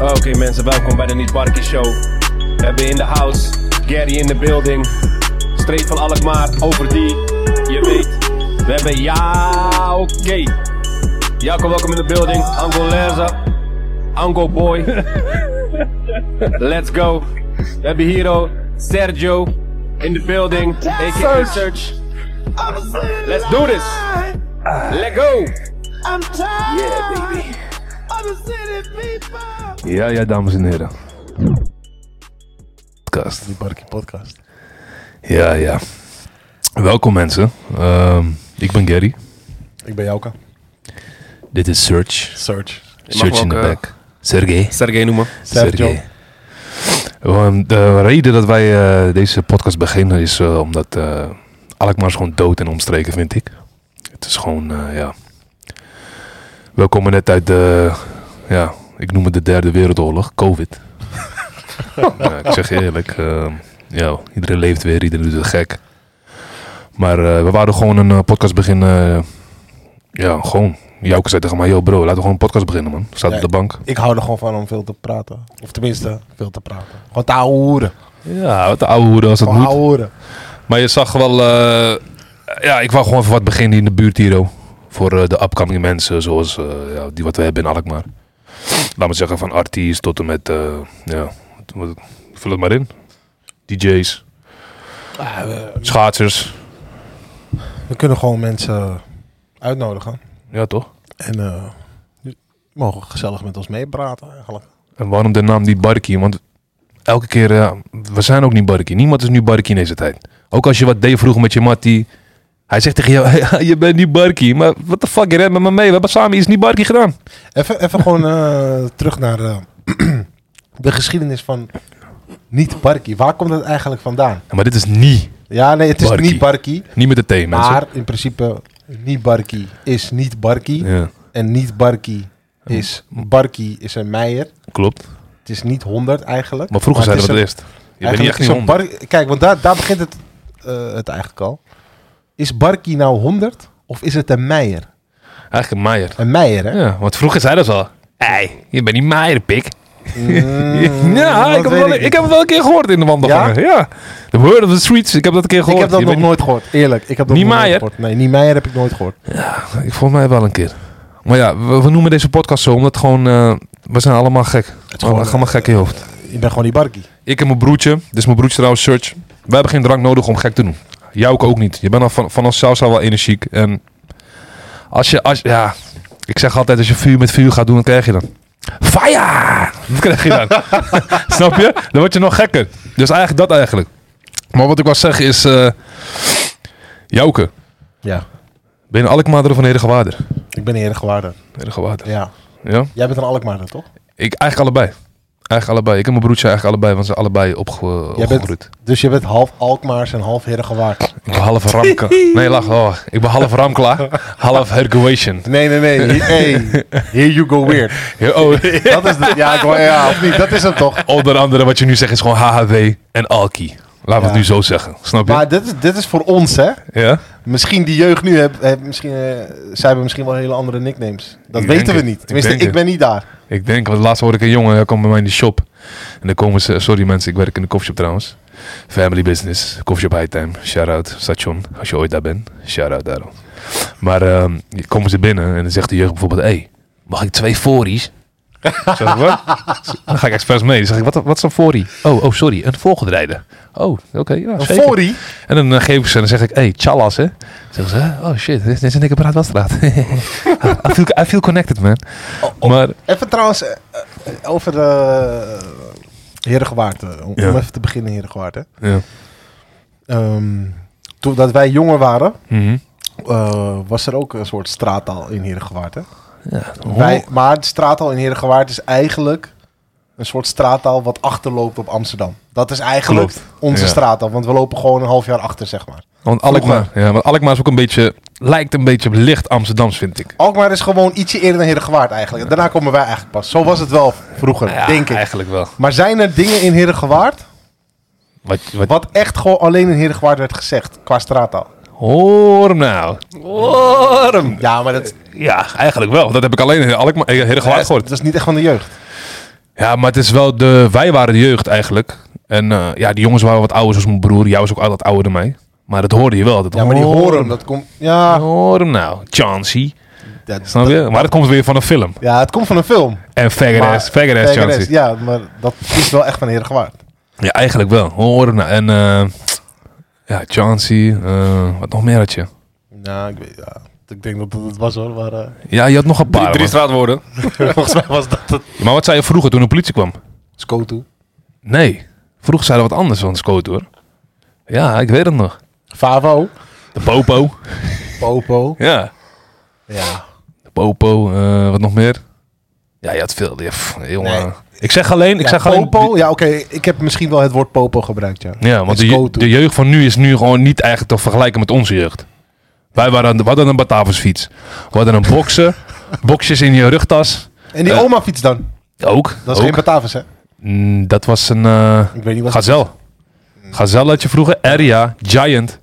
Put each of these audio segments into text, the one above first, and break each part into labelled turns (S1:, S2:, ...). S1: Oh, mensen, welkom bij de Niet Barkie Show. We hebben in de house, Gary in de building. Streep van Alkmaar, over die, je weet. We hebben ja, oké. Jacob, welkom in de building. Ango Lerza, Ango Boy. Let's go. We hebben Hero, Sergio in de building. AKA Search. Let's do this. Let go.
S2: I'm tired
S1: Yeah, baby.
S2: of the city people.
S3: Ja, ja, dames en heren. Podcast.
S4: Die Barkie podcast.
S3: Ja, ja. Welkom mensen. Ehm, ik ben Gary.
S4: Ik ben Jouka.
S3: Dit is Search.
S4: Search.
S1: Je mag
S3: Search in
S1: me
S3: the
S1: ook, eh,
S3: back. Sergey.
S1: Sergej noemen.
S4: Sergio.
S3: Ehm, de reden dat wij eh, deze podcast beginnen is eh, omdat eh Alkmaar is gewoon dood en omstreken, vind ik. Het is gewoon, eh, ja... We komen net uit de, ja, ik noem het de derde wereldoorlog, COVID. ja, ik zeg je eerlijk, eh, ja, iedereen leeft weer, iedereen doet het gek. Maar eh, we waren gewoon een eh, podcast beginnen, eh, ja, gewoon. Jouke zei tegen mij, yo bro, laten we gewoon een podcast beginnen man. We zaten
S4: Ja.
S3: op de bank.
S4: Ik hou er gewoon van om veel te praten. Of tenminste, veel te praten. Gewoon te ouwe hoeren.
S3: Ja, wat de oude hoeren als het
S4: Gewoon
S3: moet.
S4: ouwe hoeren.
S3: Maar je zag wel... eh, ja, ik wou gewoon even wat beginnen in de buurt hier, oh. Voor eh, de upcoming mensen, zoals eh, ja, die wat we hebben in Alkmaar. Laat me zeggen, van artiest tot en met... eh, ja, wat- wat- vul het maar in. DJ's,
S4: Ah, we,
S3: schaatsers.
S4: we kunnen gewoon mensen uitnodigen.
S3: Ja, toch?
S4: En eh, die mogen gezellig met ons meepraten eigenlijk.
S3: En waarom de naam niet Barkie? Want elke keer... ja, we zijn ook niet Barkie. Niemand is nu Barkie in deze tijd. Ook als je wat deed vroeg met je mattie... Hij zegt tegen jou, je bent niet Barkie. Maar wat de fuck, je rent met me mee. We hebben samen iets niet Barkie gedaan.
S4: Even, even gewoon eh, terug naar eh, de geschiedenis van niet Barkie. Waar komt dat eigenlijk vandaan?
S3: Ja, Maar dit is niet.
S4: Ja, nee, het is
S3: Barkie.
S4: niet Barkie.
S3: Niet met de thee, mensen.
S4: Maar in principe, niet Barkie is niet Barkie.
S3: Ja,
S4: En niet Barkie is... Barkie is een meier.
S3: klopt.
S4: Het is niet 100 eigenlijk.
S3: Maar vroeger zeiden we dat
S4: het is
S3: eerst. Je
S4: een-
S3: bent niet echt
S4: eigenlijk
S3: niet
S4: is een
S3: honderd.
S4: Bar- Kijk, want daar, daar begint het, eh, het eigenlijk al. Is Barkie nou 100 of is het een meier?
S3: Eigenlijk een meier.
S4: Een meier, hè?
S3: Ja, want vroeger zeiden ze al. Ei, je bent niet meier, pik.
S4: Mm,
S3: ja,
S4: dat
S3: ik heb,
S4: weet
S3: wel, ik. heb het wel een keer gehoord in de wandelgangen. Ja? The word of the streets. Ik heb dat een keer
S4: Ik
S3: gehoord.
S4: heb dat
S3: Je
S4: nog
S3: bent
S4: nooit gehoord, eerlijk. Ik heb dat
S3: Niet
S4: nog nooit
S3: meier?
S4: gehoord. Nee, niet meier heb ik nooit gehoord.
S3: niet- Ik vond mij wel een keer. Maar ja, we, we noemen deze podcast zo omdat gewoon... eh, we zijn allemaal gek. Het is
S4: gewoon,
S3: gewoon eh, allemaal gek in je hoofd.
S4: Je bent gewoon die Barkie.
S3: Ik en mijn broertje. Dit is mijn broertje trouwens, Search. Wij hebben geen drank nodig om gek te doen. Jou ook niet. Je bent al van, van onszelf al wel energiek. En als je, als, ja, ik zeg altijd, als je vuur met vuur gaat doen, wat krijg je dan? Fire! Wat krijg je dan? Snap je? Dan word je nog gekker. Dus eigenlijk dat eigenlijk. Maar wat ik wil zeggen is, eh Jouke,
S4: Ja,
S3: ben je een Alkmaarder of een Herengewaarder?
S4: ik ben eerder gewaarder.
S3: Herengewaarder,
S4: Ja.
S3: ja?
S4: Jij bent een Alkmaarder, toch?
S3: Ik, eigenlijk allebei. Eigenlijk allebei. Ik en mijn broertje eigenlijk allebei, want ze zijn allebei opge
S4: Jij bent-
S3: opgegroeid.
S4: Dus je bent half Alkmaars en half Herengewaard.
S3: Ik ben half ramka. Nee, lach. Oh, ik ben half ramkla, half herguation.
S4: Nee, nee, nee. He- Hey, here you go weird.
S3: Oh,
S4: Dat is de, ja, ik wou- ja, of niet? Dat is hem toch?
S3: onder andere wat je nu zegt is gewoon HHW en Alki. Laten we
S4: Ja.
S3: het nu zo zeggen. Snap je?
S4: Maar dit is, dit is voor ons, hè?
S3: ja?
S4: Misschien die jeugd nu, heb, heb misschien, eh, zij hebben misschien wel hele andere nicknames. Dat
S3: Ik denk
S4: weten we
S3: het.
S4: niet.
S3: Ik
S4: Tenminste, ik,
S3: denk het.
S4: ben niet daar.
S3: Ik denk, want laatst hoorde ik een jongen, hij kwam bij mij in de shop. En dan komen ze, sorry mensen, ik werk in de koffieshop trouwens. Family business, koffieshop high time, shout out, station, als je ooit daar bent, shout out daarom. Maar ehm, komen ze binnen en dan zegt de jeugd bijvoorbeeld, hé, hey, mag ik twee fories? Zeg ik, wat? Dan ga ik expres mee. Dan zeg ik, wat, wat is een forie? Oh, oh, sorry, een volgedrijde. Oh, oké, ja,
S4: Een
S3: zeker.
S4: Fori?
S3: En dan eh, geef ik ze en dan zeg ik, hey, chalas, hè? Zeggen ze, oh shit, dit is een dikke praatwelstraat. I, feel, I feel connected, man. Maar
S4: Even trouwens eh, eh, over de Herengewaard. eh, Om,
S3: Ja.
S4: om even te beginnen, Herengewaard. Hè.
S3: Ja.
S4: Ehm, toen dat wij jonger waren,
S3: Mhm.
S4: eh, was er ook een soort straattaal in Herengewaard. Hè?
S3: Ja.
S4: Wij, maar de straattaal in Herengewaard is eigenlijk een soort straattaal wat achterloopt op Amsterdam. Dat is eigenlijk
S3: Klopt,
S4: onze
S3: ja.
S4: straattaal, want we lopen gewoon een half jaar achter, zeg maar.
S3: Want Alkmaar, ja, want Alkmaar is ook een beetje, lijkt een beetje op licht Amsterdams, vind ik.
S4: Alkmaar is gewoon ietsje eerder dan Herengewaard eigenlijk. En daarna komen wij eigenlijk pas. Zo was het wel vroeger,
S3: Ja,
S4: denk ik.
S3: Eigenlijk wel.
S4: Maar zijn er dingen in Herengewaard
S3: Wat, wat,
S4: wat echt gewoon alleen in Herengewaard werd gezegd qua straattaal?
S3: Hoor hem nou. Hoor hem.
S4: Ja, maar dat,
S3: Ja, eigenlijk wel. Dat heb ik alleen in Alkmaar, eh, Herengewaard
S4: dat
S3: gehoord.
S4: is niet echt van de jeugd.
S3: Ja, maar het is wel de... Wij waren de jeugd eigenlijk. En eh, ja, die jongens waren wat ouder zoals mijn broer. Jij was ook altijd ouder dan mij. Maar dat hoorde je wel altijd.
S4: Ja, maar die
S3: Hoor
S4: horen, dat komt... Ja,
S3: Hoor hem nou. Chauncey.
S4: dat,
S3: Snap je? Maar dat komt weer van een film.
S4: ja, het komt van een film.
S3: En
S4: Maar-
S3: Faggot-ass. Faggot-ass
S4: Kijk,
S3: Chauncey.
S4: rest, Ja, maar dat is wel echt van Heerlijk waard.
S3: Ja, eigenlijk wel. Hoor hem nou. En eh, ja, Chauncey. eh, wat nog meer had je?
S4: Ja, ik weet... Ja. Ik denk dat dat het was hoor, maar eh,
S3: Ja, je had nog een
S1: Drie,
S3: paar.
S1: drie
S3: man.
S1: straatwoorden.
S4: volgens mij was dat het.
S3: maar wat zei je vroeger toen de politie kwam?
S4: Skotu.
S3: Nee. Vroeger zeiden we wat anders van Scoot hoor. Ja, ik weet het nog.
S4: Favo.
S3: De Popo.
S4: Popo.
S3: ja.
S4: Ja.
S3: De Popo. eh, wat nog meer? Ja, je had veel. Ja, pff, jongen.
S4: Nee.
S3: Ik zeg alleen. Ik
S4: ja,
S3: zeg
S4: Popo?
S3: alleen
S4: Ja, oké. Ik heb misschien wel het woord Popo gebruikt, ja.
S3: ja, want
S4: En
S3: de, je-
S4: Skotu.
S3: de jeugd van nu is nu gewoon niet eigenlijk te vergelijken met onze jeugd. Wij waren, we hadden een Batavusfiets. We hadden een boksen. boxjes in je rugtas.
S4: En die
S3: Eh,
S4: oma fiets dan?
S3: Ook.
S4: Dat is geen
S3: ook.
S4: Batavus, hè?
S3: Mm, dat was een... eh,
S4: Ik weet niet wat...
S3: Gazel. Gazel had je vroeger. Area. Giant.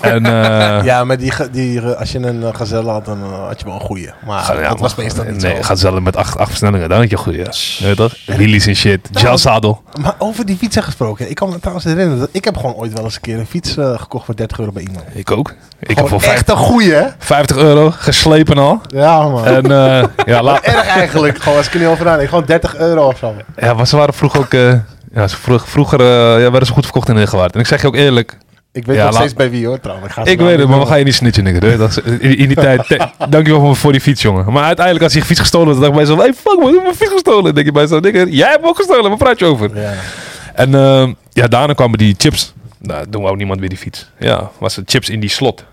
S3: En... eh,
S4: Ja, maar die, ge- die, eh, als je een eh, gazelle had, dan eh, had je wel een goeie. Maar
S3: Ga- ja,
S4: dat was
S3: maar-
S4: meestal niet
S3: nee,
S4: zo.
S3: gaat zelf met acht, acht versnellingen. Dan had je goed, ja. Weet toch? Wheelies en shit. Gelzadel.
S4: Maar over die fietsen gesproken. Ik kan me trouwens herinneren. Dat ik heb gewoon ooit wel eens een keer een fiets eh, gekocht voor 30 euro bij iemand.
S3: Ik ook. Ik heb
S4: Gewoon
S3: voor vijf-
S4: echt een goeie, hè?
S3: 50 euro geslepen al.
S4: Ja, man.
S3: En eh, ja, la-
S4: Erg eigenlijk. gewoon als ik er niet over nadenk. Gewoon 30 euro of zo.
S3: ja, maar ze waren vroeg ook... eh, ja, ze vroeg, vroeger eh, ja, werden ze goed verkocht in Nederland. En ik zeg je ook eerlijk,
S4: Ik weet
S3: Ja,
S4: nog
S3: laat-
S4: steeds bij wie, hoor, trouwens. ga ze
S3: ik
S4: nou
S3: weet het,
S4: niet
S3: maar we
S4: noemen.
S3: gaan je niet snitchen, nigga. Weet je toch? In, in die tijd, te- dankjewel voor, voor die fiets, jongen. Maar uiteindelijk, als je fiets gestolen had, dan dacht ik bij zo, hey, fuck man, ik heb mijn fiets gestolen. Dan denk je bij zo, nigga, jij hebt hem ook gestolen, waar praat je over?
S4: Ja.
S3: En ehm, ja, daarna kwamen die chips. Nou, toen wou niemand weer die fiets. Ja, was het chips in die slot.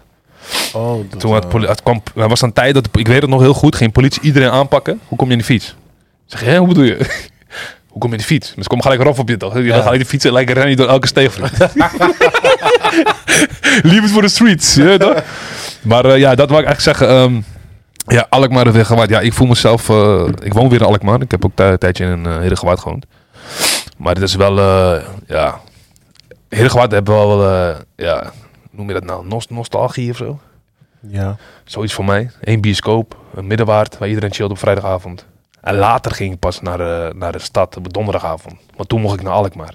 S4: Oh, dat,
S3: Toen had
S4: eh,
S3: poli- het kwam, er was een tijd dat, de- ik weet het nog heel goed, ging politie iedereen aanpakken. Hoe kom je in die fiets? Ik zeg, hè, hoe bedoel je? Hoe kom je in de fiets? Dus kom gelijk rof op je toch? Je Dan ga je de fietsen lijken rennen door elke steegvliet. Liefde voor de streets, je weet toch? Maar eh, ja, dat wou ik eigenlijk zeggen. ehm, ja, Alkmaar heeft weer gewaard. Ja, ik voel mezelf... eh, ik woon weer in Alkmaar. Ik heb ook daar een tijdje in eh Heerdegewaard gewoond. Maar het is wel... eh, ja... Heerdegewaard hebben we wel... eh, ja, hoe noem je dat nou? Nost- nostalgie of zo?
S4: Ja.
S3: Zoiets voor mij. Eén bioscoop, een middenwaard waar iedereen chillde op vrijdagavond. En later ging ik pas naar, eh, naar de stad op donderdagavond. Want toen mocht ik naar Alkmaar.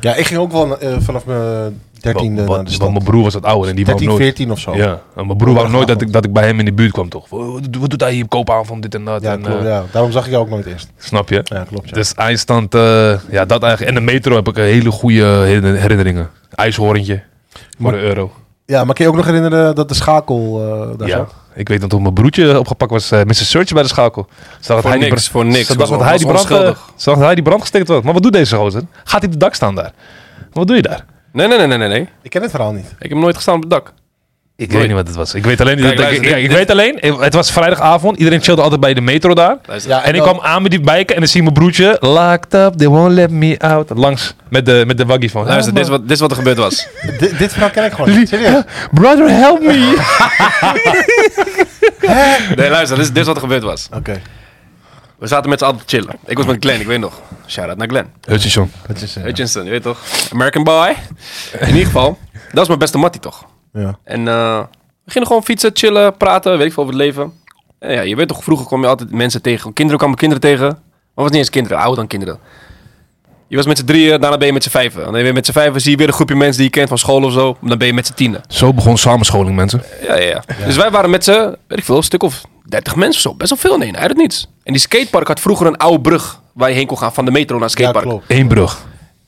S4: ja, ik ging ook wel eh, vanaf mijn 13e
S3: Wa- wa-
S4: naar de
S3: Want
S4: stad. Oh.
S3: mijn broer was wat ouder en die wou
S4: 13,
S3: nooit.
S4: 14 of zo.
S3: Ja, en mijn broer wou nooit dat ik, dat ik bij hem in de buurt kwam, toch? Wat, doet- wat doet hij hier op koopavond, dit en dat?
S4: Ja,
S3: en,
S4: klopt,
S3: eh,
S4: ja. Daarom zag ik jou ook nooit eerst.
S3: Snap je?
S4: Ja, klopt. Ja.
S3: Dus eindstand, eh, ja, dat eigenlijk. En de metro heb ik een hele goede herinner- herinneringen. IJshorentje voor
S4: Maar-
S3: een euro.
S4: ja, maar kun je ook nog herinneren dat de schakel eh, daar
S3: Ja.
S4: zat?
S3: Ik weet dat toen mijn broertje opgepakt was, eh Mr. Search bij de schakel. Ze dacht
S1: Voor
S3: hij die
S1: niks,
S3: bra-
S1: voor niks.
S3: Ze dacht
S1: Was-
S3: dat hij
S1: was
S3: die brand, eh,
S1: onschuldig.
S3: ze dacht dat hij die brand gestikt had. Maar wat doet deze gozer? Gaat hij op het dak staan daar? Wat doe je daar?
S1: Nee, nee, nee, nee, nee, nee.
S4: Ik ken het verhaal niet.
S1: Ik heb nooit gestaan op het dak.
S3: Ik
S1: weet
S3: weet niet wat het was. Ik weet alleen,
S1: Kijk,
S3: dat,
S1: luister,
S3: ik,
S1: dit-
S3: ik
S1: dit- Nou,
S3: weet alleen eh, het was vrijdagavond. Iedereen chillde altijd bij de metro daar.
S1: Luister.
S4: Ja,
S3: En ik
S4: dan-
S3: kwam aan met die biken en dan zie ik mijn broertje. Locked up, they won't let me out. Langs met de, met de waggie van.
S1: Luister,
S3: "Help
S1: dit is,
S3: me."
S1: wat, dit is wat er gebeurd was.
S4: Di- dit verhaal ken ik gewoon niet. Serieus.
S3: Brother, help me.
S1: Nee, luister, dit is, dit is wat er gebeurd was.
S4: Oké.
S1: We zaten met z'n allen te chillen. Ik was met Glenn, ik weet nog. Shout-out naar Glenn.
S3: Hutchinson.
S4: Dat is... eh,
S1: Hutchinson, je weet toch? American boy. In ieder geval, dat is mijn beste mattie toch?
S4: ja.
S1: En eh, we gingen gewoon fietsen, chillen, praten, weet ik veel over het leven. En ja, je weet toch, vroeger kwam je altijd mensen tegen. Kinderen kwamen kinderen tegen. Maar het was niet eens kinderen, ouder dan kinderen. Je was met z'n drieën, daarna ben je met z'n vijven. En dan ben je met z'n vijven, zie je weer een groepje mensen die je kent van school of zo. Dan ben je met z'n tienen.
S3: Zo begon samenscholing, mensen.
S1: Ja, ja, ja. Dus wij waren met z'n, weet ik veel, een stuk of 30 mensen of zo. Best wel veel in één, uit het niets. En die skatepark had vroeger een oude brug waar je heen kon gaan van de metro naar het
S4: ja,
S1: skatepark.
S4: klopt.
S3: Eén brug.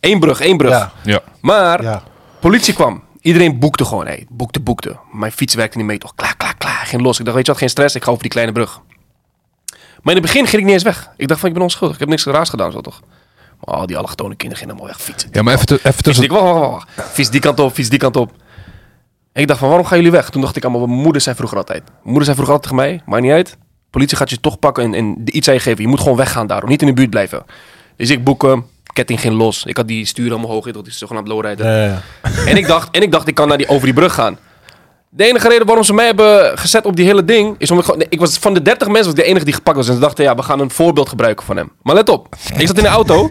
S1: Eén brug, één brug.
S4: Ja.
S3: Ja.
S1: Maar
S4: Ja.
S1: Politie kwam. Iedereen boekte gewoon. Hey, boekte, boekte. Mijn fiets werkte niet mee. Toch klaar, klaar, klaar. Geen los. Ik dacht, weet je wat, geen stress. Ik ga over die kleine brug. Maar in het begin ging ik niet eens weg. Ik dacht van, ik ben onschuldig. Ik heb niks raars gedaan, zo toch. Maar al die allochtone kinderen gingen allemaal weg fietsen.
S3: Ja, maar even, tu- even
S1: Fiets
S3: tussen...
S1: die, wacht, wacht, wacht, wacht. Fiets die kant op, fiets die kant op. En ik dacht van, waarom gaan jullie weg? Toen dacht ik allemaal, mijn moeder zei vroeger altijd. Mijn moeder zei vroeger altijd tegen mij, maakt niet uit. Politie gaat je toch pakken en, en iets aan je geven. Je moet gewoon weggaan daarom, niet in de buurt blijven. Dus ik boek hem, ketting ging los. Ik had die stuur allemaal hoog, dat is zogenaamd lowrider.
S4: Ja, ja, ja.
S1: En ik dacht, en ik, dacht ik kan naar die, over die brug gaan. De enige reden waarom ze mij hebben gezet op die hele ding, is omdat ik, gewoon- nee, ik was van de 30 mensen was ik de enige die gepakt was. En ze dachten, ja, we gaan een voorbeeld gebruiken van hem. Maar let op, ik zat in de auto,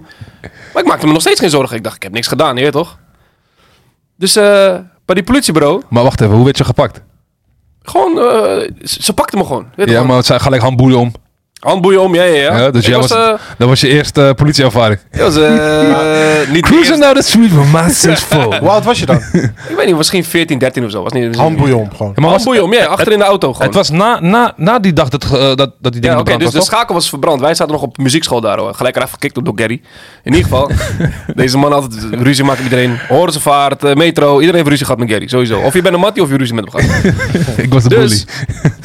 S1: maar ik maakte me nog steeds geen zorgen. Ik dacht, ik heb niks gedaan, je weet toch? Dus eh, bij die politiebureau,
S3: Maar wacht even, hoe werd je gepakt?
S1: gewoon, eh, ze, ze pakten me gewoon. je Weet
S3: Ja,
S1: toch?
S3: maar het zijn gelijk handboeien om.
S1: Handboeien om, ja, ja, ja.
S3: Ja, dus
S1: ik
S3: jij was,
S1: was, eh,
S3: dat was je eerste eh, politieervaring.
S1: ik was eh, niet de
S3: Cruising
S1: eerste.
S3: down the street with my sis full.
S4: Hoe oud was je dan?
S1: Ik weet niet, misschien 14, 13 of zo. Was niet,
S4: Handboeien om gewoon.
S3: Ja, maar was-
S1: Handboeien om, ja, achter in de auto gewoon.
S3: het was na, na, na die dag dat, ge- eh, dat, dat die
S1: ja,
S3: dingen
S1: oké,
S3: ja,
S1: dus de
S3: was, toch?
S1: schakel was verbrand. Wij zaten nog op muziekschool daar hoor. Gelijk eraf gekikt door Gary. In ieder geval, deze man altijd ruzie maakt met iedereen. Horensevaart, eh, metro, iedereen heeft ruzie gehad met Gary, sowieso. Of je bent een mattie of je ruzie met hem gehad.
S3: Ik was de
S1: Dus,
S3: bully.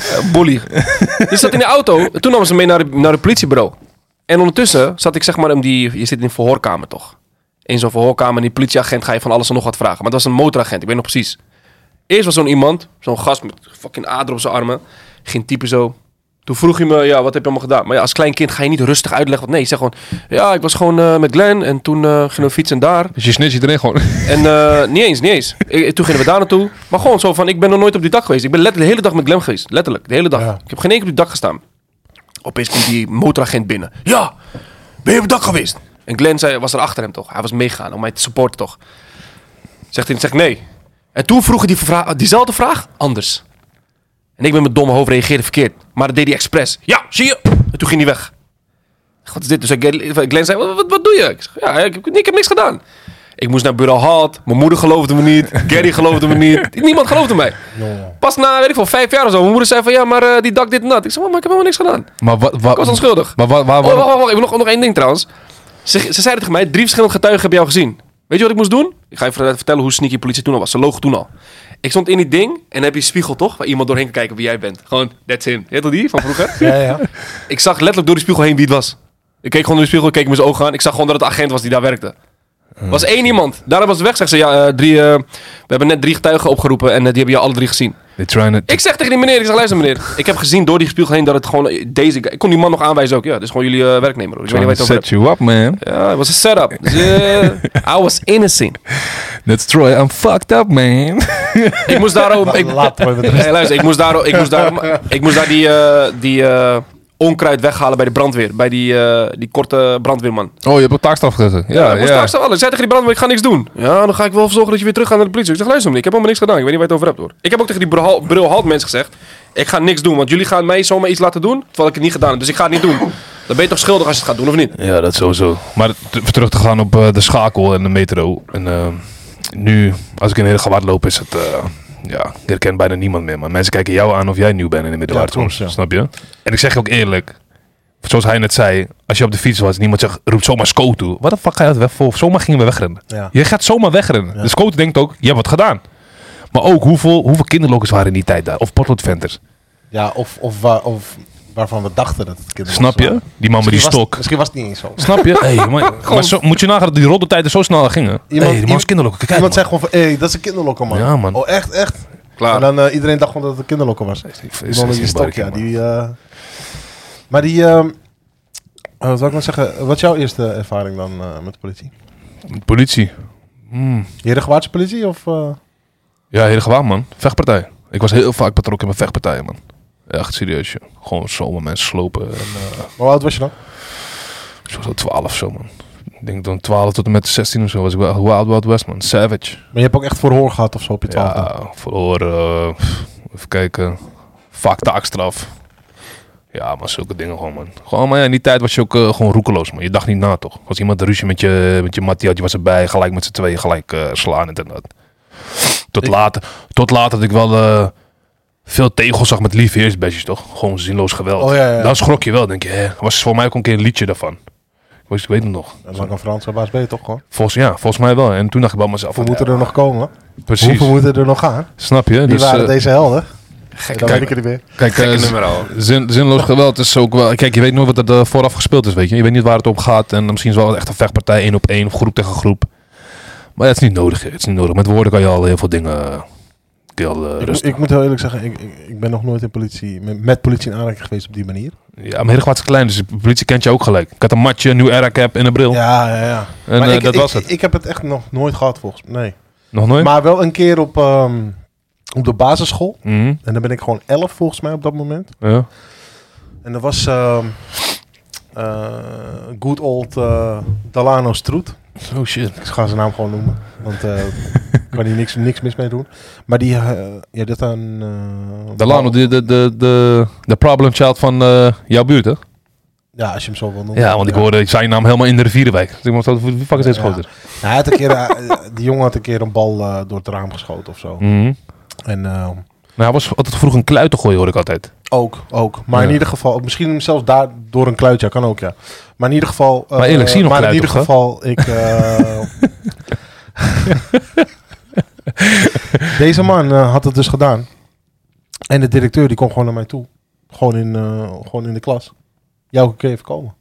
S1: eh, bully. Dus zat in de auto. Toen namen ze me mee naar, de, naar het politiebureau. En ondertussen zat ik zeg maar in die... Je zit in een verhoorkamer toch? In zo'n verhoorkamer. En die politieagent ga je van alles en nog wat vragen. Maar dat was een motoragent. Ik weet nog precies. Eerst was zo'n iemand. Zo'n gast met fucking ader op zijn armen. Ging typen zo. Toen vroeg hij me, ja, wat heb je allemaal gedaan? Maar ja, als klein kind ga je niet rustig uitleggen. Want nee, zeg gewoon, ja, ik was gewoon eh, met Glenn. En toen eh, gingen we fietsen daar.
S3: Dus je snitch iedereen gewoon.
S1: En eh, niet eens, niet eens. Ik- toen gingen we daar naartoe. Maar gewoon zo van, ik ben nog nooit op die dak geweest. Ik ben letterlijk de hele dag met Glem geweest. Letterlijk, de hele dag.
S4: Ja.
S1: Ik heb geen enkele op die dak gestaan. Opeens komt die motoragent binnen. Ja, ben je op het dak geweest? En Glenn zei, was er achter hem toch? Hij was meegegaan om mij te supporten toch? Zegt hij, zegt nee. En toen vroegen die vra- diezelfde vraag anders. En ik met mijn domme hoofd reageerde verkeerd. Maar dat deed hij expres. Ja, zie je? En toen ging hij weg. Wat is dit? Dus ik- Glenn zei, wat, wat, wat doe je? Ik zeg, ja, ik, heb- ik heb niks gedaan. Ik moest naar bureau Halt. Mijn moeder geloofde me niet. Gary geloofde me niet. Niemand geloofde mij. Pas na, weet ik veel, vijf jaar of zo. Mijn moeder zei van, ja, maar eh, die dak dit en dat. Ik zei, mama, ik heb helemaal niks gedaan.
S3: Maar wat... wat
S1: Ik was onschuldig.
S3: Maar waar... waar,
S1: Oh,
S3: waar
S1: wacht, wacht, wacht. Ik heb nog, nog één ding trouwens. Ze, ze zeiden tegen mij, drie verschillende getuigen hebben jou gezien. Weet je wat ik moest doen? Ik ga je ver- vertellen hoe sneaky politie toen al was. Ze loog toen al. Ik stond in die ding en dan heb je een spiegel toch? Waar iemand doorheen kan kijken wie jij bent. Gewoon, that's him. Je toch die van vroeger?
S4: Ja, ja.
S1: ik zag letterlijk door die spiegel heen wie het was. Ik keek gewoon door de spiegel, ik keek in zijn ogen aan. Ik zag gewoon dat het agent was die daar werkte. was één iemand. Daarom was het weg. Zegt ze, ja, eh, drie, eh, we hebben net drie getuigen opgeroepen en eh, die hebben je alle drie gezien.
S3: They're trying to...
S1: Ik zeg tegen die meneer, ik zeg, luister meneer. Ik heb gezien door die spiegel heen dat het gewoon eh, deze... guy- Ik kon die man nog aanwijzen ook. Ja, dus gewoon jullie eh, werknemer. hoor. Ik weet niet
S3: Trying
S1: waar je
S3: to
S1: het over
S3: set you up, man.
S1: hebt. Ja, het was een setup. Dus, eh, I was innocent.
S3: That's Troy. I'm fucked up, man.
S1: Ik moest daarom... Ik,
S4: Laat maar met rust.
S1: Hey, luister, ik moest daar, ik moest daar, ik moest daar die, eh, die eh, onkruid weghalen bij de brandweer. Bij die, eh, die korte brandweerman.
S3: Oh, je hebt op taakstraf gezet.
S1: Ja,
S3: Ja,
S1: moest
S3: ja.
S1: daar staan. Ik zei tegen die brandweer, ik ga niks doen. Ja, dan ga ik wel zorgen dat je weer terug gaat naar de politie. Ik zeg, luister meneer, ik heb helemaal niks gedaan. Ik weet niet waar je het over hebt hoor. Ik heb ook tegen die bril- bril halt mensen gezegd, ik ga niks doen. Want jullie gaan mij zomaar iets laten doen, terwijl ik het niet gedaan heb. Dus ik ga het niet doen. Dan ben je toch schuldig als je het gaat doen of niet?
S3: Ja, dat sowieso. Maar t- terug te gaan op eh, de schakel en de metro. En eh, nu, als ik in hele gewaard loop, is het... eh, ja, ik herken bijna niemand meer. Maar mensen kijken jou aan of jij nieuw bent in de middelbare
S4: Ja, klopt,
S3: soms.
S4: ja.
S3: Snap je? En ik zeg je ook eerlijk... Zoals hij net zei, als je op de fiets was en iemand zegt, roept zomaar Sco toe. Wat de fuck ga je dat weg voor? Zomaar gingen we wegrennen.
S4: Ja.
S3: Je gaat zomaar wegrennen. Dus Sco denkt ook, je hebt wat gedaan. Maar ook, hoeveel, hoeveel kinderlokers waren in die tijd daar? Of potloodventers.
S4: Ja, of, of, waar- of waarvan we dachten dat het kinderen
S3: Snap je?
S4: waren.
S3: Die man met die
S4: Misschien was-
S3: stok.
S4: Misschien was het niet eens zo.
S3: Snap je? Hey, maar, maar zo, moet je nagaan dat die rotte tijden zo snel gingen.
S4: Iemand-
S3: hey, die man is
S4: iemand-
S3: kinderlokker. Kijk,
S4: Iemand
S3: man.
S4: zei gewoon van, hé, dat is een kinderlokker, man.
S3: Ja, man.
S4: Oh, echt, echt.
S1: Klaar.
S4: En dan eh, iedereen dacht gewoon dat het een kinderlokker was. Die man met die stok, ja. Die, eh, maar die... ehm, eh, wat zou ik nog zeggen? Wat is jouw eerste ervaring dan eh, met de politie?
S3: Politie. Mm.
S4: Herengewaardse politie of... eh,
S3: Ja, hele gewaar, man. Vechtpartij. Ik was heel vaak betrokken in mijn vechtpartijen, man. Echt serieus, joh. Gewoon zomaar mensen slopen. En, eh,
S4: hoe oud was je dan?
S3: zo, zo 12 zo, man. Ik denk dan 12 tot en met 16 of zo was ik wel Wild Wild West, man. Savage.
S4: Maar je hebt ook echt verhoor gehad of zo op je twaalfde?
S3: Ja, verloren. eh, pff, even kijken. Vaak taakstraf. Ja, maar zulke dingen gewoon, man. Gewoon, maar ja, in die tijd was je ook eh, gewoon roekeloos, man. Je dacht niet na, toch? Als iemand een ruzie met je, met je mattie had, je was erbij. Gelijk met z'n tweeën, gelijk eh, slaan en dit en dat. Tot
S4: Ik-
S3: later, tot later dat ik wel eh, veel tegels zag met lieve heersbadges, toch? Gewoon zinloos geweld.
S4: Oh, ja, ja.
S3: Dan schrok je wel, denk je. Hè? Was voor mij ook een keer een liedje daarvan. Ik weet- ik weet het nog.
S4: Dat is ook een Franse baas ben je toch gewoon?
S3: Volgens, ja, volgens mij wel. En toen dacht ik bij mezelf...
S4: Hoeveel
S3: van,
S4: moeten
S3: ja,
S4: er nog komen?
S3: Precies.
S4: Hoeveel moeten er nog gaan?
S3: Snap je?
S4: Wie
S3: Dus,
S4: waren
S3: eh,
S4: deze helden? Gek, dan
S3: kijk-
S4: weet ik er niet meer.
S3: Kijk, eh,
S1: Gekke
S5: Dus-
S1: nummer al.
S3: zin, zinloos geweld is ook wel... Kijk, je weet nooit wat er eh, vooraf gespeeld is, weet je. Je weet niet waar het om gaat. En misschien is het wel echt een vechtpartij, één op één, of groep tegen groep. Maar ja, het is niet nodig. hè. Het is niet nodig. Met woorden kan je al heel veel dingen... eh, Kan je al, eh,
S4: Ik, moet-
S3: rustig.
S4: ik moet heel eerlijk zeggen, ik, ik, ik ben nog nooit in politie, met, met politie in aanraking geweest op die manier.
S3: Ja, maar heel is klein, dus de politie kent je ook gelijk. Ik had een matje, een nieuw era cap en een bril.
S4: Ja, ja, ja.
S3: En
S4: Maar
S3: eh,
S4: ik,
S3: dat
S4: ik-
S3: was het.
S4: Ik, heb het echt nog nooit gehad volgens mij. Nee.
S3: Nog nooit?
S4: Maar wel een keer op, ehm, op de basisschool.
S3: Mhm,
S4: En dan ben ik gewoon 11 volgens mij op dat moment.
S3: ja.
S4: En dat was ehm, eh, good old eh, Dalano Stroet.
S3: Oh shit.
S4: Ik ga zijn naam gewoon noemen. Want eh ik kan hier niks, niks mis mee doen. Maar die, eh ja, dat aan... eh,
S3: Delano, de, de, de, de, de problem child van eh, jouw buurt, hè?
S4: Ja, als je hem zo wil noemen.
S3: Ja, want ik hoorde, ik zei je naam helemaal in de rivierenwijk. Dus ik dacht, wat de fuck is deze
S4: Ja.
S3: gozer?
S4: Nou, hij had een keer, eh, die jongen had een keer een bal eh, door het raam geschoten of zo.
S3: Mhm.
S4: En ehm,
S3: Nou, hij was altijd vroeg een kluit te gooien, hoor ik altijd.
S4: ook, ook. Maar in
S3: Ja.
S4: ieder geval, misschien zelfs daar door een kluitje, kan ook, ja. Maar in ieder geval... eh,
S3: Maar eerlijk, zie je nog
S4: Maar in
S3: kluit,
S4: ieder
S3: toch, hè?
S4: geval, ik... eh, Deze man eh, had het dus gedaan. En de directeur, die kwam gewoon naar mij toe. Gewoon in, eh, gewoon in de klas. Jouw kun je even komen.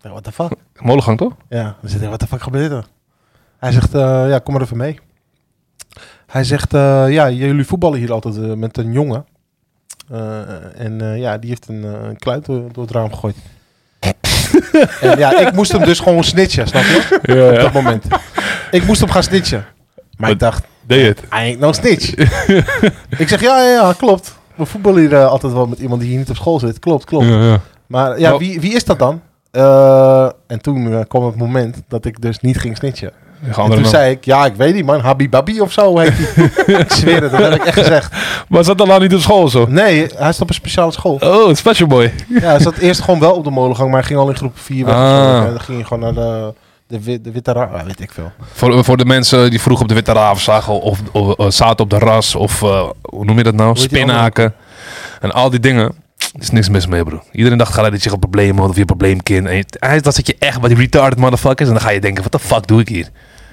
S4: Ja, what the fuck?
S3: Molengang, toch?
S4: Ja, we zitten, wat de fuck gebeurt er? Hij zegt, eh, ja, kom maar even mee. Hij zegt, eh, ja, jullie voetballen hier altijd eh, met een jongen. Eh, en eh, ja, die heeft een eh, kluit door, door het raam gegooid. en ja, ik moest hem dus gewoon snitchen, snap je?
S3: Ja,
S4: Op dat moment. Ik moest hem gaan snitchen. Maar ik
S3: Wat-
S4: dacht,
S3: Deed het.
S4: I ain't no snitch. ik zeg, ja, ja, ja, klopt. We voetballen hier eh, altijd wel met iemand die hier niet op school zit. Klopt, klopt.
S3: Ja, ja.
S4: Maar ja,
S3: Nou-
S4: wie, wie is dat dan? Eh, en toen eh, kwam het moment dat ik dus niet ging snitchen.
S3: Een
S4: En
S3: andere
S4: toen
S3: naam.
S4: zei ik, ja, ik weet niet man, Habibabi of zo heet die. ik zweer het, dat heb ik echt gezegd.
S3: Maar zat dan al niet op school zo?
S4: Nee, hij zat op een speciale school.
S3: Oh, een special boy.
S4: Ja, hij zat eerst gewoon wel op de molengang, maar hij ging al in groep 4 weg. of
S3: Ah.
S4: zo. En dan ging hij gewoon naar de, de, wi- de Witte Ra... ah, weet ik veel.
S3: Voor, voor de mensen die vroeg op de Witte Raaf zagen of, of, eh, zaten op de ras of eh, hoe noem je dat nou?
S4: heet die
S3: Spinhaken. En al die dingen. Er is niks mis mee, bro. Iedereen dacht gelijk dat je een probleem had of je een probleemkind. En je- hij- dan zit je echt bij die retarded motherfuckers en dan ga je denken, wat de fuck doe ik hier?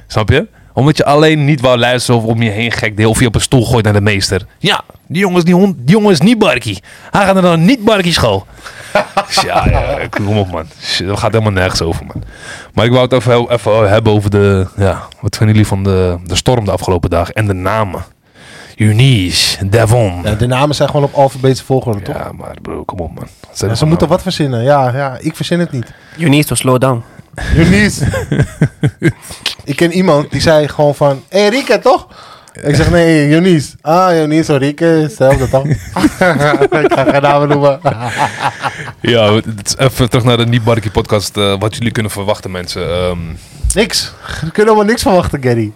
S3: Snap je? Omdat je alleen niet wou luisteren of om je heen gek deed of je op een stoel gooit naar de meester. Ja, die jongen is, die hond, die jongen is niet barkie. Hij gaat naar dan niet barkie school. ja, ja, ja, kom op man. Shit, dat gaat helemaal nergens over man. Maar ik wou het even, even hebben over de... Ja, wat vinden jullie van de, de storm de afgelopen dagen? En de namen. Eunice, Devon.
S4: Ja, de namen zijn gewoon op alfabetische volgorde, toch?
S3: Ja, maar bro, kom op man.
S4: Ja, ze moeten wat verzinnen. Ja, ja, ik verzin het niet.
S5: You need to slow down.
S4: Junies. ik ken iemand die zei gewoon van, hé hey, Rieke, toch? Ik zeg, nee, Junies. Ah, Junies en Rieke, hetzelfde toch? ik ga geen namen noemen.
S3: Ja, het is even terug naar de Niet Barkie podcast. eh, wat jullie kunnen verwachten mensen. Ehm,
S4: niks. We kunnen maar niks verwachten, Gary.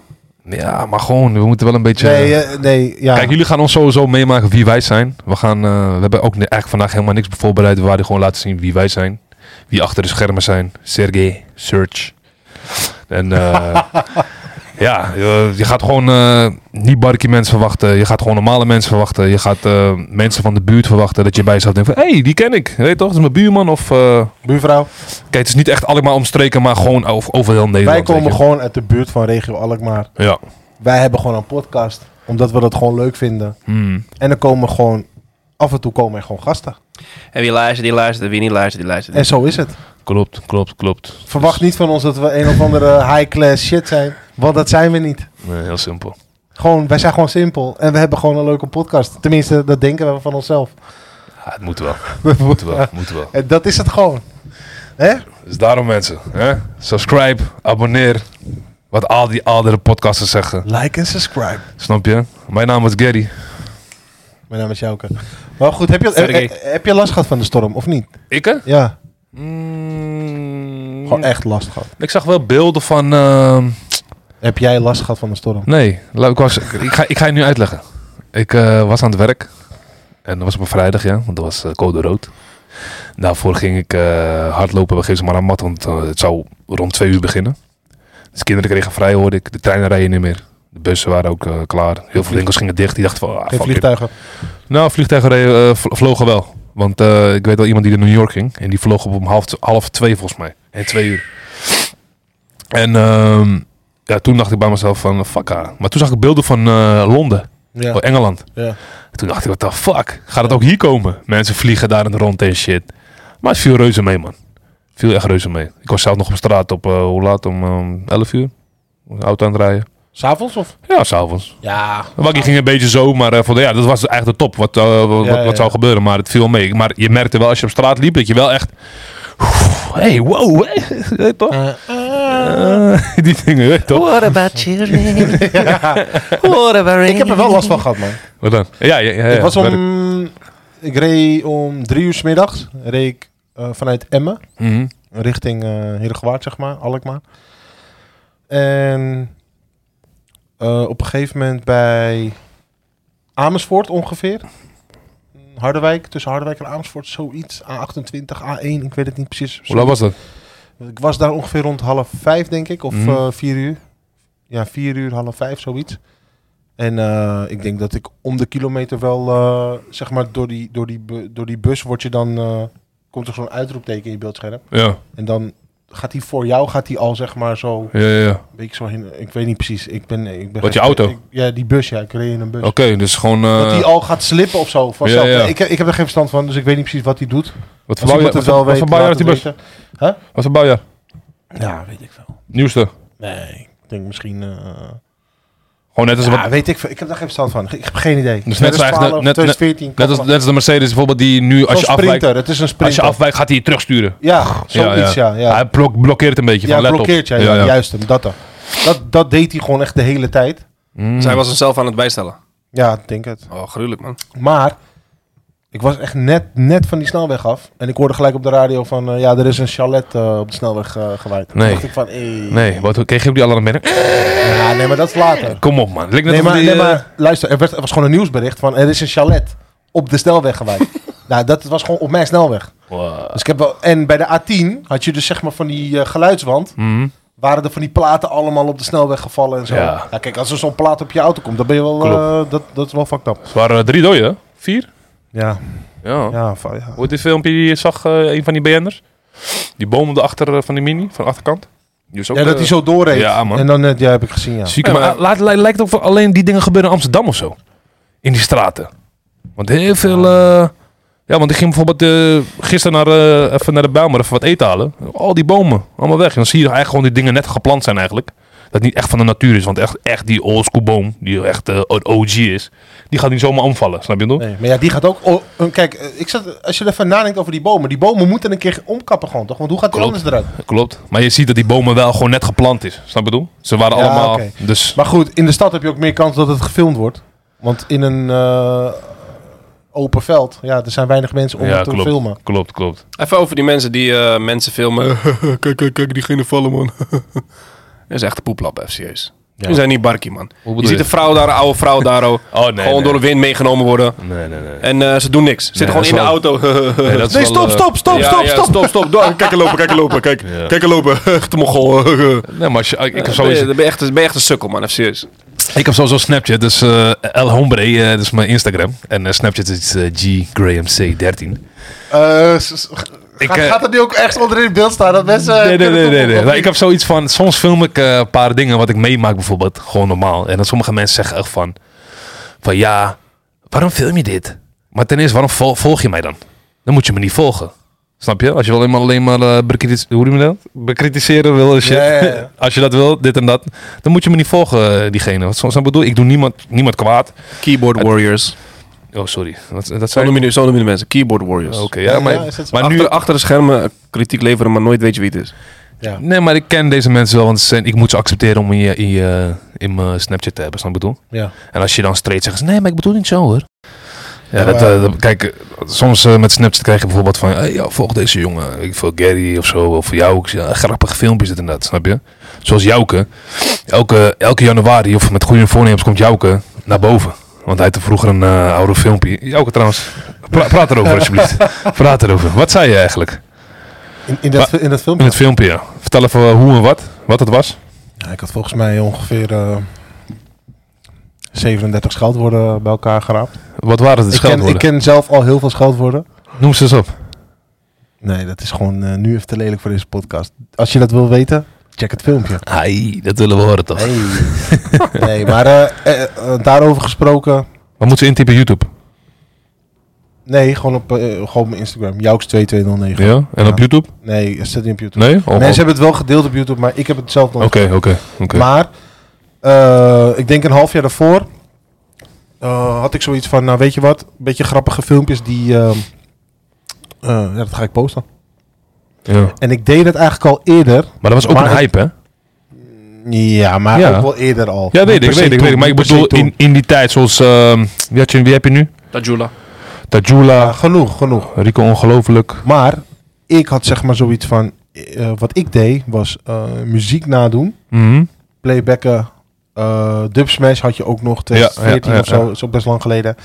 S3: ja, maar gewoon, we moeten wel een beetje...
S4: Nee, eh, nee, ja.
S3: Kijk, jullie gaan ons sowieso meemaken wie wij zijn. We, gaan, eh, we hebben ook ne- eigenlijk vandaag helemaal niks voorbereid. We waren gewoon laten zien wie wij zijn. Wie achter de schermen zijn. Sergey, Serge. En eh, ja, je, je gaat gewoon eh, niet barkie mensen verwachten. Je gaat gewoon normale mensen verwachten. Je gaat eh, mensen van de buurt verwachten. Dat je bij jezelf denkt van, hé, hey, die ken ik. Je Weet toch, dat is mijn buurman. Of, eh,
S4: Buurvrouw,
S3: kijk, het is niet echt allemaal omstreken, maar gewoon over, over heel
S4: wij
S3: Nederland.
S4: komen
S3: weet je.
S4: gewoon uit de buurt van regio Alkmaar.
S3: Ja.
S4: Wij hebben gewoon een podcast, omdat we dat gewoon leuk vinden.
S3: Hmm.
S4: En er komen gewoon, af en toe komen er gewoon gasten.
S5: En wie luistert, die luistert. Wie niet luistert, die luistert.
S4: En zo is het.
S3: Klopt, klopt, klopt.
S4: Verwacht niet van ons dat we een of andere high-class shit zijn, want dat zijn we niet.
S3: Nee, heel simpel.
S4: Gewoon, wij zijn gewoon simpel. En we hebben gewoon een leuke podcast. Tenminste, dat denken we van onszelf.
S3: Ja, Ah, het moet wel. Het moet wel, het moet wel.
S4: En dat is het gewoon. Hè?
S3: Dus daarom mensen, hè? subscribe, abonneer. Wat al die andere podcasters zeggen.
S4: Like en subscribe.
S3: Snap je? Mijn naam is Gary.
S4: Mijn naam is Jouke. Maar goed, heb je,
S5: Sergey.
S4: eh, eh, heb je last gehad van de storm of niet?
S3: Ikke?
S4: Ja,
S3: Mm,
S4: gewoon echt last gehad.
S3: ik zag wel beelden van... ehm,
S4: Heb jij last gehad van de storm?
S3: nee, laat- ik, was, ik, ga, ik ga je nu uitleggen. Ik eh, was aan het werk. En dat was op een vrijdag, ja. Want dat was eh, code rood. Daarvoor ging ik eh, hardlopen. We geven ze maar aan mat, want eh, het zou rond twee uur beginnen. Dus kinderen kregen vrij, hoorde ik. De treinen rijden niet meer. De bussen waren ook eh, klaar. Heel veel winkels gingen dicht. Die dachten van... Ah,
S4: Geen
S3: fuck it.
S4: vliegtuigen.
S3: Nou, vliegtuigen reden, eh, vl- vlogen wel. Want eh, ik weet wel iemand die naar New York ging. En die vloog op om half, t- half twee volgens mij. En twee uur. En ehm, ja, toen dacht ik bij mezelf van, fuck haar. Maar toen zag ik beelden van eh, Londen,
S4: Ja.
S3: oh, Engeland.
S4: Ja.
S3: Toen dacht ik, what the fuck? Gaat het ook hier komen? Mensen vliegen daar in de rond en shit. Maar het viel reuze mee, man. Het viel echt reuze mee. Ik was zelf nog op straat op, eh, hoe laat? Om eh, 11 uur. Auto aan het rijden.
S4: S'avonds of?
S3: Ja, s'avonds.
S4: Ja.
S3: Wakkie ging een beetje zo, maar eh, voor de, ja, dat was eigenlijk de top wat, eh, wat,
S4: Ja, ja,
S3: wat zou
S4: ja.
S3: gebeuren. Maar het viel mee. Maar je merkte wel als je op straat liep dat je wel echt... Oeh, Hey, wow, hey, hey, toch? Eh, die dingen, weet je toch?
S5: What about children? What about
S4: Ik heb er wel last van gehad, man.
S3: Wat dan? Ja, ja, ja. ja,
S4: ik was
S3: werk.
S4: om... Ik reed om drie uur 's middags. Reed ik eh, vanuit Emmen.
S3: Mhm.
S4: richting eh Heerdegewaard, zeg maar, Alkmaar. En eh, op een gegeven moment bij Amersfoort ongeveer. Harderwijk, tussen Harderwijk en Amersfoort, zoiets. A28, A1, ik weet het niet precies.
S3: Hoe laat was dat?
S4: Ik was daar ongeveer rond half vijf, denk ik, of
S3: Mhm.
S4: eh, vier uur. Ja, vier uur, half vijf, zoiets. En eh, ik denk dat ik om de kilometer wel, eh, zeg maar, door die, door, die, bu- door die bus word je dan, eh, komt er zo'n uitroepteken in je beeldscherm.
S3: Ja,
S4: En dan gaat hij voor jou, gaat hij al, zeg maar, zo, een
S3: ja, ja. ja.
S4: beetje zo heen. Ik weet niet precies. Ik ben, ik ben
S3: Wat,
S4: geen-
S3: je auto?
S4: ik- ja, die bus, ja. Ik reed in een bus.
S3: Oké, dus gewoon... eh,
S4: Dat hij al gaat slippen of zo. Vanzelf.
S3: Ja, ja.
S4: Ik, heb- ik heb er geen verstand van, dus ik weet niet precies wat hij doet.
S3: wat voor
S4: Als iemand
S3: bouwjaar- wat
S4: het wel
S3: voor- wat
S4: weet,
S3: voor bouwjaar
S4: laat
S3: is die
S4: het
S3: bus?
S4: weten.
S3: Wat voor bouwjaar?
S4: Ja, weet ik veel.
S3: Nieuwste.
S4: Nee, ik denk misschien... eh,
S3: Gewoon net als,
S4: ja,
S3: wat,
S4: weet ik veel. Ik heb daar geen verstand van. Ik heb geen idee.
S3: Dus net als eigenlijk- net-
S4: 2012,
S3: net-
S4: 2014.
S3: net als, net als de Mercedes bijvoorbeeld die nu als je
S4: Zo'n
S3: afwijkt...
S4: sprinter. Het is een
S3: Als je
S4: sprinter.
S3: afwijkt gaat hij je terugsturen.
S4: Ja, zoiets, ja. ja.
S3: Hij blok- blokkeert een beetje.
S4: Ja,
S3: van, let op.
S4: blokkeert jij.
S3: Ja, ja.
S4: Juist hem, dat dan. Dat, dat deed hij gewoon echt de hele tijd.
S1: Zij was zichzelf aan het bijstellen.
S4: Ja, ik denk het.
S1: Oh, gruwelijk man.
S4: Maar ik was echt net, net van die snelweg af. En ik hoorde gelijk op de radio van... eh, ja, er is een chalet eh, op de snelweg eh gewaaid. Toen
S3: Nee.
S4: dacht ik van... eh,
S3: Nee, wat, kreeg je ook die alarmmerk?
S4: Ja, nee, maar dat is later.
S3: Kom op, man. Het lijkt net
S4: Nee
S3: of
S4: maar,
S3: die,
S4: nee,
S3: eh,
S4: maar luister. Er, werd, er was gewoon een nieuwsbericht van... Er is een chalet op de snelweg gewaaid. nou, dat was gewoon op mijn snelweg.
S3: eh,
S4: Dus ik heb wel, en bij de A10 had je dus zeg maar van die eh, geluidswand...
S3: Mhm.
S4: Waren er van die platen allemaal op de snelweg gevallen en zo.
S3: Ja.
S4: Ja. kijk, als er zo'n plaat op je auto komt, dan ben je wel...
S3: Klopt.
S4: eh, dat, dat is wel fucked up.
S3: Het waren eh, drie doden, hè? Vier?
S4: Ja,
S3: Ja.
S4: ja, va- ja.
S3: Hoe dit filmpje die je zag, eh, een van die BN'ers? Die boom op de achter eh, van die mini, van de achterkant. Die is ook,
S4: Ja, dat
S3: eh,
S4: hij zo doorreed.
S3: Ja, man.
S4: En dan, net ja, heb ik gezien, ja.
S3: Zieke, maar, eh, laat- li- lijkt of alleen die dingen gebeuren in Amsterdam of zo. In die straten. Want heel veel... eh, ja, want ik ging bijvoorbeeld eh, gisteren naar, eh, even naar de Bijlmer even wat eten halen. Al die bomen, allemaal weg. En dan zie je eigenlijk gewoon die dingen net geplant zijn eigenlijk. Dat niet echt van de natuur is. Want echt, echt die oldschool boom, die echt eh, een OG is, die gaat niet zomaar omvallen. Snap je toch?
S4: Nee, maar ja, die gaat ook... oh, eh, kijk, eh, ik zat, als je even nadenkt over die bomen. Die bomen moeten een keer omkappen gewoon, toch? Want hoe gaat die
S3: Klopt.
S4: anders eruit?
S3: Klopt. Maar je ziet dat die bomen wel gewoon net geplant is. Snap je bedoel? Ze waren
S4: Ja,
S3: allemaal...
S4: oké.
S3: Dus
S4: Maar goed, in de stad heb je ook meer kans dat het gefilmd wordt. Want in een eh, open veld, ja, er zijn weinig mensen om
S3: Ja,
S4: het te
S3: klopt.
S4: filmen.
S3: klopt, klopt.
S1: Even over die mensen die eh, mensen filmen. kijk, kijk, kijk, diegene vallen man. Dat is echt een poeplap, even serieus.
S4: Ja.
S1: We zijn niet barkie man.
S3: bedoel
S1: Je ziet
S3: je?
S1: een vrouw daar, een oude vrouw daar. oh.
S3: Oh, nee,
S1: gewoon
S3: nee.
S1: door de wind meegenomen worden.
S3: Nee, nee, nee.
S1: En eh, ze doen niks. Zitten gewoon
S3: dat is
S1: in de
S3: wel-
S1: auto.
S3: Nee, dat is
S4: Nee,
S3: wel,
S4: stop,
S3: eh,
S4: stop, stop,
S1: Ja,
S4: stop,
S1: ja,
S4: stop.
S1: stop, stop. Door. Kijk er lopen, kijk er lopen, kijk. Kijk er lopen. Echt een mogol.
S3: Nee, maar als je, ik, ik heb
S1: Dan ben
S3: sowieso...
S1: je- dan ben je echt- dan ben je echt een sukkel, man. Even serieus.
S3: Ik heb sowieso Snapchat, dus eh El Hombre, eh, dat is mijn Instagram. En eh, Snapchat is eh, G Graham C13.
S4: Eh, s- s-
S3: Ik,
S4: gaat,
S3: eh,
S4: gaat het nu ook echt onder in het beeld staan? Dat mensen... eh,
S3: Nee, nee,
S4: kunnen
S3: nee, nee.
S4: toevoegen,
S3: nee.
S4: of
S3: Maar
S4: niet?
S3: ik heb zoiets van, soms film ik eh, een paar dingen wat ik meemaak bijvoorbeeld, gewoon normaal. En dan sommige mensen zeggen echt van, van ja, waarom film je dit? Maar ten eerste, waarom vol- volg je mij dan? Dan moet je me niet volgen. Snap je? Als je alleen maar, alleen maar eh, bekriti- hoe noem je dat? bekritiseren wil en shit.
S4: Ja, ja, ja.
S3: Als je dat wil, dit en dat, dan moet je me niet volgen, eh, diegene. Want soms, ik bedoel, ik doe niemand, niemand kwaad.
S1: Keyboard warriors.
S3: Oh, sorry. Wat, dat
S1: Zo
S3: zijn...
S1: noemen, zo noemen de mensen. Keyboard warriors.
S3: Ah, Oké, ja,
S4: Ja,
S3: maar,
S4: ja, is dat zo?
S3: maar
S1: achter,
S3: nu...
S1: achter de schermen eh, kritiek leveren, maar nooit weet je wie het is.
S3: Nee, maar ik ken deze mensen wel, want ze zijn, ik moet ze accepteren om in, je, in, je, in mijn Snapchat te hebben, snap je wat ik bedoel?
S4: Ja.
S3: En als je dan straight zegt, nee, maar ik bedoel niet zo hoor. Ja,
S4: Ja,
S3: dat,
S4: maar-
S3: eh, dat- kijk, eh, soms eh, met Snapchat krijg je bijvoorbeeld van, hey, ja, volg deze jongen, ik volg Gary of zo, of jou, ik zie, eh, grappige filmpjes dit en dat, snap je? Zoals Jouke, elke, elke januari, of met goede voornemens, komt Jouke naar boven. Want hij had vroeger een eh, oude filmpje. Jouke trouwens, pra- praat erover alsjeblieft. Praat erover. Wat zei je eigenlijk?
S4: In, in, dat, in dat
S3: In
S4: filmpje?
S3: het filmpje, ja. Vertel even eh, hoe en wat. Wat het was.
S4: Ja, ik had volgens mij ongeveer eh, 37 scheldwoorden bij elkaar geraapt.
S3: Wat waren de
S4: Ik ken,
S3: scheldwoorden?
S4: ik ken zelf al heel veel scheldwoorden.
S3: Noem ze eens op.
S4: Nee, dat is gewoon eh, nu even te lelijk voor deze podcast. Als je dat wil weten, check het filmpje.
S3: Ai, dat willen we horen toch.
S4: Nee, nee maar eh, eh, eh, daarover gesproken.
S3: Wat moeten ze intypen YouTube?
S4: Nee, gewoon op, eh, gewoon op mijn Instagram. Jouks2209.
S3: Ja? En op
S4: Ja.
S3: YouTube?
S4: Nee, zet niet op YouTube.
S3: Nee? Oh,
S4: Mensen
S3: oh.
S4: hebben het wel gedeeld op YouTube, maar ik heb het zelf nog niet
S3: Oké, oké, oké.
S4: Maar eh, ik denk een half jaar daarvoor eh, had ik zoiets van, nou weet je wat, een beetje grappige filmpjes die, eh, eh, ja, dat ga ik posten.
S3: Ja.
S4: En ik deed het eigenlijk al eerder.
S3: Maar dat was ook
S4: Maar
S3: een
S4: ik-
S3: hype, hè?
S4: Ja, maar
S3: Ja.
S4: ook wel eerder al.
S3: Ja,
S4: Niet
S3: weet ik,
S4: per se
S3: weet ik, weet ik.
S4: toen,
S3: Maar ik
S4: niet per se
S3: bedoel, in,
S4: toen.
S3: in die tijd, zoals... ehm, wie, had je, wie heb je nu?
S1: Tajula.
S4: Ja,
S3: Tajula,
S4: genoeg, genoeg.
S3: Rico Ongelooflijk.
S4: Maar ik had zeg maar zoiets van, eh, wat ik deed was eh, muziek nadoen,
S3: Mhm.
S4: playbacken, eh Dub Smash had je ook nog, 2014
S3: ja,
S4: of zo,
S3: ja.
S4: is ook best lang geleden.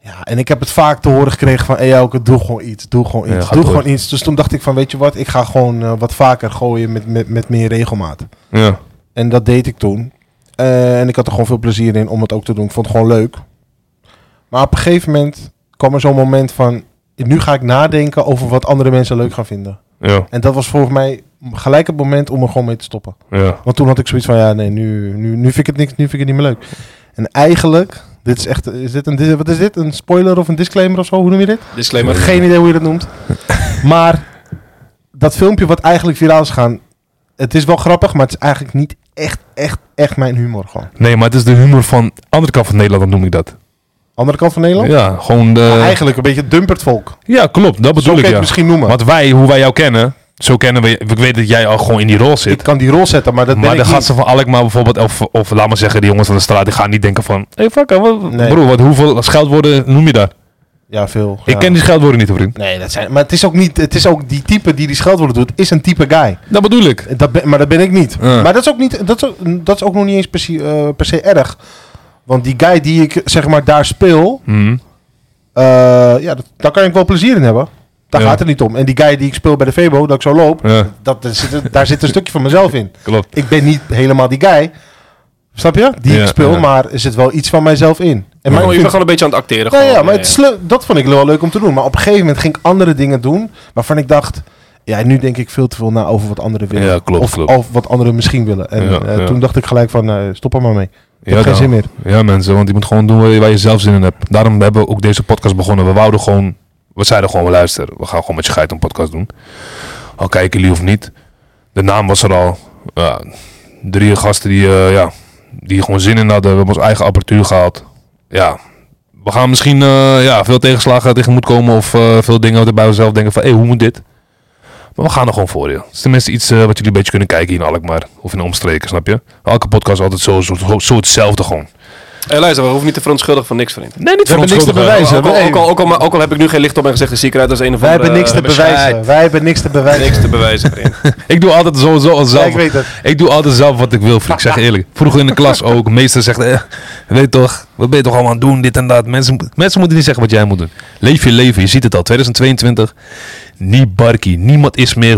S4: Ja, en ik heb het vaak te horen gekregen van, hey, Elke, doe gewoon iets, doe gewoon
S3: Ja,
S4: iets,
S3: ga
S4: doe
S3: door.
S4: gewoon iets. Dus toen dacht ik van, weet je wat, ik ga gewoon eh, wat vaker gooien met, met, met meer regelmaat.
S3: Ja.
S4: En dat deed ik toen. Eh, en ik had er gewoon veel plezier in om het ook te doen. Ik vond het gewoon leuk. Maar op een gegeven moment kwam er zo'n moment van... Nu ga ik nadenken over wat andere mensen leuk gaan vinden.
S3: Ja.
S4: En dat was volgens mij gelijk het moment om er gewoon mee te stoppen.
S3: Ja.
S4: Want toen had ik zoiets van, ja nee, nu, nu, nu vind ik het niks, nu vind ik het niet meer leuk. En eigenlijk, dit is echt, is dit een, dis- wat is dit? Een spoiler of een disclaimer of zo? Hoe noem je dit?
S1: Disclaimer.
S4: Geen idee hoe je dat noemt. maar dat filmpje wat eigenlijk viraal is gaan, het is wel grappig, maar het is eigenlijk niet echt, echt, echt mijn humor gewoon.
S3: Nee, maar het is de humor van andere kant van Nederland, dan noem ik dat.
S4: Andere kant van Nederland?
S3: Ja, gewoon de...
S4: Maar eigenlijk een beetje dumpert volk.
S3: Ja, klopt. Dat
S4: Zo
S3: bedoel
S4: kun
S3: ik,
S4: je het
S3: ja.
S4: misschien noemen.
S3: Want wij, hoe wij jou kennen, zo kennen we je- Ik weet dat jij al gewoon in die rol
S4: ik
S3: zit.
S4: kan die rol zetten, maar dat ben
S3: maar
S4: ik
S3: de
S4: niet.
S3: gasten van Alkmaar bijvoorbeeld, of, of laat maar zeggen, die jongens van de straat, die gaan niet denken van... Hé, hey, fucker, wat,
S4: Nee.
S3: broer, wat, hoeveel scheldwoorden noem je daar?
S4: Ja, veel. ja.
S3: Ik ken die scheldwoorden niet, vriend.
S4: Nee, dat zijn... Maar het is ook niet... Het is ook die type die die scheldwoorden doet, is een type guy.
S3: Dat bedoel ik.
S4: Dat ben, maar dat ben ik niet.
S3: Ja.
S4: Maar dat is ook, niet, dat is ook, dat is ook nog niet eens per se, eh, per se erg. Want die guy die ik zeg maar daar speel,
S3: Mhm.
S4: eh, ja, dat- daar kan ik wel plezier in hebben. Daar
S3: Ja.
S4: gaat het niet om. En die guy die ik speel bij de Febo, dat ik zo loop,
S3: Ja.
S4: dat, daar zit- daar zit een stukje van mezelf in.
S3: Klopt.
S4: Ik ben niet helemaal die guy, snap je? Die
S3: Ja,
S4: ik speel,
S3: ja.
S4: maar er zit wel iets van mijzelf in. En maar
S3: Ja, Oh,
S4: ik
S1: Oh,
S3: maar
S1: je
S4: vind-
S1: bent gewoon een beetje aan het acteren.
S4: nou
S1: gewoon.
S3: Oh,
S4: ja, maar het is leuk- dat vond ik wel leuk om te doen. Maar op een gegeven moment ging ik andere dingen doen waarvan ik dacht... Ja, nu denk ik veel te veel na over wat anderen willen.
S3: Ja, klopt,
S4: of,
S3: klopt.
S4: of wat anderen misschien willen. En
S3: Ja,
S4: eh,
S3: ja.
S4: toen dacht ik gelijk van, eh, stop er maar mee. Ik
S3: Ja,
S4: heb geen
S3: nou.
S4: zin meer.
S3: Ja, mensen, want je moet gewoon doen waar je, waar je zelf zin in hebt. Daarom hebben we ook deze podcast begonnen. We wouden gewoon, we zeiden gewoon, we luisteren. We gaan gewoon met je geit een podcast doen. Al kijken jullie of niet. De naam was er al. Ja, drie gasten die, eh, ja, die gewoon zin in hadden. We hebben ons eigen apparatuur gehaald. Ja, we gaan misschien eh, ja, veel tegenslagen tegemoet komen. Of eh, veel dingen wat bij onszelf denken van, hé, hoe moet dit? Maar we gaan er gewoon voor, je. Het is tenminste iets eh, wat jullie een beetje kunnen kijken hier in Alkmaar. Of in de omstreken, snap je? Elke podcast is altijd zo, zo, zo, zo hetzelfde gewoon.
S1: Hey, luister, we hoeven niet te verontschuldigen van niks, vriend.
S3: Nee, niet
S4: We hebben niks te
S1: Ook
S4: bewijzen.
S1: al,
S4: Wij
S1: ook, al, ook, al, maar- ook al heb ik nu geen licht op mijn gezicht, dan zie ik eruit als een of
S4: wij
S1: andere...
S4: hebben niks te
S1: eh, bescheid.
S4: bewijzen. Wij hebben niks te bewijzen.
S1: Niks te bewijzen, vriend.
S3: Ik doe altijd sowieso al
S4: Ja,
S3: zelf.
S4: ik
S3: ik,
S4: weet het.
S3: doe altijd zelf wat ik wil, vriend. Ik zeg je eerlijk. Vroeger in de klas ook. Meester zegt, eh, weet toch, wat ben je toch allemaal aan het doen, dit en dat. Mensen, mo- mensen moeten niet zeggen wat jij moet doen. Leef je leven, je ziet het al. 2022, niet barkie. Niemand is meer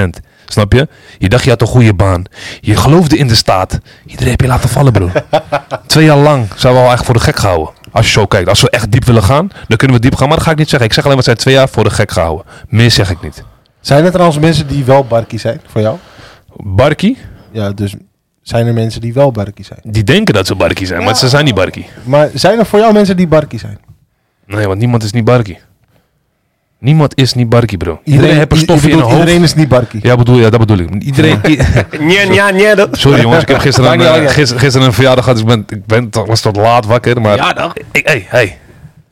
S3: 100%. Snap je? Je dacht, je had een goede baan. Je geloofde in de staat. Iedereen heb je laten vallen, broer. Twee jaar lang zijn we al echt voor de gek gehouden. Als je zo kijkt. Als we echt diep willen gaan, dan kunnen we diep gaan. Maar dat ga ik niet zeggen. Ik zeg alleen, we zijn twee jaar voor de gek gehouden. Meer zeg ik niet.
S4: Zijn er trouwens mensen die wel barkie zijn voor jou?
S3: Barkie?
S4: Ja, dus zijn er mensen die wel barkie zijn?
S3: Die denken dat ze barkie zijn, maar ze zijn niet barkie.
S4: Maar zijn er voor jou mensen die barkie zijn?
S3: Nee, want niemand is niet barkie. Niemand is niet barkie, bro. Iedereen, heeft een
S4: i-
S3: stofje
S4: je
S3: in
S4: bedoelt,
S3: hun hoofd.
S4: Iedereen is niet barkie.
S3: Ja, bedoel, ja, dat bedoel ik. Iedereen... i-
S1: Nja, nja, nja, dat...
S3: Sorry jongens, ik heb gisteren een,
S4: Maakt niet
S3: eh,
S4: uit.
S3: gister- gisteren een verjaardag gehad. Dus ik, ben, ik ben, toch- was tot laat wakker. Maar
S1: Ja, dan.
S3: Ik, hey, hey,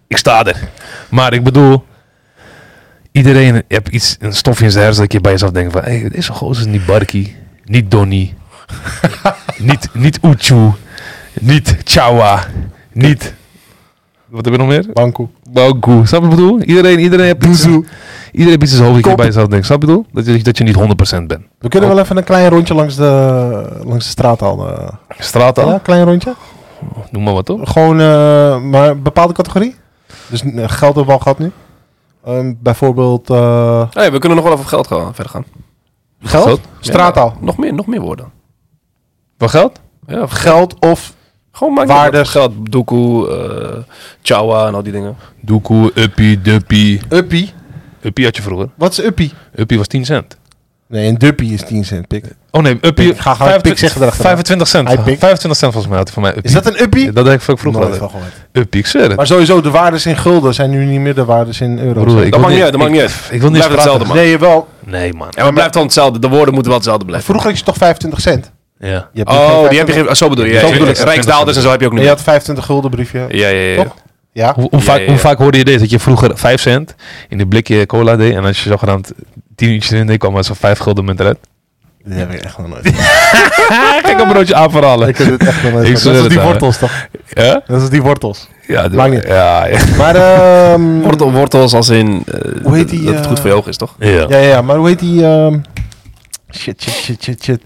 S3: ik sta er. Maar ik bedoel, iedereen heeft iets, een stofje in zijn hersen dat je bij jezelf denkt van, hé, hey, deze gozer is niet Barkie, niet Donnie, niet, niet Uchu, niet Chawa, niet... Wat heb je nog meer?
S4: Bankoe.
S3: Baugu. Snap je wat ik bedoel? Iedereen, iedereen heeft iets,
S4: Boezoe.
S3: iedereen heeft iets in zijn hoofd dat je
S4: Kop.
S3: bij jezelf denkt. Snap je wat ik bedoel? Dat je, dat je niet 100% bent.
S4: We kunnen wel even een klein rondje langs de, langs de straat halen.
S3: Straat al?
S4: Ja, klein rondje.
S3: Noem maar wat toch?
S4: Gewoon, eh, maar een bepaalde categorie. Dus eh, geld hebben we al gehad nu. Ehm, bijvoorbeeld eh,
S1: Hey, we kunnen nog wel over geld gaan, verder gaan.
S4: geld,
S3: Geld?
S4: straattaal.
S1: Ja, nog meer, nog meer woorden.
S3: Wat geld?
S1: Ja, of-
S4: Geld of
S1: gewoon maak
S4: Waarde.
S1: Geld, doekoe, eh chawa en al die dingen.
S3: Doekoe, uppie, duppie.
S4: uppie.
S3: Uppie had je vroeger.
S4: Wat is uppie?
S3: Uppie was 10 cent.
S4: Nee, een duppie is 10 cent, pik.
S3: Oh nee, uppie.
S4: Pik. Ga gewoon pik zeggen erachteraan.
S3: 25 cent.
S4: Hij pik.
S3: 25 cent volgens mij had hij van mij. Uppie.
S4: Is dat een uppie?
S3: Ja, dat heb ik ook vroeger
S4: Nooit
S3: altijd.
S4: van gehoord.
S3: Uppie, ik zweer het.
S4: Maar sowieso, de waardes in gulden zijn nu niet meer de waardes in euro's.
S3: Broer,
S1: Dat
S3: ik wil
S1: maakt niet uit, dat maakt niet
S3: ik-
S1: uit.
S3: Ik wil niet
S1: Blijf
S3: praten.
S1: hetzelfde, man.
S4: Nee, wel.
S3: Nee man.
S1: Ja, maar het blijft dan hetzelfde. De woorden moeten wel hetzelfde blijven.
S4: Vroeger had je toch 25 cent?
S3: Ja.
S4: Je hebt nu
S1: Oh, die heb je
S4: 25
S1: geen... ah, Zo bedoel je.
S4: Zo
S1: Ja,
S4: bedoel ik.
S1: Rijksdaalders en zo heb je ook
S4: En
S1: niet.
S4: je had 25 gulden briefje.
S1: Ja, ja, ja. ja.
S4: Toch? Ja.
S3: Hoe,
S1: Ja,
S3: hoe vaak,
S1: ja,
S3: hoe
S1: ja.
S3: vaak hoorde je dit? Dat je vroeger 5 cent in de blikje cola deed. En als je zogenaamd 10 uurtjes erin deed, kwam er zo'n 5 gulden munt eruit.
S4: Dat heb ik echt nog nooit. ik
S3: Kijk een broodje aanverhalen.
S4: heb het echt nog nooit.
S3: Ik
S4: gehoord.
S3: zweer
S4: Dat is
S3: het
S4: die
S3: aan, hè.
S4: wortels toch?
S3: Ja?
S4: Dat is die wortels.
S3: Ja, doe-
S4: Maakt niet.
S3: Ja, ja.
S4: Maar ehm,
S1: Wortel, wortels als in... eh,
S4: Hoe heet
S1: dat-
S4: die,
S1: Dat het
S4: eh,
S1: goed voor je ogen is, toch?
S3: Ja.
S4: Ja, ja, ja, maar hoe heet die? ehm, Shit, shit, shit, shit, shit.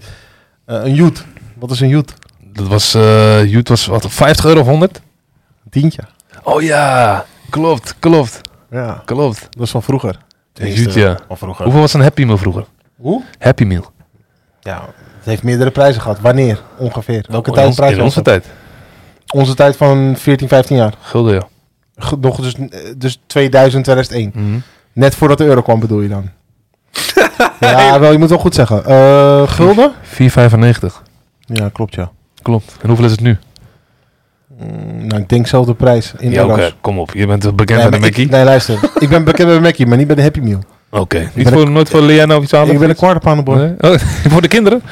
S4: Eh, een joet. Wat is een joet?
S3: Dat was, eh Jut was wat, 50 euro of 100?
S4: Een tientje.
S3: Oh ja. Klopt, klopt,
S4: Ja,
S3: klopt.
S4: dat is van vroeger.
S3: Tenminste, Juut, ja.
S4: Van vroeger.
S3: Hoeveel was een Happy Meal vroeger?
S4: Hoe?
S3: Happy Meal.
S4: Ja, het heeft meerdere prijzen gehad. Wanneer ongeveer? Welke
S3: Oh, In
S4: tijd
S3: ons-
S4: prijs
S3: In
S4: was
S3: onze
S4: dat?
S3: tijd.
S4: Onze tijd van 14, 15 jaar.
S3: Gulden, ja.
S4: Ge- Nog dus, eh, dus 2000, 2001.
S3: Mhm.
S4: Net voordat de euro kwam bedoel je dan? ja, wel, je moet wel goed zeggen. Eh, gulden?
S3: 4,95.
S4: Ja, klopt ja.
S3: Klopt. En hoeveel is het nu?
S4: Mm, nou, ik denk zelf de prijs in
S3: ja,
S4: euro's.
S3: oké. Kom op. Je bent bekend
S4: Nee,
S3: met de
S4: maar ik-
S3: Mackie.
S4: nee, luister. ik ben bekend bij Mackie, maar niet bij de Happy Meal.
S3: Oké. Niet
S4: ben
S3: voor, nooit voor Liana of iets anders?
S4: ik ben een kwart aan de boord.
S3: Nee? Oh, voor de kinderen?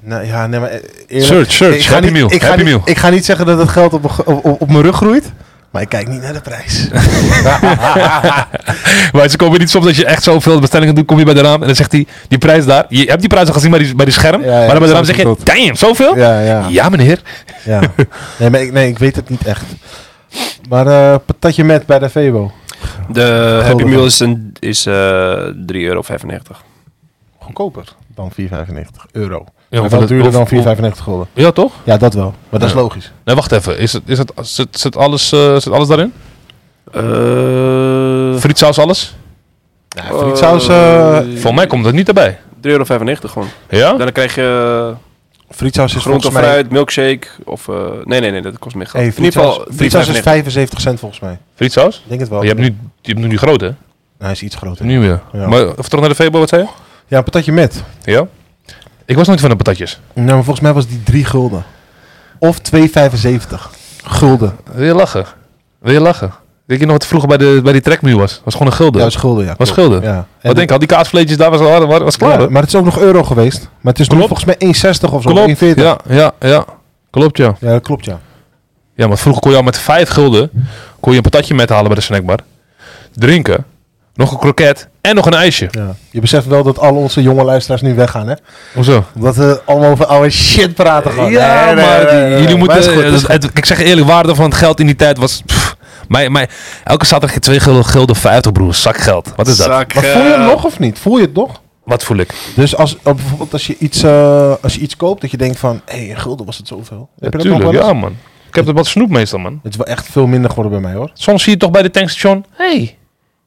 S4: Nou ja, nee, maar eh, eerlijk.
S3: Search, search.
S4: ik ga
S3: Happy
S4: niet-
S3: Meal.
S4: Ik ga,
S3: Happy
S4: niet,
S3: Meal.
S4: ik ga niet zeggen dat het geld op, mijn- op, op, op mijn rug groeit. Maar ik kijk niet naar de prijs.
S3: Maar ze komen niet soms als je echt zoveel bestellingen doet, kom je bij de raam en dan zegt hij, die prijs daar. Je hebt die prijs al gezien bij die, bij die scherm.
S4: Ja, ja,
S3: maar dan bij de raam
S4: dat
S3: zeg je,
S4: klopt.
S3: damn, zoveel? Ja,
S4: ja, ja.
S3: meneer.
S4: ja. Nee, maar ik, nee, ik weet het niet echt. Maar eh, patatje met bij de Febo.
S1: De Happy
S4: Gulden.
S1: Meal is, een- is eh 3,95 euro.
S4: Goedkoper dan 4,95 euro.
S3: Ja,
S4: maar
S3: want
S4: wel
S3: het-
S4: duurder
S3: of-
S4: dan
S3: of-
S4: 4,95 gulden.
S3: Ja, toch?
S4: Ja, dat wel. Maar dat is
S3: Ja.
S4: logisch.
S3: Nee, wacht even. Is het, is het, zit, zit, alles, eh, zit alles daarin? Eh, Frietsaus, alles?
S4: Ja, frietsaus, eh,
S3: Voor Oh. mij komt het niet erbij.
S1: 3,95 euro gewoon.
S3: Ja?
S1: Dan krijg
S3: Dus
S1: je
S4: frietsaus is
S1: grond
S4: volgens
S1: of
S4: mij...
S1: fruit, milkshake of... eh, nee, nee, nee, dat kost meer geld.
S4: Hey,
S1: In ieder
S4: frietsaus,
S1: geval
S4: frietsaus is
S1: 3,95.
S4: 75 cent volgens mij.
S3: Frietsaus?
S4: Ik denk het wel.
S3: Je hebt nu, je hebt nu die grote, hè?
S4: Nou, hij is iets groter.
S3: Nu weer.
S4: Ja.
S3: Maar, of terug naar de Febo, wat zei je?
S4: Ja, patatje met.
S3: Ja. Ik was nooit van de patatjes.
S4: Nou, maar volgens mij was die 3 gulden. Of 2,75 gulden.
S3: Wil je lachen? Wil je lachen? Weet je nog wat vroeger bij, de, bij die trekmuur was? Was gewoon een
S4: Ja,
S3: gulden.
S4: dat is gulden, ja.
S3: was
S4: klopt.
S3: gulden.
S4: Ja. En
S3: wat denk je, al die kaasvleetjes daar was, al- was, was klaar,
S4: Ja,
S3: hè?
S4: maar het is ook nog euro geweest. Maar het is nu
S3: Klopt.
S4: volgens mij 1,60 of zo.
S3: Klopt,
S4: 1,40.
S3: ja, ja, ja. Klopt, ja.
S4: Ja, dat klopt, ja.
S3: Ja, maar vroeger kon je al met vijf gulden... kon je een patatje met halen bij de snackbar. Drinken. Nog een kroket. En nog een ijsje.
S4: ja. Je beseft wel dat al onze jonge luisteraars nu weggaan, hè?
S3: Hoezo?
S4: Omdat we allemaal over oude shit praten gaan.
S3: Ja, maar die- jullie
S4: Maar
S3: moeten...
S4: is goed,
S3: eh,
S4: is
S3: het- het- ik zeg je eerlijk, waarde van het geld in die tijd was... pff, mij, mij, elke zaterdag twee gulden, gulden 50, broer. Zakgeld. Wat is dat?
S1: Zak,
S4: Maar voel je
S1: eh,
S4: hem nog of niet? Voel je het nog?
S3: Wat voel ik?
S4: Dus als, eh, bijvoorbeeld als je, iets, eh, als je iets koopt, dat je denkt van... Hé, hey, een gulden was het zoveel. Heb je dat nog
S3: Natuurlijk,
S4: wel eens?
S3: ja, man. Ik heb dat wat snoep meestal, man.
S4: Het is wel echt veel minder geworden bij mij, hoor.
S3: Soms zie je toch bij de tankstation... Hé, hey,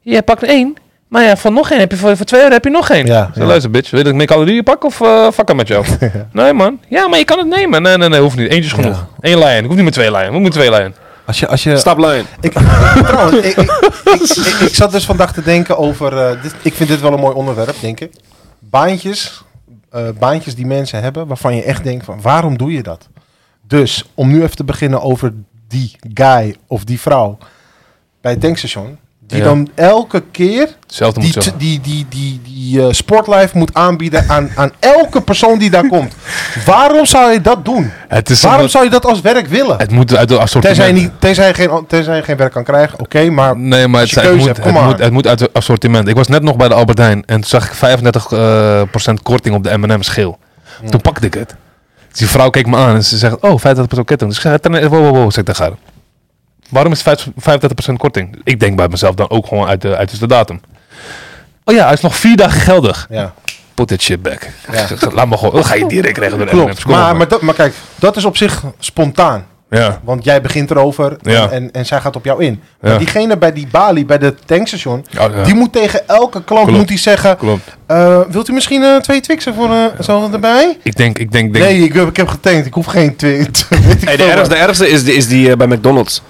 S3: je pakt één. Maar ja, van nog één heb je voor, voor twee euro heb je nog één.
S4: Ja,
S3: Zo,
S4: ja.
S3: Luister, bitch. Weet ik meer calorieën pak of eh fuck met jou? Nee, man. Ja, maar je kan het nemen. Nee, nee, nee. Hoeft niet. Eentje is genoeg. Eén lijn. Hoeft niet met twee lijnen. Hoe moet twee lijnen?
S4: Als je, als je,
S1: Staplijn.
S4: Ik, trouwens, ik, ik, ik, ik- ik zat dus vandaag te denken over. eh, dit, ik vind dit wel een mooi onderwerp, denk ik. Baantjes, eh, baantjes die mensen hebben waarvan je echt denkt: van, waarom doe je dat? Dus om nu even te beginnen over die guy of die vrouw bij het tankstation. Die
S3: Ja.
S4: dan elke keer
S3: Hetzelfde
S4: die,
S3: moet
S4: t-
S3: zeggen.
S4: die, die, die, die eh, sportlife moet aanbieden aan, aan elke persoon die daar komt. Waarom zou je dat doen?
S3: Het is
S4: Waarom
S3: omdat-
S4: zou je dat als werk willen?
S3: Het moet uit de assortiment.
S4: Tenzij je, niet, tenzij, je geen, tenzij je geen werk kan krijgen, oké, maar
S3: Nee, maar
S4: Als
S3: het,
S4: je
S3: het
S4: keuze
S3: moet,
S4: hebt,
S3: het,
S4: kom
S3: moet,
S4: maar.
S3: het moet uit het assortiment. Ik was net nog bij de Albert Heijn en toen zag ik 35% eh, procent korting op de M&M's geel. Toen pakte ik het. Dus die vrouw keek me aan en ze zegt, oh, 35% korting. Dus ik zeg, "Ten- wow, wow, wow, zeg ik tegen haar. Waarom is 5 35% korting? Ik denk bij mezelf dan ook gewoon uit de, uit de datum. Oh ja, hij is nog vier dagen geldig.
S4: ja,
S3: Put that shit back.
S4: Ja.
S3: Laat me gewoon, dan ga je direct krijgen door de M&M's.
S4: klopt.
S3: Kom
S4: Maar,
S3: op,
S4: maar,
S3: man.
S4: dat, maar kijk, dat is op zich spontaan.
S3: Ja,
S4: Want jij begint erover en,
S3: Ja.
S4: en, en zij gaat op jou in. Maar
S3: Ja.
S4: diegene bij die balie, bij de tankstation,
S3: Ja, ja.
S4: die moet tegen elke klant
S3: Klopt.
S4: moet die zeggen...
S3: klopt.
S4: eh, wilt u misschien eh, twee twixen voor eh zo erbij?
S3: Ik denk, ik denk, denk
S4: Nee, ik, heb- ik heb getankt. Ik hoef geen twee. weet ik
S1: Hey, de,
S4: veel
S1: ergste,
S4: wat.
S1: de ergste is, die- is die eh, bij McDonald's.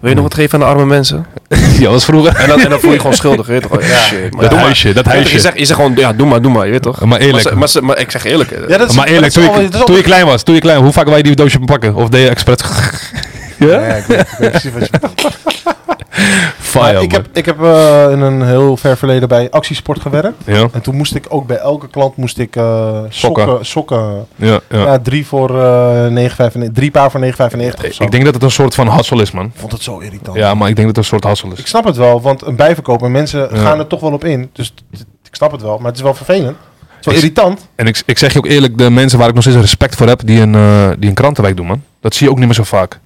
S1: Wil je nog wat geven aan de arme mensen?
S3: ja, dat was vroeger.
S1: En dan, en dan voel je je gewoon schuldig, weet je toch? Ja, shit. Maar
S3: dat
S1: doe maar.
S3: huisje, dat
S1: Je weet toch, Je
S3: huisje.
S1: zegt, je zegt gewoon, ja, doe maar, doe maar, je weet toch?
S3: Maar eerlijk.
S1: Maar, ze- maar, ze- maar ik zeg eerlijk. eh,
S4: Ja, dat is-
S3: maar eerlijk, toen,
S4: dat is
S3: ik,
S4: al- dat is
S3: toen
S4: al-
S3: je klein was, toen je klein, hoe vaak wij die doosje pakken? Of deed je expres? ja?
S4: Ja, ik weet- ik weet precies wat je bedoelt.
S3: Fire,
S4: Maar Ik heb, ik heb eh, in een heel ver verleden bij Actiesport gewerkt.
S3: Ja,
S4: En toen moest ik ook bij elke klant moest ik, eh, sokken, sokken
S3: ja, ja.
S4: Ja, drie, voor, eh 9,95 drie paar voor 9,95 of zo.
S3: ik denk dat het een soort van hassel is, man.
S4: Ik vond het zo irritant.
S1: Oh.
S3: Ja, maar ik denk dat het een soort hassel
S4: Ik
S3: is.
S4: snap het wel, want een bijverkoop en mensen
S3: Ja.
S4: gaan er toch wel op in. Dus t- t- ik snap het wel, maar het is wel vervelend. Het is wel
S3: Is-
S4: irritant.
S3: En ik, ik zeg je ook eerlijk, de mensen waar ik nog steeds respect voor heb, die een, eh, die een krantenwijk doen, man. Dat zie je ook niet meer zo vaak.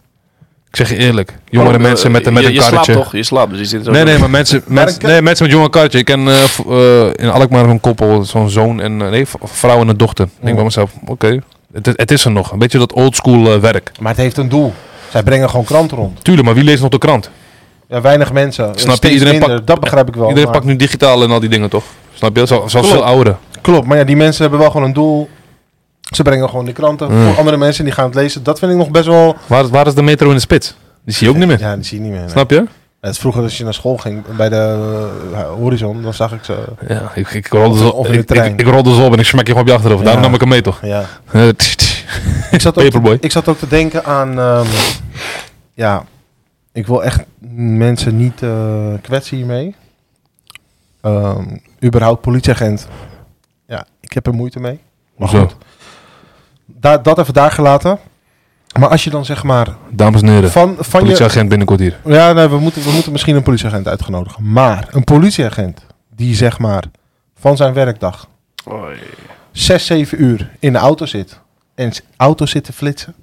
S3: Ik zeg je eerlijk. Jongere
S1: gewoon, eh,
S3: mensen met, een- met
S1: je,
S3: een
S1: je slaapt
S3: karretje.
S1: toch? Je slaapt, dus je zit zo-
S3: Nee, nee, maar mensen, mensen,
S4: een-
S3: nee, mensen met jonge karretje. Ik ken eh, v- eh, in Alkmaar een koppel, zo'n zoon en eh, nee, v- vrouw en een dochter. Ik
S1: Oh.
S3: denk bij mezelf, oké, het, het is er nog. Een beetje dat oldschool eh, werk.
S4: Maar het heeft een doel. Zij brengen gewoon kranten rond.
S3: Tuurlijk, maar wie leest nog de krant?
S4: Ja, weinig mensen.
S3: Snap je?
S4: Steeds
S3: Iedereen
S4: minder, dat begrijp ik wel.
S3: Iedereen
S4: maar-
S3: pakt nu digitaal en al die dingen, toch? Snap je? Zo, zoals
S4: Klopt.
S3: veel ouderen.
S4: Klopt, maar ja, die mensen hebben wel gewoon een doel. Ze brengen gewoon de kranten
S3: Mm.
S4: voor andere mensen en die gaan het lezen. Dat vind ik nog best wel...
S3: Waar, waar is de metro in de spits? Die zie je ook niet meer.
S4: Ja, die zie je niet meer. nee.
S3: Snap je?
S4: Het is vroeger als je naar school ging bij de eh, horizon, dan zag ik ze.
S3: Ja, ik, ik, dus rolde
S4: Of-
S3: zo,
S4: of in de
S3: ik,
S4: trein.
S3: ik, ik rolde zo op en ik smak je gewoon op je achterhoofd. Daarom
S4: Ja.
S3: nam ik hem mee, toch?
S4: Ja.
S3: Eh, tch, tch.
S4: Ik, zat ook te,
S3: Paperboy.
S4: ik zat ook te denken aan... ehm, ja, ik wil echt mensen niet eh, kwetsen hiermee. Ehm überhaupt politieagent. Ja, ik heb er moeite mee. Maar
S3: Hoezo?
S4: goed. Daar, dat even daar gelaten. Maar als je dan zeg maar
S3: Dames en heren,
S4: van, van je...
S3: politieagent binnenkort hier.
S4: Ja, nee, we, moeten, we moeten misschien een politieagent uitgenodigen. Maar een politieagent die zeg maar van zijn werkdag zes, zeven uur in de auto zit en zijn auto zit te flitsen.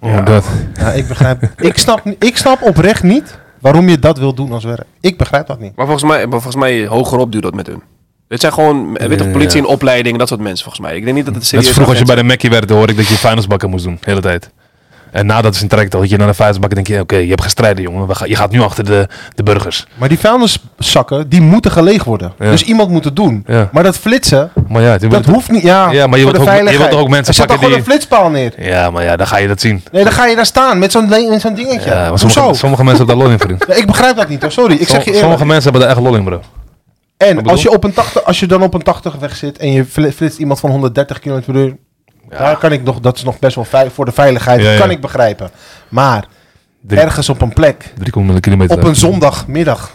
S3: Oh my god.
S4: Ja, ik begrijp, ik, snap, ni- ik snap oprecht niet waarom je dat wil doen als werk. Ik begrijp dat niet.
S1: Maar volgens mij, maar volgens mij hogerop duurt dat met hun. Dit zijn gewoon, eh, weet je, politie in opleiding, dat soort mensen volgens mij. Ik denk niet dat het
S3: Net
S1: serieus
S3: als vroeger als je bij de Mackie werd, hoorde ik dat je finalsbakken moest doen. De hele tijd. En nadat is een traject al, dat je naar de finalsbakken denk je, oké, je hebt gestreden, jongen. We gaan- Je gaat nu achter de, de burgers.
S4: Maar die vuilniszakken, die moeten geleeg worden.
S3: Ja.
S4: Dus iemand moet het doen.
S3: Ja.
S4: Maar dat flitsen,
S3: Maar ja, toen
S4: dat
S3: werd-
S4: hoeft niet. Ja,
S3: Ja, maar je
S4: voor
S3: wilt
S4: de
S3: ook- je
S4: veiligheid.
S3: wilt ook mensen
S4: Er zet dan
S3: pakken
S4: gewoon een flitspaal neer.
S3: ja, maar ja, dan ga je dat zien.
S4: Nee, dan ga je daar staan met zo'n le- met zo'n dingetje.
S3: Ja, maar
S4: Hoezo?
S3: sommige, sommige mensen hebben daar lol in, vriend.
S4: Ja, ik begrijp dat niet hoor, sorry. Ik zeg je
S3: Sommige,
S4: eerlijk.
S3: mensen hebben daar echt lol in, bro.
S4: En
S3: bedoel?
S4: als je, op een 80, als je dan op een 80 weg zit en je fli- flitst iemand van 130 km per uur, daar kan ik nog, dat is nog best wel vei- voor de veiligheid,
S3: Ja, ja.
S4: kan ik begrijpen. Maar
S3: Drie-
S4: ergens op een plek,
S3: 3,0 kilometer.
S4: op een zondagmiddag,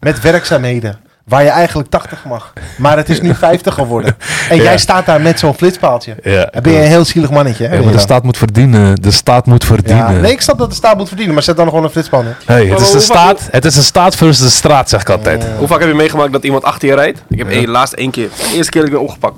S4: met werkzaamheden, waar je eigenlijk 80 mag, maar het is nu 50 geworden. En jij staat daar met zo'n flitspaaltje.
S3: Ja,
S4: Dan ben je een heel zielig mannetje. Hè,
S3: Ja,
S4: ben
S3: maar
S4: je
S3: de
S4: dan?
S3: staat moet verdienen. De staat moet verdienen.
S4: Ja, nee, ik snap dat de staat moet verdienen, maar zet dan gewoon een flitspaal neer.
S3: Hey, het,
S1: Maar
S3: is de
S1: hoe-
S3: staat, het is de staat versus de straat, zeg ik altijd.
S1: Hoe vaak heb je meegemaakt dat iemand achter je rijdt? Ik heb één, laatst één keer, de eerste keer dat ik ben opgepakt.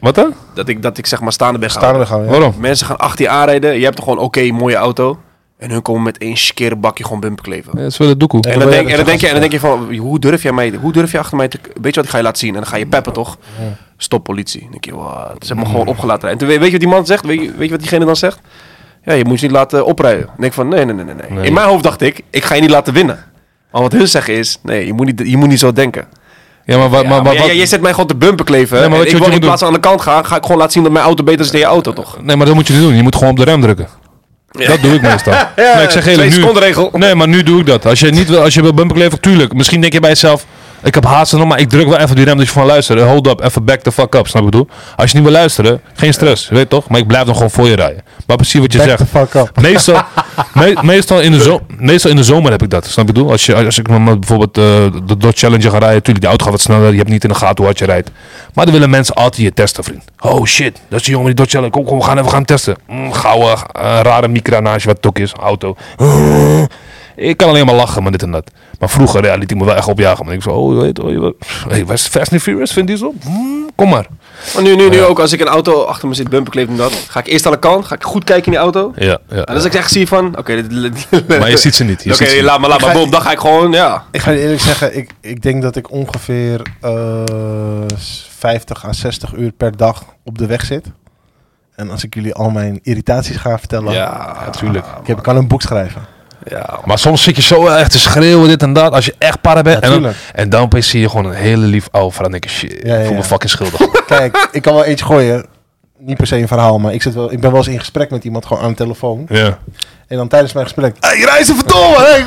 S3: Wat dan?
S1: Dat ik, dat ik zeg maar staande ben
S4: Staan we
S1: gehouden.
S4: gewoon. Ja.
S3: Waarom?
S1: Mensen gaan achter je aanrijden, je hebt gewoon oké, mooie auto. En hun komen met één skere bakje gewoon bumper kleven.
S3: Het is wel de doekoe.
S1: En dan, denk, en, dan denk je, en dan denk je van, hoe durf jij, mij, hoe durf jij achter mij te... Weet je wat, ik ga je laten zien. En dan ga je peppen, toch? Stop politie. Dan denk je, wow, ze hebben me gewoon opgelaten. En toen, weet weet je wat die man zegt? Weet je, weet je wat diegene dan zegt? Ja, je moet je niet laten oprijden. Dan denk ik van, nee, nee, nee, nee, nee.
S3: Nee.
S1: In mijn hoofd dacht ik, ik ga je niet laten winnen. Maar wat hun zeggen is, nee, je moet niet, je moet niet zo denken.
S3: Ja, maar, wa-
S1: Ja,
S3: maar,
S1: maar
S3: maar,
S1: jij,
S3: wat-
S1: jij zet mij gewoon te bumper kleven.
S3: Nee, maar
S1: En
S3: weet
S1: ik
S3: je wat je
S1: wil in
S3: moet
S1: plaats van aan de kant gaan, ga ik gewoon laten zien dat mijn auto beter is dan je auto, toch?
S3: Nee, maar dat moet je niet doen. Je moet gewoon op de rem drukken. Dat doe ik meestal. nee, ik zeg
S1: Twee
S3: eerlijk, nu,
S1: seconden regel.
S3: nee, maar nu doe ik dat. Als je, niet wil, als je wil bumperkleven, tuurlijk. Misschien denk je bij jezelf, ik heb haast nog, maar ik druk wel even op die rem. Dat je van luister, hold up, even back the fuck up. Snap je wat ik bedoel? Als je niet wil luisteren, geen stress, weet je toch? Maar ik blijf dan gewoon voor je rijden. Maar precies wat je
S4: Back
S3: zegt.
S4: the fuck up.
S3: Meestal, me- meestal, in de zo- meestal in de zomer heb ik dat. Snap je wat ik bedoel? Als, je, als ik met mijn- bijvoorbeeld eh, de Dodge Challenger ga rijden, natuurlijk, die auto gaat wat sneller. Je hebt niet in de gaten hoe hard je rijdt. Maar dan willen mensen altijd je testen, vriend. Oh shit, dat is die jongen met die Dodge Challenger. Kom, kom, we gaan even gaan testen. Mm, gouden, eh, rare micra naast je, wat het ook is, auto. Ik kan alleen maar lachen met dit en dat. Maar vroeger ja, liet ik me wel echt opjagen. Maar ik zo, oh, je weet, oh, je weet. Hey, waar is Fast and Furious? Vind die zo? Mm, kom maar.
S1: Maar nu, nu, nu ook, als ik een auto achter me zit bumperkleven en dat, ga ik eerst aan de kant, ga ik goed kijken in die auto.
S3: Ja, ja.
S1: En als ik echt zie van, oké, dit-
S3: Maar je ziet ze niet. je
S1: oké,
S3: ziet ze niet.
S1: laat maar, laat maar, boom, dan ga ik gewoon, ja.
S4: Ik ga je eerlijk zeggen, ik, ik denk dat ik ongeveer eh, 50 à 60 uur per dag op de weg zit. En als ik jullie al mijn irritaties ga vertellen,
S1: Ja,
S3: tuurlijk.
S4: ik, heb, ik kan een boek schrijven.
S1: ja.
S3: Maar soms zit je zo echt te schreeuwen, dit en dat, als je echt para bent.
S4: Ja,
S3: en, dan,
S4: tuurlijk.
S3: en dan opeens zie je gewoon een hele lief oude vrouw. En denk je, shit,
S4: Ja, ja,
S3: ik voel me
S4: ja.
S3: fucking schuldig.
S4: Kijk, ik kan wel eentje gooien. Niet per se een verhaal, maar ik, zit wel, ik ben wel eens in gesprek met iemand gewoon aan de telefoon.
S3: ja.
S4: En dan tijdens mijn gesprek,
S3: Hé, hey, reizen verdomme!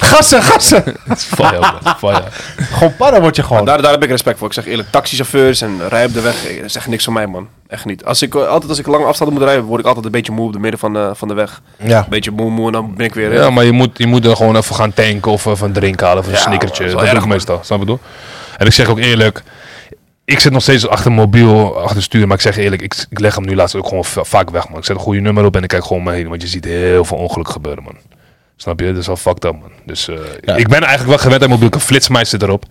S3: gassen, gassen! Het is fire, man. Het is fire.
S4: gewoon para word je
S3: Oh.
S4: gewoon.
S1: Daar, daar heb ik respect voor. Ik zeg eerlijk, taxichauffeurs en rij op de weg, eh, zeg niks van mij, man. Echt niet. Als ik, eh, altijd als ik lange afstanden moet rijden, word ik altijd een beetje moe op de midden van de, van de weg.
S4: ja.
S1: Een beetje moe, moe en dan ben ik weer... eh,
S3: Ja, maar je moet, je moet er gewoon even gaan tanken of even een drink halen of een
S1: Ja,
S3: snickertje.
S1: man, dat
S3: Dat,
S1: is wel
S3: doe
S1: erg,
S3: ik
S1: man.
S3: meestal, snap je wat ik bedoel? En ik zeg ook eerlijk, ik zit nog steeds achter mobiel, achter het stuur. Maar ik zeg eerlijk, ik, ik leg hem nu laatst ook gewoon va- vaak weg, man. Ik zet een goede nummer op en ik kijk gewoon om me heen. Want je ziet heel veel ongelukken gebeuren, man. Snap je? Dat is al fucked up, man. Dus eh, ik ben eigenlijk wel gewend aan mobiel. Ik flits mij zit erop.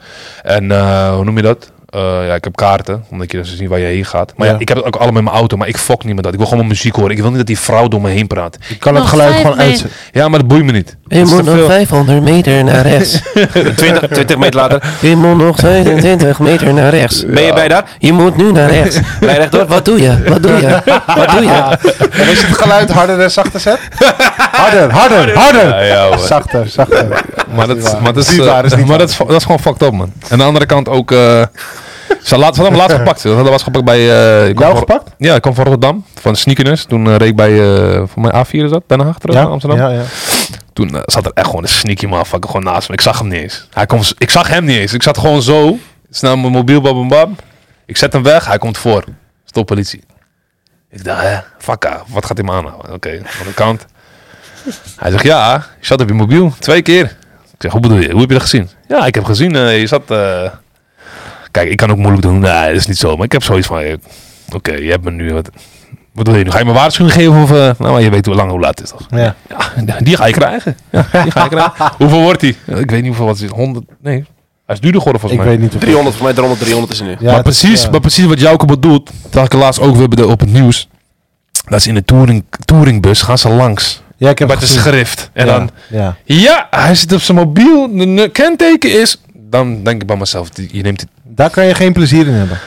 S3: En eh, hoe noem je dat? Eh, eh, ja, ik heb kaarten, omdat je dan ziet waar je heen gaat. Maar ja.
S4: Ja.
S3: ik heb het ook allemaal in mijn auto, maar ik fok niet met dat. Ik wil gewoon mijn muziek horen. Ik wil niet dat die vrouw door me heen praat.
S4: Je kan het
S5: Nog
S4: geluid
S5: vijf
S4: gewoon
S5: mee.
S4: uitzetten.
S3: Ja, maar dat boeit me niet.
S5: Je
S3: Dat is
S5: moet
S3: te
S5: nog
S3: veel.
S5: 500 meter naar rechts.
S1: 20, 20 meter later.
S5: Je moet nog 25 meter naar rechts.
S1: Ben je bij daar?
S5: Je moet nu naar rechts.
S1: Ben je rechtdoor?
S5: Wat doe je? Wat doe je? Wat doe je?
S4: En als je het geluid harder en zachter zet? Harder, harder, harder!
S3: Ja, ja, hoor.
S4: zachter, zachter.
S3: Maar dat,
S4: niet waar.
S3: maar dat,
S4: Dat is
S3: is,
S4: niet
S3: eh,
S4: waar, dat is niet
S3: maar
S4: waar.
S3: dat, is, dat is gewoon fucked up, man. Aan de andere kant ook... eh, ze, laat, ze hadden me laatst gepakt. Ze hadden me laatst gepakt bij... eh ik kwam
S4: Jou
S3: van-
S4: gepakt?
S3: Ja, ik kwam van Rotterdam. Van Sneakerness. Toen eh, reed ik bij... eh voor mij A4 is dat? Den Haag terug naar Amsterdam.
S4: Ja, ja.
S3: Toen eh, zat er echt gewoon een sneaky motherfucker gewoon naast me. Ik zag hem niet eens. Hij komt, ik zag hem niet eens. Ik zat gewoon zo. Snel mijn mobiel, bam, bam, bam. Ik zet hem weg. Hij komt voor. Stop politie. Ik dacht, hè, fuck, ah, wat gaat hij me aanhouden? Oké, van de kant. Hij zegt, ja, je zat op je mobiel. Twee keer. Ik zeg, hoe bedoel je? Hoe heb je dat gezien? Ja, ik heb gezien. eh, je zat... eh, Kijk, ik kan ook moeilijk doen. Nee, dat is niet zo. Maar ik heb zoiets van... eh, Oké, je hebt me nu... Wat, wat wil je nu? Ga je me waarschuwing geven? Of, eh, nou, maar je weet hoe lang hoe laat het is, toch?
S4: ja.
S3: Ja, die ga je krijgen. Ja, die ga je krijgen. hoeveel wordt die? Ja, Ik weet niet hoeveel wat is. 100. Nee. Hij is duurder geworden
S4: Ik
S3: volgens mij.
S4: weet niet of
S1: 300, voor mij 300, 300 is er nu.
S4: Ja,
S3: maar,
S4: het is-
S3: precies,
S4: ja.
S3: maar precies wat Jouke bedoelt, dat ik laatst ook weer bij de- op het nieuws. Dat is in de touring, touringbus gaan ze langs.
S4: Ja, ik heb
S3: Met
S4: het
S3: de
S4: gezien.
S3: schrift. En
S4: Ja,
S3: dan,
S4: Ja.
S3: ja, hij zit op zijn mobiel. De ne- kenteken is. Dan denk ik bij mezelf, die- je neemt het.
S4: Daar kan je geen plezier in hebben.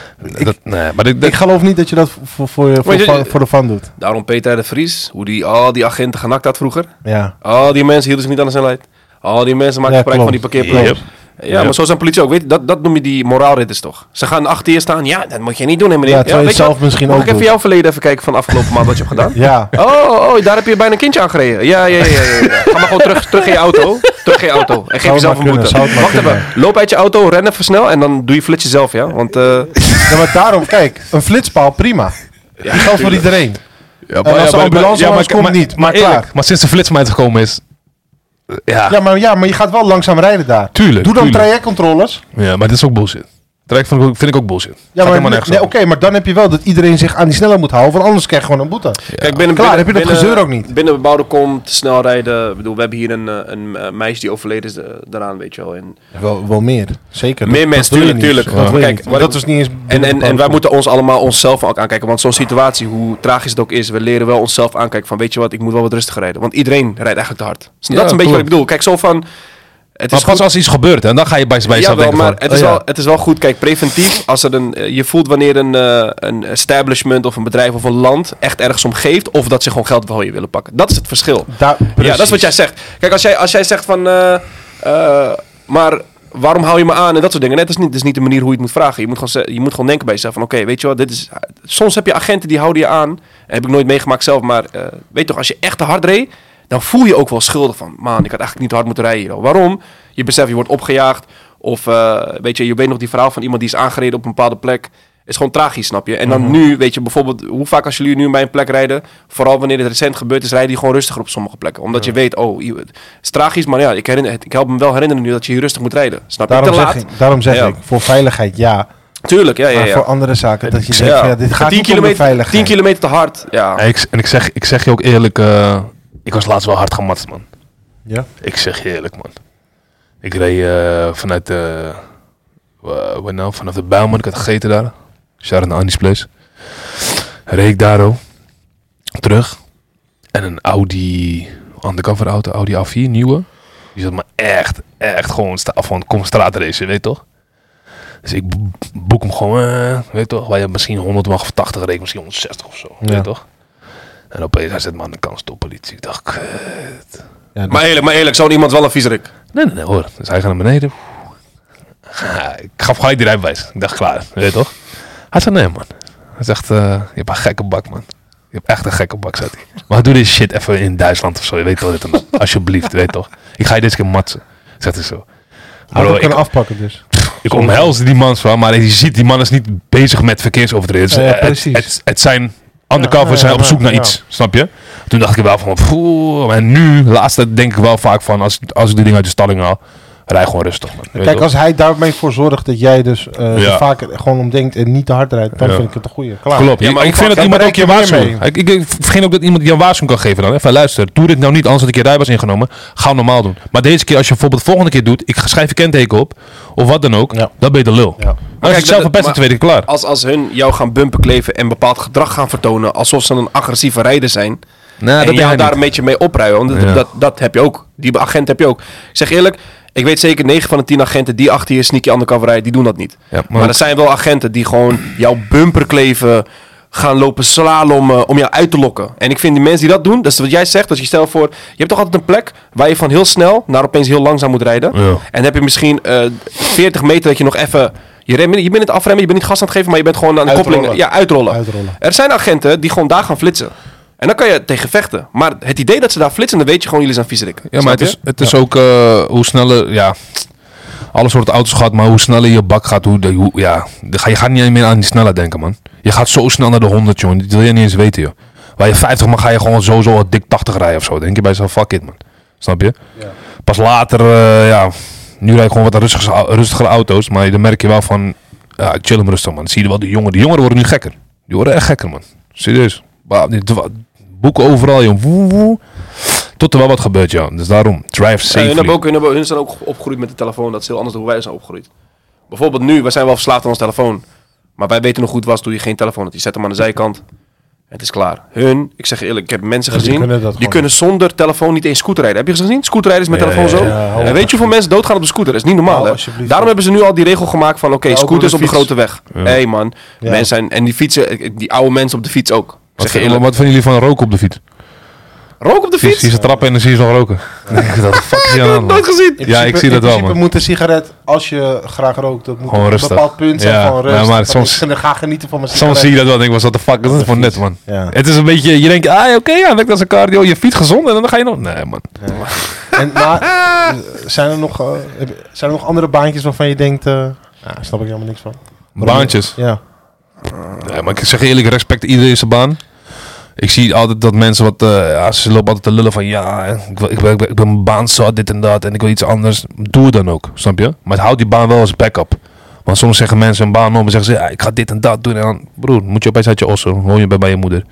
S3: dat, nee, maar dit, dit-
S4: Ik geloof niet dat je dat voor, voor, je- voor,
S1: je-
S4: voor, voor de fan doet.
S1: Daarom Peter de Vries, hoe die al die agenten genakt had vroeger.
S4: Ja.
S1: Al die mensen hielden zich niet aan zijn leid. Al die mensen maken
S4: Ja,
S1: gebruik van die
S4: klopt.
S1: parkeerplaats.
S3: Yep.
S1: Ja, maar zo zijn politie ook. Weet, je, dat, dat noem je die moraalridders toch? Ze gaan achter je staan. Ja, dat moet je niet doen, hè, meneer.
S4: Ja, terwijl je
S1: weet
S4: het zelf
S1: wat?
S4: misschien
S1: Mag
S4: ook
S1: ik even
S4: doet.
S1: jouw verleden even kijken van afgelopen maand wat je hebt gedaan?
S4: Ja.
S1: Oh, oh, daar heb je bijna een kindje aan gereden. Ja, ja, ja, ja. ja, ja. Ga maar gewoon terug, terug in je auto. Terug in je auto. En geef
S4: het maar
S1: jezelf een
S4: kunnen,
S1: boete.
S4: zou het maar
S1: Wacht
S4: kunnen.
S1: even. Loop uit je auto, ren even snel en dan doe je flits jezelf, ja? Want, eh,
S4: Ja, maar daarom, kijk, een flitspaal, prima. Die geldt voor iedereen.
S3: ja,
S4: als de ambulance langs komt,
S3: maar,
S4: niet.
S3: Maar,
S4: Maar klaar.
S3: eerlijk, maar sinds de flitsmeid gekomen is. eh, Ja,
S4: Ja maar, ja, maar je gaat wel langzaam rijden daar.
S3: Tuurlijk,
S4: Doe dan
S3: tuurlijk.
S4: trajectcontroles.
S3: Ja, maar dit is ook bullshit. Traject vind ik ook, vind ik ook bullshit.
S4: Ja, maar,
S3: helemaal
S4: nee,
S3: nergens
S4: nee,
S3: over.
S4: Oké, maar dan heb je wel dat iedereen zich aan die snelheid moet houden. Want anders krijg je gewoon een boete.
S1: Kijk, binnen, binnen-
S4: Klaar, heb je dat
S1: binnen-
S4: gezeur ook niet.
S1: Binnen bebouwde komt, snel rijden. Ik bedoel, we hebben hier een, eh, een eh, meisje die overleden is eh, daaraan, weet je wel. En,
S4: Wel, wel meer. Zeker.
S1: Meer
S4: Dat- dat
S1: mensen,
S4: wil je
S1: tuurlijk,
S4: niet.
S1: tuurlijk.
S4: Dat,
S1: Ja.
S4: wil je
S1: Kijk,
S4: niet.
S1: wat-
S4: dat is niet eens...
S1: en, en, en wij moeten ons allemaal onszelf ook aankijken. Want zo'n situatie, hoe tragisch het ook is, we leren wel onszelf aankijken van, weet je wat, ik moet wel wat rustiger rijden. Want iedereen rijdt eigenlijk te hard. Dus dat
S3: Ja,
S1: is een beetje
S3: klopt.
S1: wat ik bedoel. Kijk, zo van... Het
S3: Maar
S1: is
S3: pas als iets gebeurt, en dan ga je bij bij
S1: Ja,
S3: jezelf
S1: wel,
S3: denken
S1: maar
S3: van...
S1: het is,
S4: oh ja.
S1: wel, het is wel goed. Kijk, preventief, als er een, eh, je voelt wanneer een, eh, een establishment of een bedrijf of een land echt ergens om geeft, of dat ze gewoon geld van je willen pakken. Dat is het verschil.
S4: Daar-
S1: Ja, dat is wat jij zegt. Kijk, als jij, als jij zegt van, eh, eh, maar waarom hou je me aan en dat soort dingen. Nee, dat is niet, dat is niet de manier hoe je het moet vragen. Je moet gewoon, ze- je moet gewoon denken bij jezelf van, oké, weet je wat, dit is... Soms heb je agenten die houden je aan. Heb ik nooit meegemaakt zelf, maar eh, weet toch, als je echt te hard reed, dan voel je ook wel schuldig van, man, ik had eigenlijk niet te hard moeten rijden. joh. Waarom? Je beseft, je wordt opgejaagd. Of eh, weet je, je weet nog die verhaal van iemand die is aangereden op een bepaalde plek. Is gewoon tragisch, snap je? En
S4: Mhm.
S1: dan nu, weet je, bijvoorbeeld, hoe vaak als jullie nu bij een plek rijden, vooral wanneer het recent gebeurd is, rijden die gewoon rustiger op sommige plekken. Omdat je weet, oh, i- het is tragisch, maar ja, ik, herinner, ik help hem wel herinneren nu dat je hier rustig moet rijden. Snap je?
S4: Daarom
S1: Te
S4: zeg,
S1: laat.
S4: ik, daarom zeg
S1: Ja.
S4: ik, voor veiligheid ja.
S1: Tuurlijk, ja, ja,
S4: Maar voor
S1: ja.
S4: andere zaken, dat je
S1: Ja.
S4: zegt, ja, dit gaat
S1: 10
S4: niet om de
S1: kilometer,
S4: veiligheid.
S1: 10 kilometer te hard, ja.
S3: Ja, ik, en ik zeg, ik zeg je ook eerlijk, eh, ik was laatst wel hard gematst, man.
S4: Ja.
S3: Ik zeg je eerlijk, man. Ik reed eh, vanuit de... eh, wat nou? Vanaf de Bijlman, ik had gegeten daar. Shout-out naar Andy's Place. Reed ik daar, oh. Terug. En een Audi... Undercover auto, Audi A4, nieuwe. Die zat me echt, echt gewoon sta van kom straatracen, weet toch? Dus ik bo- boek hem gewoon, eh, weet toch? Waar je misschien 100 mag of 80 reed, misschien 160 of zo,
S4: Ja.
S3: weet toch? En opeens hij zet me aan de kant, stop politie. Ik dacht, kut.
S4: Ja,
S1: Maar eerlijk, maar eerlijk, zo'n iemand is wel een viezerik.
S3: Nee, nee, nee, hoor. Dus hij gaat naar beneden. Ja, ik gaf gelijk die rijbewijs. Ik dacht, klaar. Weet je toch? Hij zei, nee, man. Hij zegt, eh, je hebt een gekke bak, man. Je hebt echt een gekke bak, zei hij. Maar doe dit shit even in Duitsland of zo. Je weet toch dit en dat. Alsjeblieft, weet toch. Ik ga je deze keer matsen. Zegt hij zo.
S4: Had
S3: Bro,
S4: ook
S3: ik,
S4: kunnen afpakken dus.
S3: ik omhels die man zwaar, maar je ziet, die man is niet bezig met verkeersovertreders.
S4: Ja, ja,
S3: Het-
S4: precies.
S3: het, het, zijn undercover,
S4: Ja,
S3: zijn
S4: ja,
S3: op zoek
S4: ja,
S3: naar
S4: ja.
S3: iets, snap je? Toen dacht ik wel van, poeh, en nu, laatst denk ik wel vaak van, als, als ik die ding uit de stalling haal, Rij gewoon rustig, man. Weet je
S4: Kijk,
S3: wel.
S4: als hij daarmee voor zorgt dat jij dus eh,
S3: Ja.
S4: er vaker gewoon om denkt en niet te hard rijdt, dan
S3: Ja.
S4: vind ik het een goeie. Klaar.
S3: Klopt.
S1: Ja,
S3: Ja,
S1: maar
S3: maar ik
S1: ik
S3: vind
S1: pak-
S3: dat
S4: ik
S3: iemand ook
S4: pak
S3: je
S4: er meer
S3: waarschuwing.
S4: mee.
S3: Ik, ik, ik vind ook dat iemand je een waarschuwing kan geven dan. hè. Van luister, doe dit nou niet anders dat ik je rijbewijs ingenomen. Ga normaal doen. Maar deze keer, als je bijvoorbeeld de volgende keer doet, ik schrijf je kenteken op. Of wat dan ook.
S4: Ja.
S3: Dan ben je de lul.
S4: Ja.
S3: Maar als je
S1: Kijk,
S3: het
S1: dat-
S3: zelf verpest,
S1: maar-
S3: dan weet ik klaar.
S1: Als, als hun jou gaan bumpen kleven en bepaald gedrag gaan vertonen alsof ze een agressieve rijder zijn.
S3: Nee,
S1: en
S3: ben Nou, jij
S1: jou
S3: niet.
S1: daar een beetje mee opruien. Want dat,
S3: Ja.
S1: dat, dat heb je ook. Die agent heb je ook. Ik zeg eerlijk, ik weet zeker 9 van de 10 agenten die achter je sneaky undercover rijden, die doen dat niet.
S3: Ja, maar
S1: maar
S3: ook-
S1: er zijn wel agenten die gewoon jouw bumper kleven, gaan lopen slalommen om jou uit te lokken. En ik vind die mensen die dat doen, dat is wat jij zegt, als je stelt voor, je hebt toch altijd een plek waar je van heel snel naar opeens heel langzaam moet rijden.
S3: Ja.
S1: En dan heb je misschien eh, 40 meter dat je nog even, je, rem, je bent het afremmen, je bent niet gas aan het geven, maar je bent gewoon aan de
S4: Uitrollen.
S1: koppeling, ja, uitrollen.
S4: Uitrollen.
S1: Er zijn agenten die gewoon daar gaan flitsen. En dan kan je tegen vechten. Maar het idee dat ze daar flitsen, dan weet je gewoon, jullie zijn viezerik.
S3: Ja, maar
S1: Snap
S3: het is,
S1: je?
S3: het is ook eh, hoe sneller, ja, alle soorten auto's gaat, maar hoe sneller je bak gaat, hoe, de- hoe- ja, de- ga- je gaat niet meer aan die snelheid denken, man. Je gaat zo snel naar de 100, joh, dat wil je niet eens weten, joh. Waar je 50 mag, ga je gewoon sowieso al dik 80 rijden of zo. Dan denk je bij jezelf, fuck it, man. Snap je? Pas later, eh, ja, nu rijd ik gewoon wat rustigere, au- rustigere auto's, maar dan merk je wel van, ja, chill hem rustig, man. Dan zie je wel, de jongeren, de jongeren worden nu gekker. Die worden echt gekker, man. Serieus. Bah, die dwa- Boeken overal, joh. Woe, woe. Tot er wel wat gebeurt, ja. Dus daarom, drive
S1: Ja, hun,
S3: safely.
S1: hebben ook, hun, hebben, hun zijn ook opgegroeid met de telefoon. Dat is heel anders dan hoe wij zijn opgegroeid. Bijvoorbeeld nu, wij zijn wel verslaafd aan ons telefoon. Maar wij weten nog goed was, doe je geen telefoon. hebt. Je zet hem aan de zijkant. Het is klaar. Hun, ik zeg je eerlijk, ik heb mensen
S4: Ja, die
S1: gezien. Die
S4: kunnen dat
S1: kunnen,
S4: gewoon.
S1: zonder telefoon niet eens scooterrijden. Heb je ze gezien? Scooterdrijders met
S3: Ja,
S1: telefoon
S3: ja,
S1: zo.
S4: ja, hou
S1: en
S4: op,
S1: weet je hoeveel mensen doodgaan op de scooter? Dat is niet normaal.
S4: Hou
S1: hè?
S4: alsjeblieft
S1: Daarom
S4: op.
S1: hebben ze nu al die regel gemaakt van: oké,
S4: ook op
S1: scooters
S4: de
S1: op de
S4: fiets.
S1: grote weg. Hé man,
S4: Ja.
S1: mensen zijn. En die fietsen, eh, eh, die oude mensen op de fiets ook. Ik
S3: Wat,
S1: zeg je
S3: vinden
S1: eerlijk.
S3: wat vinden jullie van roken op de fiets?
S1: Rook op de
S3: Zie je-
S1: fiets?
S3: zie je ze trappen en dan zie je ze nog roken. dat fuck is hier aan de hand, man?
S1: Nooit gezien.
S4: In
S3: Ja, ik zie
S4: in
S3: dat wel,
S4: principe
S3: man.
S4: moet een sigaret, als je graag rookt, dat moet
S3: Gewoon
S4: op een
S3: rustig.
S4: bepaald punt zijn
S3: Ja,
S4: van
S3: ja,
S4: rust.
S3: maar
S4: Dat
S3: soms-
S4: ik ga genieten van mijn sigaret.
S3: Soms zie je dat wel en denk ik, wat de fuck, dat is voor net, man.
S4: Ja.
S3: Het is een beetje, je denkt, ah, oké, ja, lekker als een cardio, je fiets gezond en dan ga je nog... Nee, man.
S4: En, maar eh, zijn er, nog, eh, heb- zijn er nog andere baantjes waarvan je denkt... eh ja, daar snap ik helemaal niks van. Waarom-
S3: Baantjes.
S4: Ja.
S3: Ja, maar ik zeg je eerlijk, respect iedereen zijn baan. Ik zie altijd dat mensen wat, eh, ja, ze lopen altijd te lullen van ja, hè, ik, wil- ik, wil- ik, wil- ik ben mijn baan zat, dit en dat en ik wil iets anders. Doe het dan ook, snap je? Maar houd die baan wel als backup. Want soms zeggen mensen een baan om en zeggen ze, ja, ik ga dit en dat doen. En dan, broer, moet je opeens uit je ossen, hoor je bij, bij je moeder.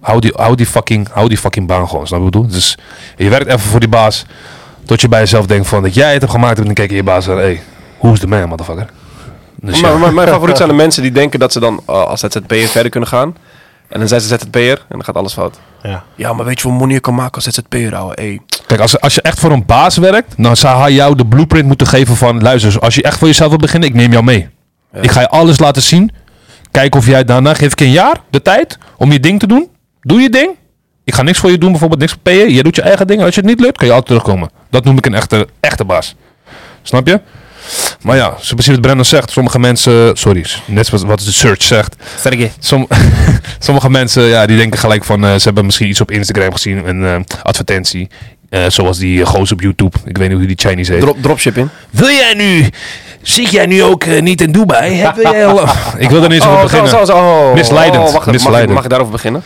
S3: Hou die, hou, die fucking, hou die fucking baan gewoon, snap je wat ik bedoel? Dus je werkt even voor die baas, tot je bij jezelf denkt van dat jij het hebt gemaakt en dan kijk je je baas aan, hey, hoe is de man, motherfucker? Dus ja.
S1: Maar, maar- mijn favoriet zijn de mensen die denken dat ze dan eh, als ZZP'er verder kunnen gaan. En dan zijn ze ZZP'er en dan gaat alles fout.
S4: Ja.
S1: Ja, maar weet je hoeveel money je kan maken als ZZP'er, ouwe? Hey.
S3: Kijk, als, als je echt voor een baas werkt, dan zou hij jou de blueprint moeten geven van... Luister, als je echt voor jezelf wil beginnen, ik neem jou mee. Ik ga je alles laten zien. Kijk of jij daarna, geef ik je een jaar de tijd om je ding te doen. Doe je ding. Ik ga niks voor je doen, bijvoorbeeld niks payen. Je doet je eigen ding. Als je het niet lukt, kan je altijd terugkomen. Dat noem ik een echte, echte baas. Snap je? Maar ja, zo precies wat Brennan zegt. Sommige mensen... Sorry, net wat, wat de search zegt. Som- sommige mensen ja, die denken gelijk van... eh, ze hebben misschien iets op Instagram gezien. Een eh, advertentie. Eh, zoals die eh, gozer op YouTube. Ik weet niet hoe die Chinese heet.
S1: Drop, dropshipping.
S3: Wil jij nu... Zit jij nu ook eh, niet in Dubai? Hè? Wil jij al... ik wil er niet eens over beginnen.
S1: Oh, zo, zo.
S3: Misleidend,
S1: wacht, even, Mag, ik,
S3: misleidend.
S1: mag ik daarover beginnen?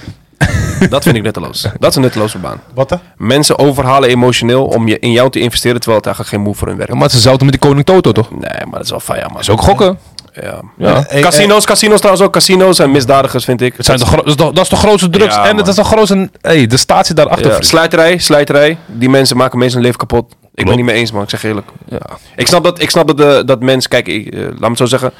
S1: dat vind ik nutteloos. Dat is een nutteloze baan.
S4: Wat dan?
S1: Mensen overhalen emotioneel om je, in jou te investeren, terwijl het eigenlijk geen move voor hun werkt.
S3: Ja, maar het is hetzelfde met die koning Toto, toch?
S1: Nee, maar dat is wel fijn, man.
S3: Dat is ook gokken.
S1: Ja.
S3: Ja.
S4: Hey,
S1: Casino's, casino's trouwens ook. Casino's zijn misdadigers, vind ik.
S3: Het zijn de gro- dat, is de, dat is de grootste drugs.
S1: Ja,
S3: en het
S1: man.
S3: is de grootste... Hey, de staat zit daarachter.
S1: Ja,
S3: vriend.
S1: slijterij, slijterij. Die mensen maken mensen hun leven kapot. Ik ben
S3: Klopt.
S1: niet mee eens, man. Ik zeg eerlijk.
S3: Ja.
S1: Ik snap dat, ik snap dat, de, dat mensen... Kijk, ik, eh, laat me het zo zeggen.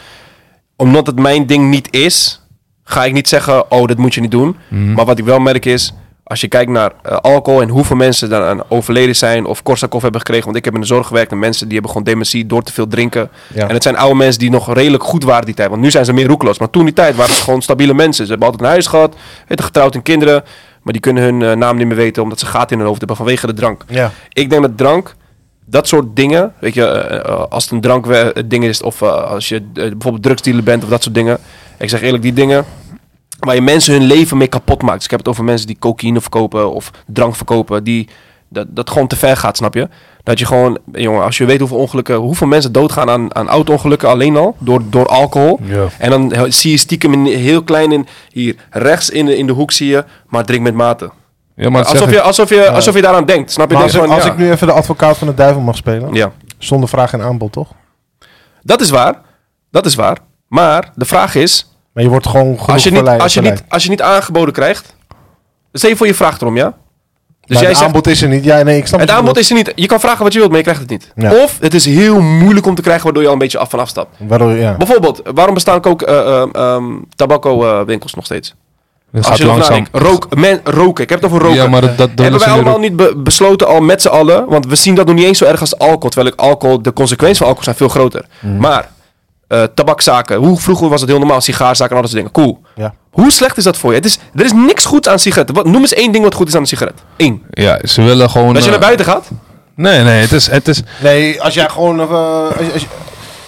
S1: Omdat het mijn ding niet is... ga ik niet zeggen... oh, dat moet je niet doen. Maar wat ik wel merk is... als je kijkt naar eh, alcohol... en hoeveel mensen daaraan overleden zijn... of Korsakoff hebben gekregen... want ik heb in de zorg gewerkt... en mensen die hebben gewoon dementie... door te veel drinken.
S4: Ja.
S1: En het zijn oude mensen die nog redelijk goed waren die tijd. Want nu zijn ze meer roekeloos. Maar toen die tijd waren ze gewoon stabiele mensen. Ze hebben altijd een huis gehad... hebben getrouwd en kinderen... Maar die kunnen hun eh, naam niet meer weten omdat ze gaten in hun hoofd hebben vanwege de drank.
S4: Ja.
S1: Ik denk dat drank, dat soort dingen, weet je, eh, eh, als het een drankding is of eh, als je eh, bijvoorbeeld drugsdealer bent of dat soort dingen. Ik zeg eerlijk, die dingen waar je mensen hun leven mee kapot maakt. Dus ik heb het over mensen die cocaïne verkopen of drank verkopen, die dat, dat gewoon te ver gaat, snap je? Dat je gewoon, jongen, als je weet hoeveel ongelukken, hoeveel mensen doodgaan aan, aan auto-ongelukken alleen al, door, door alcohol.
S3: Ja.
S1: En dan he- zie je stiekem in, heel klein in, hier rechts in de, in de hoek zie je, maar drink met mate.
S3: Ja, maar het
S1: Alsof
S3: zegt-
S1: je, alsof, je, alsof je daaraan denkt, snap je?
S4: Maar
S1: Denk
S4: als ik,
S1: gewoon,
S4: als
S1: ja.
S4: ik nu even de advocaat van de duivel mag spelen.
S1: Ja.
S4: Zonder vraag en aanbod, toch?
S1: Dat is waar. Dat is waar. Maar de vraag is,
S4: Maar je wordt gewoon genoeg
S1: als je, niet,
S4: verleid-
S1: als, je
S4: verleid.
S1: niet, als je niet aangeboden krijgt. Stel je voor je vraagt erom, ja? Dus jij
S4: Maar het
S1: zegt,
S4: aanbod is er niet. Ja, nee, ik snap
S1: het
S4: wat je
S1: aanbod is
S4: bedoelt.
S1: er niet. Je kan vragen wat je wilt, maar je krijgt het niet.
S4: Ja.
S1: Of het is heel moeilijk om te krijgen, waardoor je al een beetje af van afstapt.
S4: Waardoor, ja.
S1: Bijvoorbeeld, waarom bestaan ook eh, ehm, ehm, tabakko-winkels nog steeds?
S3: Het
S1: Als
S3: gaat
S1: je erover
S3: langzaam.
S1: nadenkt, rook, men, roken. Ik heb het over roken.
S3: Ja, maar dat, dat, dat
S1: Hebben
S3: is
S1: wij
S3: weer-
S1: allemaal niet be- besloten al met z'n allen? Want we zien dat nog niet eens zo erg als alcohol. Terwijl ik alcohol, de consequenties van alcohol zijn veel groter.
S3: Mhm.
S1: Maar eh, tabakzaken, hoe vroeger was dat heel normaal? Sigaarzaken en al dat soort dingen. Cool.
S4: Ja.
S1: Hoe slecht is dat voor je? Het is, er is niks goeds aan sigaretten. Wat, noem eens één ding wat goed is aan een sigaret. Eén.
S3: Ja, ze willen gewoon...
S1: Als je
S3: eh,
S1: naar buiten gaat,
S3: Nee, nee, het is... Het is
S4: Nee, als jij gewoon... eh, als je, als je,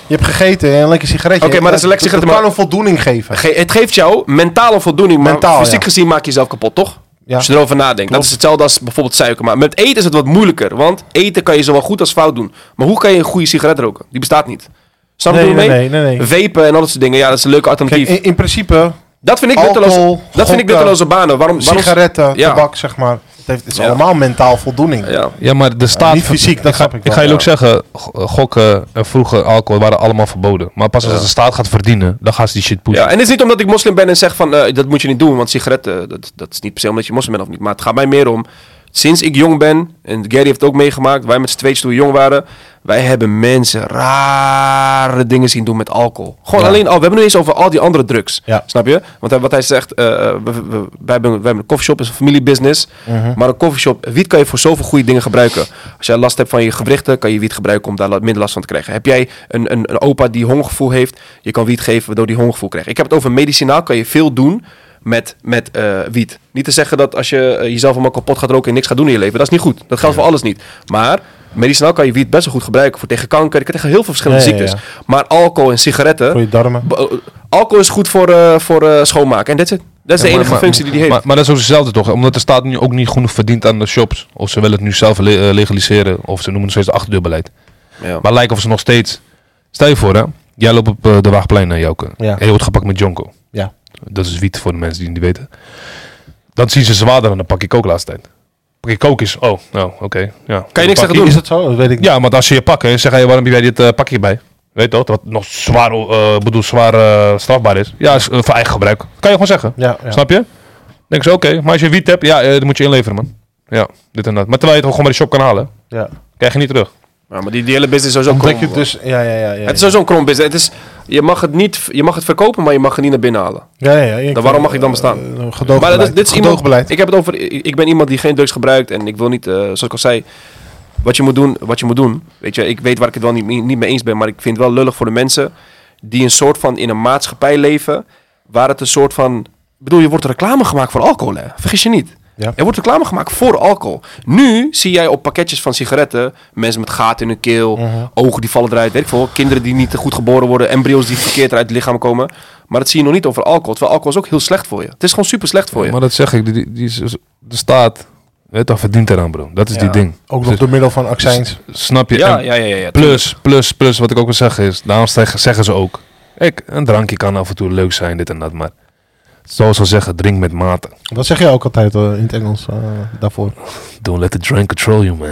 S4: je hebt gegeten en een lekker sigaretje. Eh, dus
S1: Oké, maar dat is een lekker
S4: Het
S1: sigaretje,
S4: kan een voldoening geven.
S1: ge- het geeft jou mentale voldoening. Maar
S4: Mentaal,
S1: fysiek
S4: ja.
S1: gezien maak je jezelf kapot, toch?
S4: Ja.
S1: Als je erover nadenkt. Dat is hetzelfde als bijvoorbeeld suiker. Maar met eten is het wat moeilijker. Want eten kan je zowel goed als fout doen. Maar hoe kan je een goede sigaret roken? Die bestaat niet. Snap je
S4: Nee,
S1: wat ik
S4: nee,
S1: bedoel?
S4: nee, nee, nee.
S1: Vapen en al dat soort dingen. Ja, dat is een leuke alternatief.
S4: Kijk, in, in principe,
S1: dat vind ik nutteloze,
S4: alcohol,
S1: dat vind ik
S4: gokken,
S1: nutteloze banen. Waarom, waarom,
S4: sigaretten,
S1: Ja.
S4: tabak, zeg maar. Het, heeft, het is
S1: Ja.
S4: allemaal mentaal voldoening.
S1: Ja.
S3: ja, maar de staat...
S4: niet fysiek, dat
S3: ik ga,
S4: snap ik wel,
S3: ga jullie
S4: ja.
S3: ook zeggen, go- gokken en vroeger alcohol waren allemaal verboden. Maar pas als de staat gaat verdienen, dan gaan ze die shit pushen.
S1: Ja, en het is niet omdat ik moslim ben en zeg van eh, dat moet je niet doen, want sigaretten, eh, dat, dat is niet per se omdat je moslim bent of niet. Maar het gaat mij meer om, sinds ik jong ben, en Gary heeft het ook meegemaakt, wij met z'n tweetjes toen we jong waren, wij hebben mensen rare dingen zien doen met alcohol. Gewoon alleen al, we hebben het niet eens over al die andere drugs.
S4: Ja.
S1: Snap je? Want hij- wat hij zegt, eh, eh, we, we- we- wij hebben, wij hebben een koffieshop, is een familiebusiness.
S4: Mhm.
S1: Maar een koffieshop, wiet kan je voor zoveel goede dingen gebruiken. Als jij last hebt van je gewrichten, kan je wiet gebruiken om daar la- minder last van te krijgen. Heb jij een, een, een opa die hongergevoel heeft, je kan wiet geven waardoor die hongergevoel krijgt. Ik heb het over medicinaal, kan je veel doen met, met eh, wiet. Niet te zeggen dat als je eh, jezelf allemaal kapot gaat roken en niks gaat doen in je leven, dat is niet goed. Dat geldt voor alles niet. Maar medicinaal kan je wiet best wel goed gebruiken voor tegen kanker, tegen heel veel verschillende
S4: Ja, ja, ja.
S1: ziektes. Maar alcohol en sigaretten,
S4: Voor je darmen.
S1: Bo- eh, Alcohol is goed voor, eh, voor eh, schoonmaken en dat is het. Dat is de
S3: Ja, maar-
S1: enige
S3: maar-
S1: functie die die heeft.
S3: Maar, maar dat is ook hetzelfde toch? Omdat de staat nu ook niet genoeg verdient aan de shops. Of ze willen het nu zelf le- eh, legaliseren. Of ze noemen het steeds achterdeurbeleid.
S1: Ja.
S3: Maar lijken of ze nog steeds... Stel je voor hè. Jij loopt op eh, de Waagplein naar Joke.
S4: Ja.
S3: En je wordt gepakt met Jonko.
S4: Ja.
S3: Dat is wiet voor de mensen die het niet weten. Dan zien ze zwaarder en dan pak ik ook laatste tijd. Pak ik ook eens. Oh, nou, oké. Ja.
S1: Kan je niks zeggen doen?
S4: Is dat zo? Dat weet ik niet.
S3: Ja, want als ze je pakken en zeggen, hey, waarom heb jij dit eh, pakje bij? Weet je toch? Wat nog zwaar, eh, bedoel, zwaar eh, strafbaar is. Ja, is, eh, voor eigen gebruik. Kan je gewoon zeggen.
S4: Ja, ja.
S3: Snap je? Denk ze, oké, maar als je wiet hebt, ja, eh, dan moet je inleveren, man. Ja, dit en dat. Maar terwijl je het gewoon bij de shop kan halen,
S4: Ja.
S3: krijg je niet terug.
S1: Ja, maar die, die hele business is sowieso
S4: Omdat
S1: krom.
S4: je dus... Ja, ja, ja. ja,
S1: Het is sowieso een krom business. Het is, je, mag het niet, je mag het verkopen, maar je mag het niet naar binnen halen.
S4: ja, ja, ja, ik
S1: Dan
S4: vind-
S1: Nou, waarom mag ik dan bestaan?
S4: eh, gedoogbeleid.
S1: maar dat is, dit is iemand,
S4: Gedoogbeleid.
S1: ik heb het over, ik ik ben iemand die geen drugs gebruikt en ik wil niet, eh, zoals ik al zei, wat je moet doen, wat je moet doen. Weet je, ik weet waar ik het wel niet, niet mee eens ben, maar ik vind het wel lullig voor de mensen die een soort van in een maatschappij leven waar het een soort van, ik bedoel, je wordt reclame gemaakt voor alcohol, hè? vergis je niet.
S4: Ja.
S1: Er wordt reclame gemaakt voor alcohol. Nu zie jij op pakketjes van sigaretten mensen met gaten in hun keel,
S3: Mhm.
S1: ogen die vallen eruit, weet ik veel, kinderen die niet goed geboren worden, embryo's die verkeerd uit het lichaam komen. Maar dat zie je nog niet over alcohol. Terwijl alcohol is ook heel slecht voor je. Het is gewoon super slecht voor je.
S3: Maar dat zeg ik, die, die, de staat, weet toch, verdient eraan, bro. Dat is die ding. Dus-
S4: Ook nog door middel van accijns.
S3: Snap je?
S1: ja,
S3: En
S1: ja, ja, ja, ja.
S3: Plus, plus, plus, wat ik ook wil zeggen is, daarom zeggen zeggen ze ook, ik, een drankje kan af en toe leuk zijn, dit en dat, maar zoals ze zeggen, drink met mate.
S4: Dat zeg je ook altijd eh, in het Engels eh, daarvoor.
S3: Don't let the drink control you, man.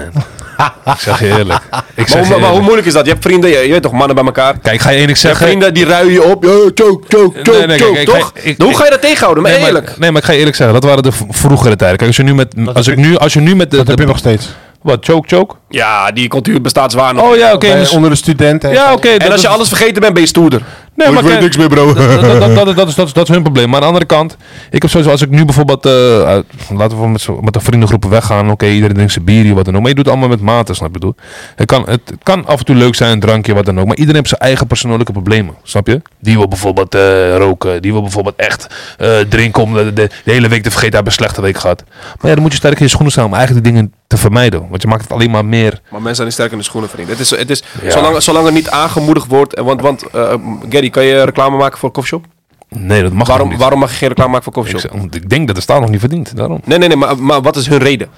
S3: ik zeg je eerlijk. Ik
S1: Maar, hoe-
S3: zeg je
S1: maar hoe
S3: eerlijk.
S1: moeilijk is dat? Je hebt vrienden, je, je weet toch, mannen bij elkaar.
S3: Kijk, ik ga je één ding
S1: Je hebt
S3: zeggen.
S1: vrienden die ruien je op. Ja, choke, choke, choke,
S3: Nee, nee,
S1: choke,
S3: kijk, ik-
S1: toch?
S3: ik-
S1: Dan hoe ga je dat tegenhouden? Maar
S3: Nee,
S1: eerlijk.
S3: Maar, nee, maar ik ga je eerlijk zeggen, dat waren de v- vroegere tijden. Kijk, als je nu met, als ik nu, als je nu met de,
S4: Dat heb
S3: de-
S4: je nog steeds.
S3: wat, choke, choke?
S1: Ja, die cultuur bestaat zwaar nog.
S3: Oh ja, oké.
S4: Bij-
S3: dus-
S4: onder de studenten.
S3: ja, oké.
S1: en
S3: dat
S1: als je
S3: is-
S1: alles vergeten bent, ben je stoerder.
S3: nee, maar kijk,
S4: meer, bro.
S3: dat, dat, dat, dat, dat is, dat, is, dat is hun probleem. Maar aan de andere kant, ik heb sowieso, als ik nu bijvoorbeeld, eh, uit- laten we met, zo- met de vriendengroepen weggaan, oké, iedereen drinkt zijn bier, hier, wat dan ook. Maar je doet het allemaal met mate, snap je? wat ik bedoel? Het kan, het, het kan af en toe leuk zijn, een drankje, wat dan ook. Maar iedereen heeft zijn eigen persoonlijke problemen, snap je? Die wil bijvoorbeeld eh, roken, die wil bijvoorbeeld echt eh, drinken om de, de, de hele week te vergeten, hebben een slechte week gehad. Maar ja, dan moet je sterk in je schoenen staan om eigenlijk die dingen te vermijden. Want je maakt het alleen maar meer.
S1: Maar mensen zijn niet sterk in de schoenen, vriend. Het is, het is,
S3: Ja.
S1: zolang, zolang er niet aangemoedigd wordt. en Want, want eh, Gary, kan je reclame maken voor een koffieshop?
S3: Nee, dat mag
S1: Waarom,
S3: niet.
S1: waarom mag je geen reclame maken voor een
S3: Ik,
S1: koffieshop?
S3: zeg, want ik denk dat de staat nog niet verdient, daarom.
S1: Nee, nee, nee, maar, maar wat is hun reden?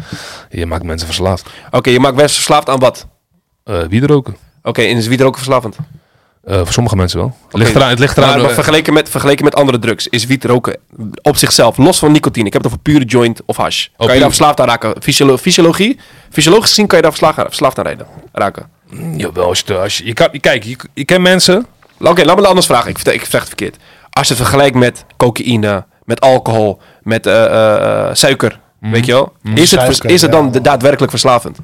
S3: Je maakt mensen verslaafd.
S1: Oké, je maakt mensen verslaafd aan wat?
S3: Eh wie er roken.
S1: Oké, en is wie er ook verslaafd?
S3: Eh, voor sommige mensen wel. Ligt eraan, het ligt eraan.
S1: Maar, Nou, maar
S3: eh,
S1: vergeleken, met, vergeleken met andere drugs is wiet roken op zichzelf, los van nicotine. Ik heb het over pure joint of hash. kan
S3: puur.
S1: je daar verslaafd aan raken? Fysiolo- fysiologie? Fysiologisch gezien kan je daar verslaafd aan, verslaafd aan rijden, raken.
S3: jawel, als je, als je, je kan, kijk, je, je kent mensen.
S1: Oké, laat me het anders vragen. Ik, vertel- ik zeg het verkeerd. Als je het vergelijkt met cocaïne, met alcohol, met eh, eh, eh, suiker,
S3: Mhm.
S1: weet je wel. Is het, vers-
S4: Suiker,
S1: is het dan
S4: ja.
S1: de- daadwerkelijk verslavend?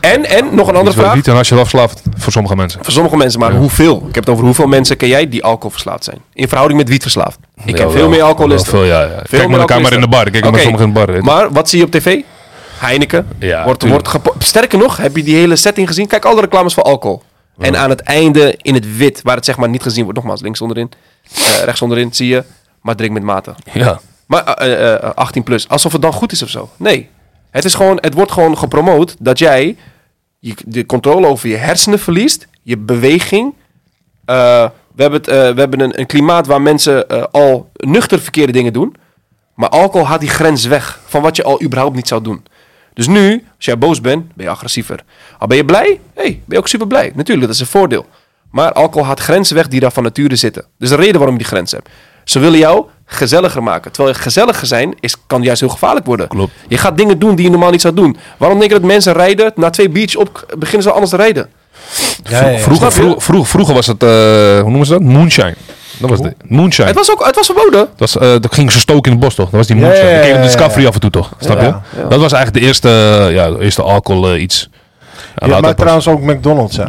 S1: En, en nog een andere
S3: Andere
S1: vraag.
S3: Niet en als je wel verslaafd voor sommige mensen.
S1: Voor sommige mensen, maar hoeveel? Ik heb het over hoeveel mensen ken jij die alcohol verslaafd zijn? In verhouding met wiet verslaafd. Ik ken
S3: Ja,
S1: veel
S3: wel.
S1: meer alcoholisten.
S3: Wel Veel, ja, ja. Kijk maar
S1: meer
S3: de kamer in de bar.
S1: alcoholisten.
S3: Kijk maar
S1: Oké,
S3: sommige in de bar. hè.
S1: Maar wat zie je op tv? Heineken.
S3: Ja,
S1: wordt, wordt
S3: tuurlijk.
S1: gepo- Sterker nog, heb je die hele setting gezien? Kijk, alle reclames voor alcohol. En aan het einde in het wit, waar het zeg maar niet gezien wordt. Nogmaals, links onderin, eh, rechts onderin zie je. Maar drink met mate.
S3: ja.
S1: Maar eh, eh, eh, 18 plus. Alsof het dan goed is of zo. Nee. Het, is gewoon, het wordt gewoon gepromoot dat jij je, de controle over je hersenen verliest. Je beweging. Eh, we hebben, het, eh, we hebben een, een klimaat waar mensen eh, al nuchter verkeerde dingen doen. Maar alcohol haalt die grens weg van wat je al überhaupt niet zou doen. Dus nu, als jij boos bent, ben je agressiever. Al ben je blij, hey, ben je ook super blij. Natuurlijk, dat is een voordeel. Maar alcohol haalt grenzen weg die daar van nature zitten. Dus de reden waarom je die grens hebt. Ze willen jou gezelliger maken. Terwijl je gezelliger zijn is, kan juist heel gevaarlijk worden.
S3: Klopt.
S1: Je gaat dingen doen die je normaal niet zou doen. Waarom denk je dat mensen rijden, na twee biertjes op, beginnen ze al anders te rijden?
S3: Vroeger,
S1: Snap je?
S3: vroeg- vroeg- vroeger was het, eh, hoe noemen ze dat? Moonshine. Dat was de moonshine.
S1: Het was, ook, het was verboden.
S3: Dat, was, eh, dat ging ze stoken in het bos, toch? Dat was die moonshine.
S4: ja,
S3: Dat keek op
S4: ja,
S3: Discovery
S4: ja.
S3: af en toe, toch? Snap je?
S4: Ja,
S3: Dat was eigenlijk de eerste, eh, ja, de eerste alcohol eh, iets.
S4: Ja, maar trouwens ook McDonald's, hè.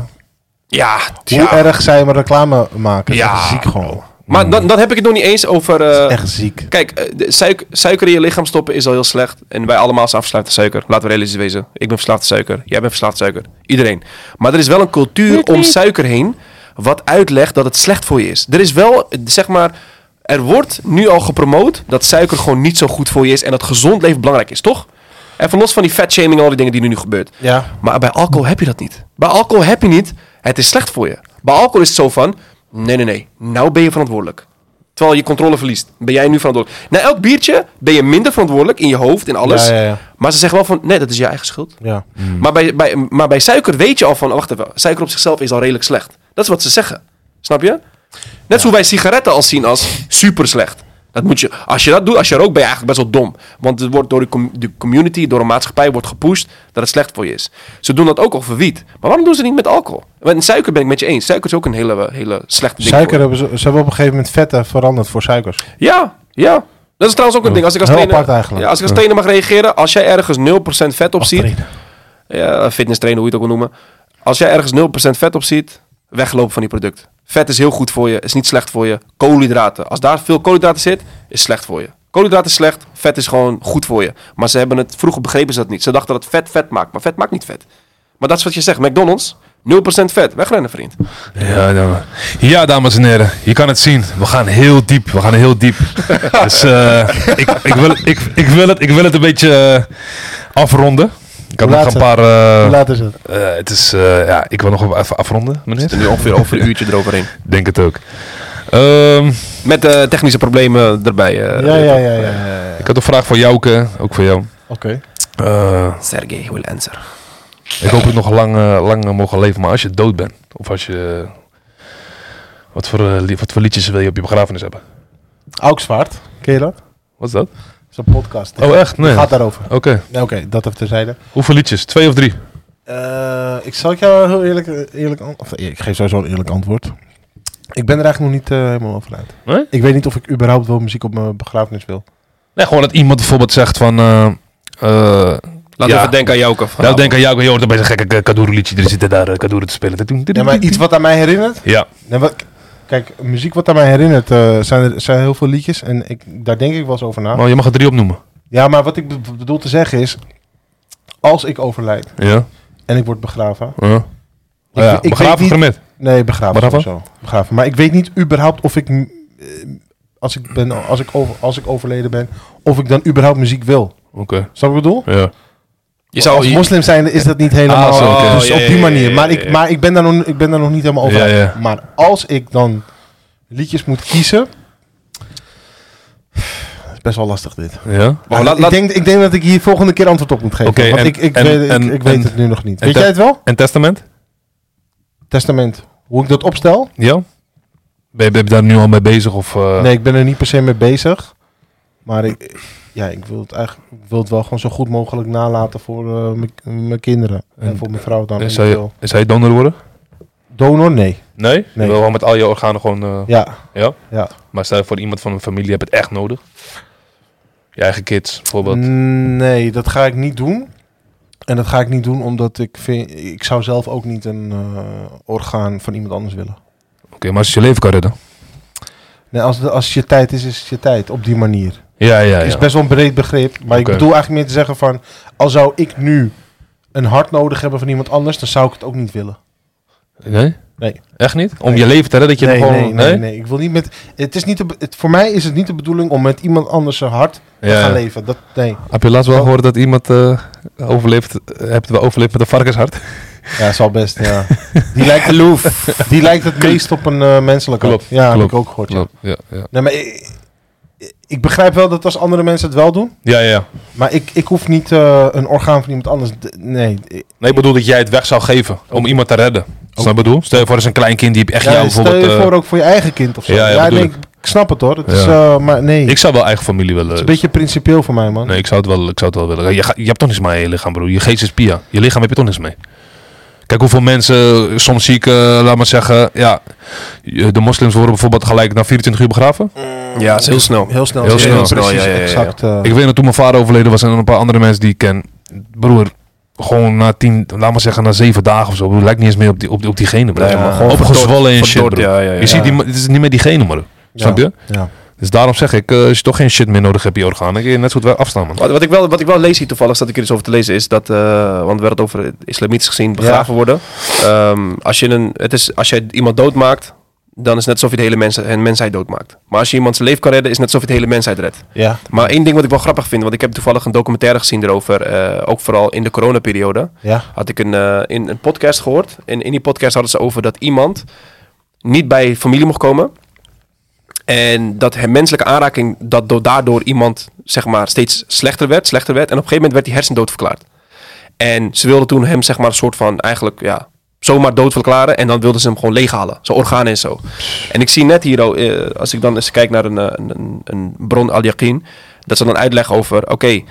S1: Ja,
S4: Hoe erg zij maar reclame maken. Ja.
S1: Ja.
S4: ziek gewoon.
S1: Maar dan, dan heb ik het nog niet eens over... eh,
S4: Hmm. Echt ziek.
S1: Kijk, eh, de suik- suiker in je lichaam stoppen is al heel slecht. En wij allemaal zijn verslaafd aan suiker. Laten we realistisch wezen. Ik ben verslaafd aan suiker. Jij bent verslaafd aan suiker. Iedereen. Maar er is wel een cultuur om suiker heen... wat uitlegt dat het slecht voor je is. Er is wel, eh, zeg maar... Er wordt nu al gepromoot dat suiker gewoon niet zo goed voor je is... en dat gezond leven belangrijk is, toch? En van los van die fatshaming en al die dingen die nu, nu gebeurt.
S4: Ja.
S1: Maar bij alcohol heb je dat niet. Bij alcohol heb je niet, het is slecht voor je. Bij alcohol is het zo van, nee, nee, nee, nou ben je verantwoordelijk. Terwijl je controle verliest, ben jij nu verantwoordelijk. Na elk biertje ben je minder verantwoordelijk in je hoofd, in alles.
S4: Ja, ja, ja.
S1: Maar ze zeggen wel van, nee, dat is je eigen schuld.
S4: Ja.
S1: Maar, bij, bij, maar bij suiker weet je al van, oh, wacht even, suiker op zichzelf is al redelijk slecht. Dat is wat ze zeggen. Snap je? Net als hoe wij sigaretten al zien als super slecht. Dat moet je, als je dat doet, als je rookt, ben je eigenlijk best wel dom. Want het wordt door de, com- de community, door de maatschappij wordt gepusht dat het slecht voor je is. Ze doen dat ook over wiet. Maar waarom doen ze niet met alcohol? Want suiker ben ik met je eens. Suiker is ook een hele, hele slechte ding. voor
S4: Suiker hebben ze, ze hebben op een gegeven moment vetten veranderd voor suikers.
S1: je. Ja, ja. Dat is trouwens ook een ding. Als ik als
S4: Heel
S1: trainer,
S4: apart eigenlijk.
S1: Ja, als ik als trainer mag reageren, als jij ergens 0% vet op ziet,
S4: trainer.
S1: ja, fitness trainer, hoe je het ook wil noemen. Als jij ergens 0% vet op ziet, weglopen van die product. Vet is heel goed voor je, is niet slecht voor je. Koolhydraten, als daar veel koolhydraten zit, is slecht voor je. Koolhydraten is slecht, vet is gewoon goed voor je. Maar ze hebben het, vroeger begrepen ze dat niet. Ze dachten dat vet vet maakt, maar vet maakt niet vet. Maar dat is wat je zegt, McDonald's, 0% vet, wegrennen vriend.
S3: Ja, dan- ja, dames en heren. Je kan het zien. We gaan heel diep. We gaan heel diep. dus eh, ik, ik, wil, ik, ik, wil het, ik wil het een beetje eh, afronden. Ik had
S4: Hoe
S3: nog
S4: laat
S3: een paar... eh,
S4: Hoe laat is het?
S3: eh, het is... eh, ja, ik wil nog even afronden, meneer.
S1: Nu ongeveer over een uurtje eroverheen.
S3: Denk het ook. Ehm,
S1: Met eh, technische problemen erbij. eh,
S4: Ja, ja, ja, ja. ja.
S3: ik had een vraag voor Jouke. Ook voor jou.
S4: Oké.
S3: Eh,
S1: Sergey will answer.
S3: ik hoop het nog lang, eh, lang eh, mogen leven. Maar als je dood bent. Of als je... wat, voor, eh, li- wat voor liedjes wil je op je begrafenis hebben?
S4: Auksvaart, ken je dat? Dat
S3: Wat is dat?
S4: is een podcast.
S3: Oh, echt? Nee.
S4: Gaat
S3: Oké.
S4: daarover. Nee, Oké, dat even terzijde.
S3: Hoeveel liedjes? Twee of drie?
S4: Eh, ik zal het jou heel eerlijk, eerlijk an- of, eh, Ik geef sowieso een eerlijk antwoord. Ik ben er eigenlijk nog niet eh, helemaal over uit.
S3: Nee?
S4: Ik weet niet of ik überhaupt wel muziek op mijn begrafenis wil.
S3: Nee, gewoon dat iemand bijvoorbeeld zegt van... eh eh
S1: Laten we
S3: Ja.
S1: even denken aan Jouke.
S3: nou, denk aan jou, joh, dat is een gekke kadoer liedje. Er zitten daar eh, kadoeren te spelen.
S4: Ja, maar iets wat aan mij herinnert.
S3: Ja,
S4: Nee, wat, kijk, muziek wat aan mij herinnert eh, zijn, er, zijn heel veel liedjes. En ik, daar denk ik wel eens over na.
S3: maar je mag er drie opnoemen.
S4: Ja, maar wat ik be- bedoel te zeggen is. Als ik overlijd
S3: Ja.
S4: en ik word begraven.
S3: ja. Ah
S4: Ik,
S3: Oh ja.
S4: ik
S3: Begraven
S4: weet niet-
S3: Germet.
S4: Nee, begraven.
S3: Begraven?
S4: sowieso. begraven. Maar ik weet niet überhaupt of ik. mm, eh, Als ik, ben, als, ik over, als ik overleden ben, of ik dan überhaupt muziek wil.
S3: Oké.
S4: Snap je wat ik bedoel?
S3: Ja.
S1: Je zou,
S4: Als moslim zijn is dat niet helemaal
S3: Ah, zo, oké.
S4: dus
S1: Oh, ja,
S4: op die
S1: ja, ja,
S4: manier.
S1: ja,
S4: Maar,
S1: ja,
S4: ik,
S1: ja.
S4: maar ik, ben daar nog, ik ben daar nog niet helemaal over.
S3: Ja,
S4: uit.
S3: ja.
S4: Maar als ik dan liedjes moet kiezen... Het is best wel lastig dit. Oh,
S3: Ja.
S1: Maar laat-
S4: ik,
S1: laat-
S4: denk, ik denk dat ik hier volgende keer antwoord op moet geven.
S3: Oké,
S4: want
S3: en-
S4: ik, ik,
S3: en-
S4: weet, ik,
S3: en-
S4: ik weet
S3: en-
S4: het nu nog niet.
S3: en
S4: Weet jij
S3: te-
S4: het wel?
S3: En Testament?
S4: Testament. Hoe ik dat opstel?
S3: Ja? Ben je, ben je daar nu al mee bezig? Of, eh,
S4: Nee, ik ben er niet per se mee bezig. Maar ik, ja, ik, wil het eigenlijk, ik wil het wel gewoon zo goed mogelijk nalaten voor eh, mijn- mijn kinderen. En,
S3: En-
S4: voor mijn vrouw dan.
S3: en zou, je,
S4: eventueel.
S3: zou je donor worden?
S4: Donor? Nee.
S3: Nee? Je
S4: Nee.
S3: wil wel met al je organen gewoon... eh,
S4: Ja.
S3: ja?
S4: Ja.
S3: Maar stel je voor iemand van een familie hebt het echt nodig. Je eigen kids, bijvoorbeeld.
S4: Mm. Nee, dat ga ik niet doen. En dat ga ik niet doen omdat ik vind... Ik zou zelf ook niet een eh, orgaan van iemand anders willen.
S3: Oké, maar als je je leven kan redden.
S4: Nee, als, de- als je tijd is, is het je tijd. Op die manier.
S3: Ja, ja,
S4: is
S3: ja.
S4: best wel een breed begrip. Maar ik
S3: Oké.
S4: bedoel eigenlijk meer te zeggen van... Al zou ik nu een hart nodig hebben van iemand anders... dan zou ik het ook niet willen.
S3: Nee?
S4: Nee.
S3: Echt niet? Om
S4: Nee.
S3: je leven te redden dat je
S4: nee,
S3: hem gewoon...
S4: nee, nee, nee, Ik wil niet met... Het is niet de, be- het, voor mij is het niet de bedoeling om met iemand anders zijn hart te
S3: Ja,
S4: gaan
S3: ja.
S4: leven. Dat, nee.
S3: Heb je
S4: Oh.
S3: laatst wel gehoord dat iemand eh, overleeft, eh, hebt we overleefd met een varkenshart?
S4: Ja, zal best, ja. Die lijkt het, die lijkt het meest op een eh menselijke.
S3: Klopt,
S4: Ja, heb
S3: klopt,
S4: ik ook gehoord. Ja.
S3: Ja, ja.
S4: Nee, maar ik, ik begrijp wel dat als andere mensen het wel doen...
S3: ja, ja.
S4: maar ik, ik hoef niet eh, een orgaan van iemand anders... d- Nee, ik-
S3: Nee, ik bedoel dat jij het weg zou geven om iemand te redden. Snap je wat ik bedoel? Stel je voor, er is een klein kind die echt
S4: Oh. Ja,
S3: jou
S4: stel
S3: bijvoorbeeld...
S4: je
S3: eh,
S4: voor ook voor je eigen kind of zo.
S3: Ja,
S4: Ja,
S3: ja, bedoel
S4: nee,
S3: ik.
S4: ik snap het hoor. Het is,
S3: Ja.
S4: eh, maar nee,
S3: Ik zou wel eigen familie
S4: het is
S3: willen.
S4: een beetje principieel voor mij, man.
S3: Nee, ik zou het wel, ik zou het wel willen. Je, ga- je hebt toch niks mee aan je lichaam, broer. Je geest is pia. Je lichaam heb je toch niks mee. Kijk hoeveel mensen, soms zie ik, eh, laat maar zeggen, ja, de moslims worden bijvoorbeeld gelijk na 24 uur begraven.
S1: Ja, het is heel snel.
S4: Heel snel.
S3: Heel
S4: Ja,
S3: snel.
S4: Precies,
S1: Ja, ja, ja, ja.
S4: exact. eh,
S3: Ik weet dat toen mijn vader overleden was en een paar andere mensen die ik ken. Broer, gewoon na tien, laat maar zeggen na zeven dagen of zo. Broer, lijkt niet eens meer op, die, op, die, op diegene, broer.
S1: Nee, maar gewoon
S3: Opgezwollen en shit,
S1: verdord,
S3: broer.
S1: ja, ja, ja.
S3: Je ziet, die, ma- het is niet meer diegene, broer. Snap je?
S4: Ja.
S3: Dus daarom zeg ik, eh, als je toch geen shit meer nodig hebt in je organen, kun je net zo goed wel afstaan, man.
S1: Wat, wat, ik wel, wat ik wel lees hier toevallig, staat ik er iets over te lezen, is dat, eh, want we hadden het over islamitisch gezien begraven worden. Ehm, als, je een, het is, als je iemand doodmaakt, dan is het net alsof je de hele mens, een mensheid doodmaakt. Maar als je iemand zijn leven kan redden, is het net alsof je de hele mensheid redt.
S4: Ja.
S1: Maar één ding wat ik wel grappig vind, want ik heb toevallig een documentaire gezien erover, eh, ook vooral in de coronaperiode,
S4: Ja.
S1: had ik een, eh, in een podcast gehoord. En in die podcast hadden ze over dat iemand niet bij familie mocht komen. En dat hem- menselijke aanraking, dat do- daardoor iemand zeg maar, steeds slechter werd, slechter werd. En op een gegeven moment werd hij hersendood verklaard. En ze wilden toen hem zeg maar, een soort van eigenlijk ja, zomaar dood verklaren. En dan wilden ze hem gewoon leeghalen, zijn organen en zo. En ik zie net hier, oh, eh, als ik dan eens kijk naar een, eh, een, een, een bron al-Yaqin, dat ze dan uitleggen over, oké,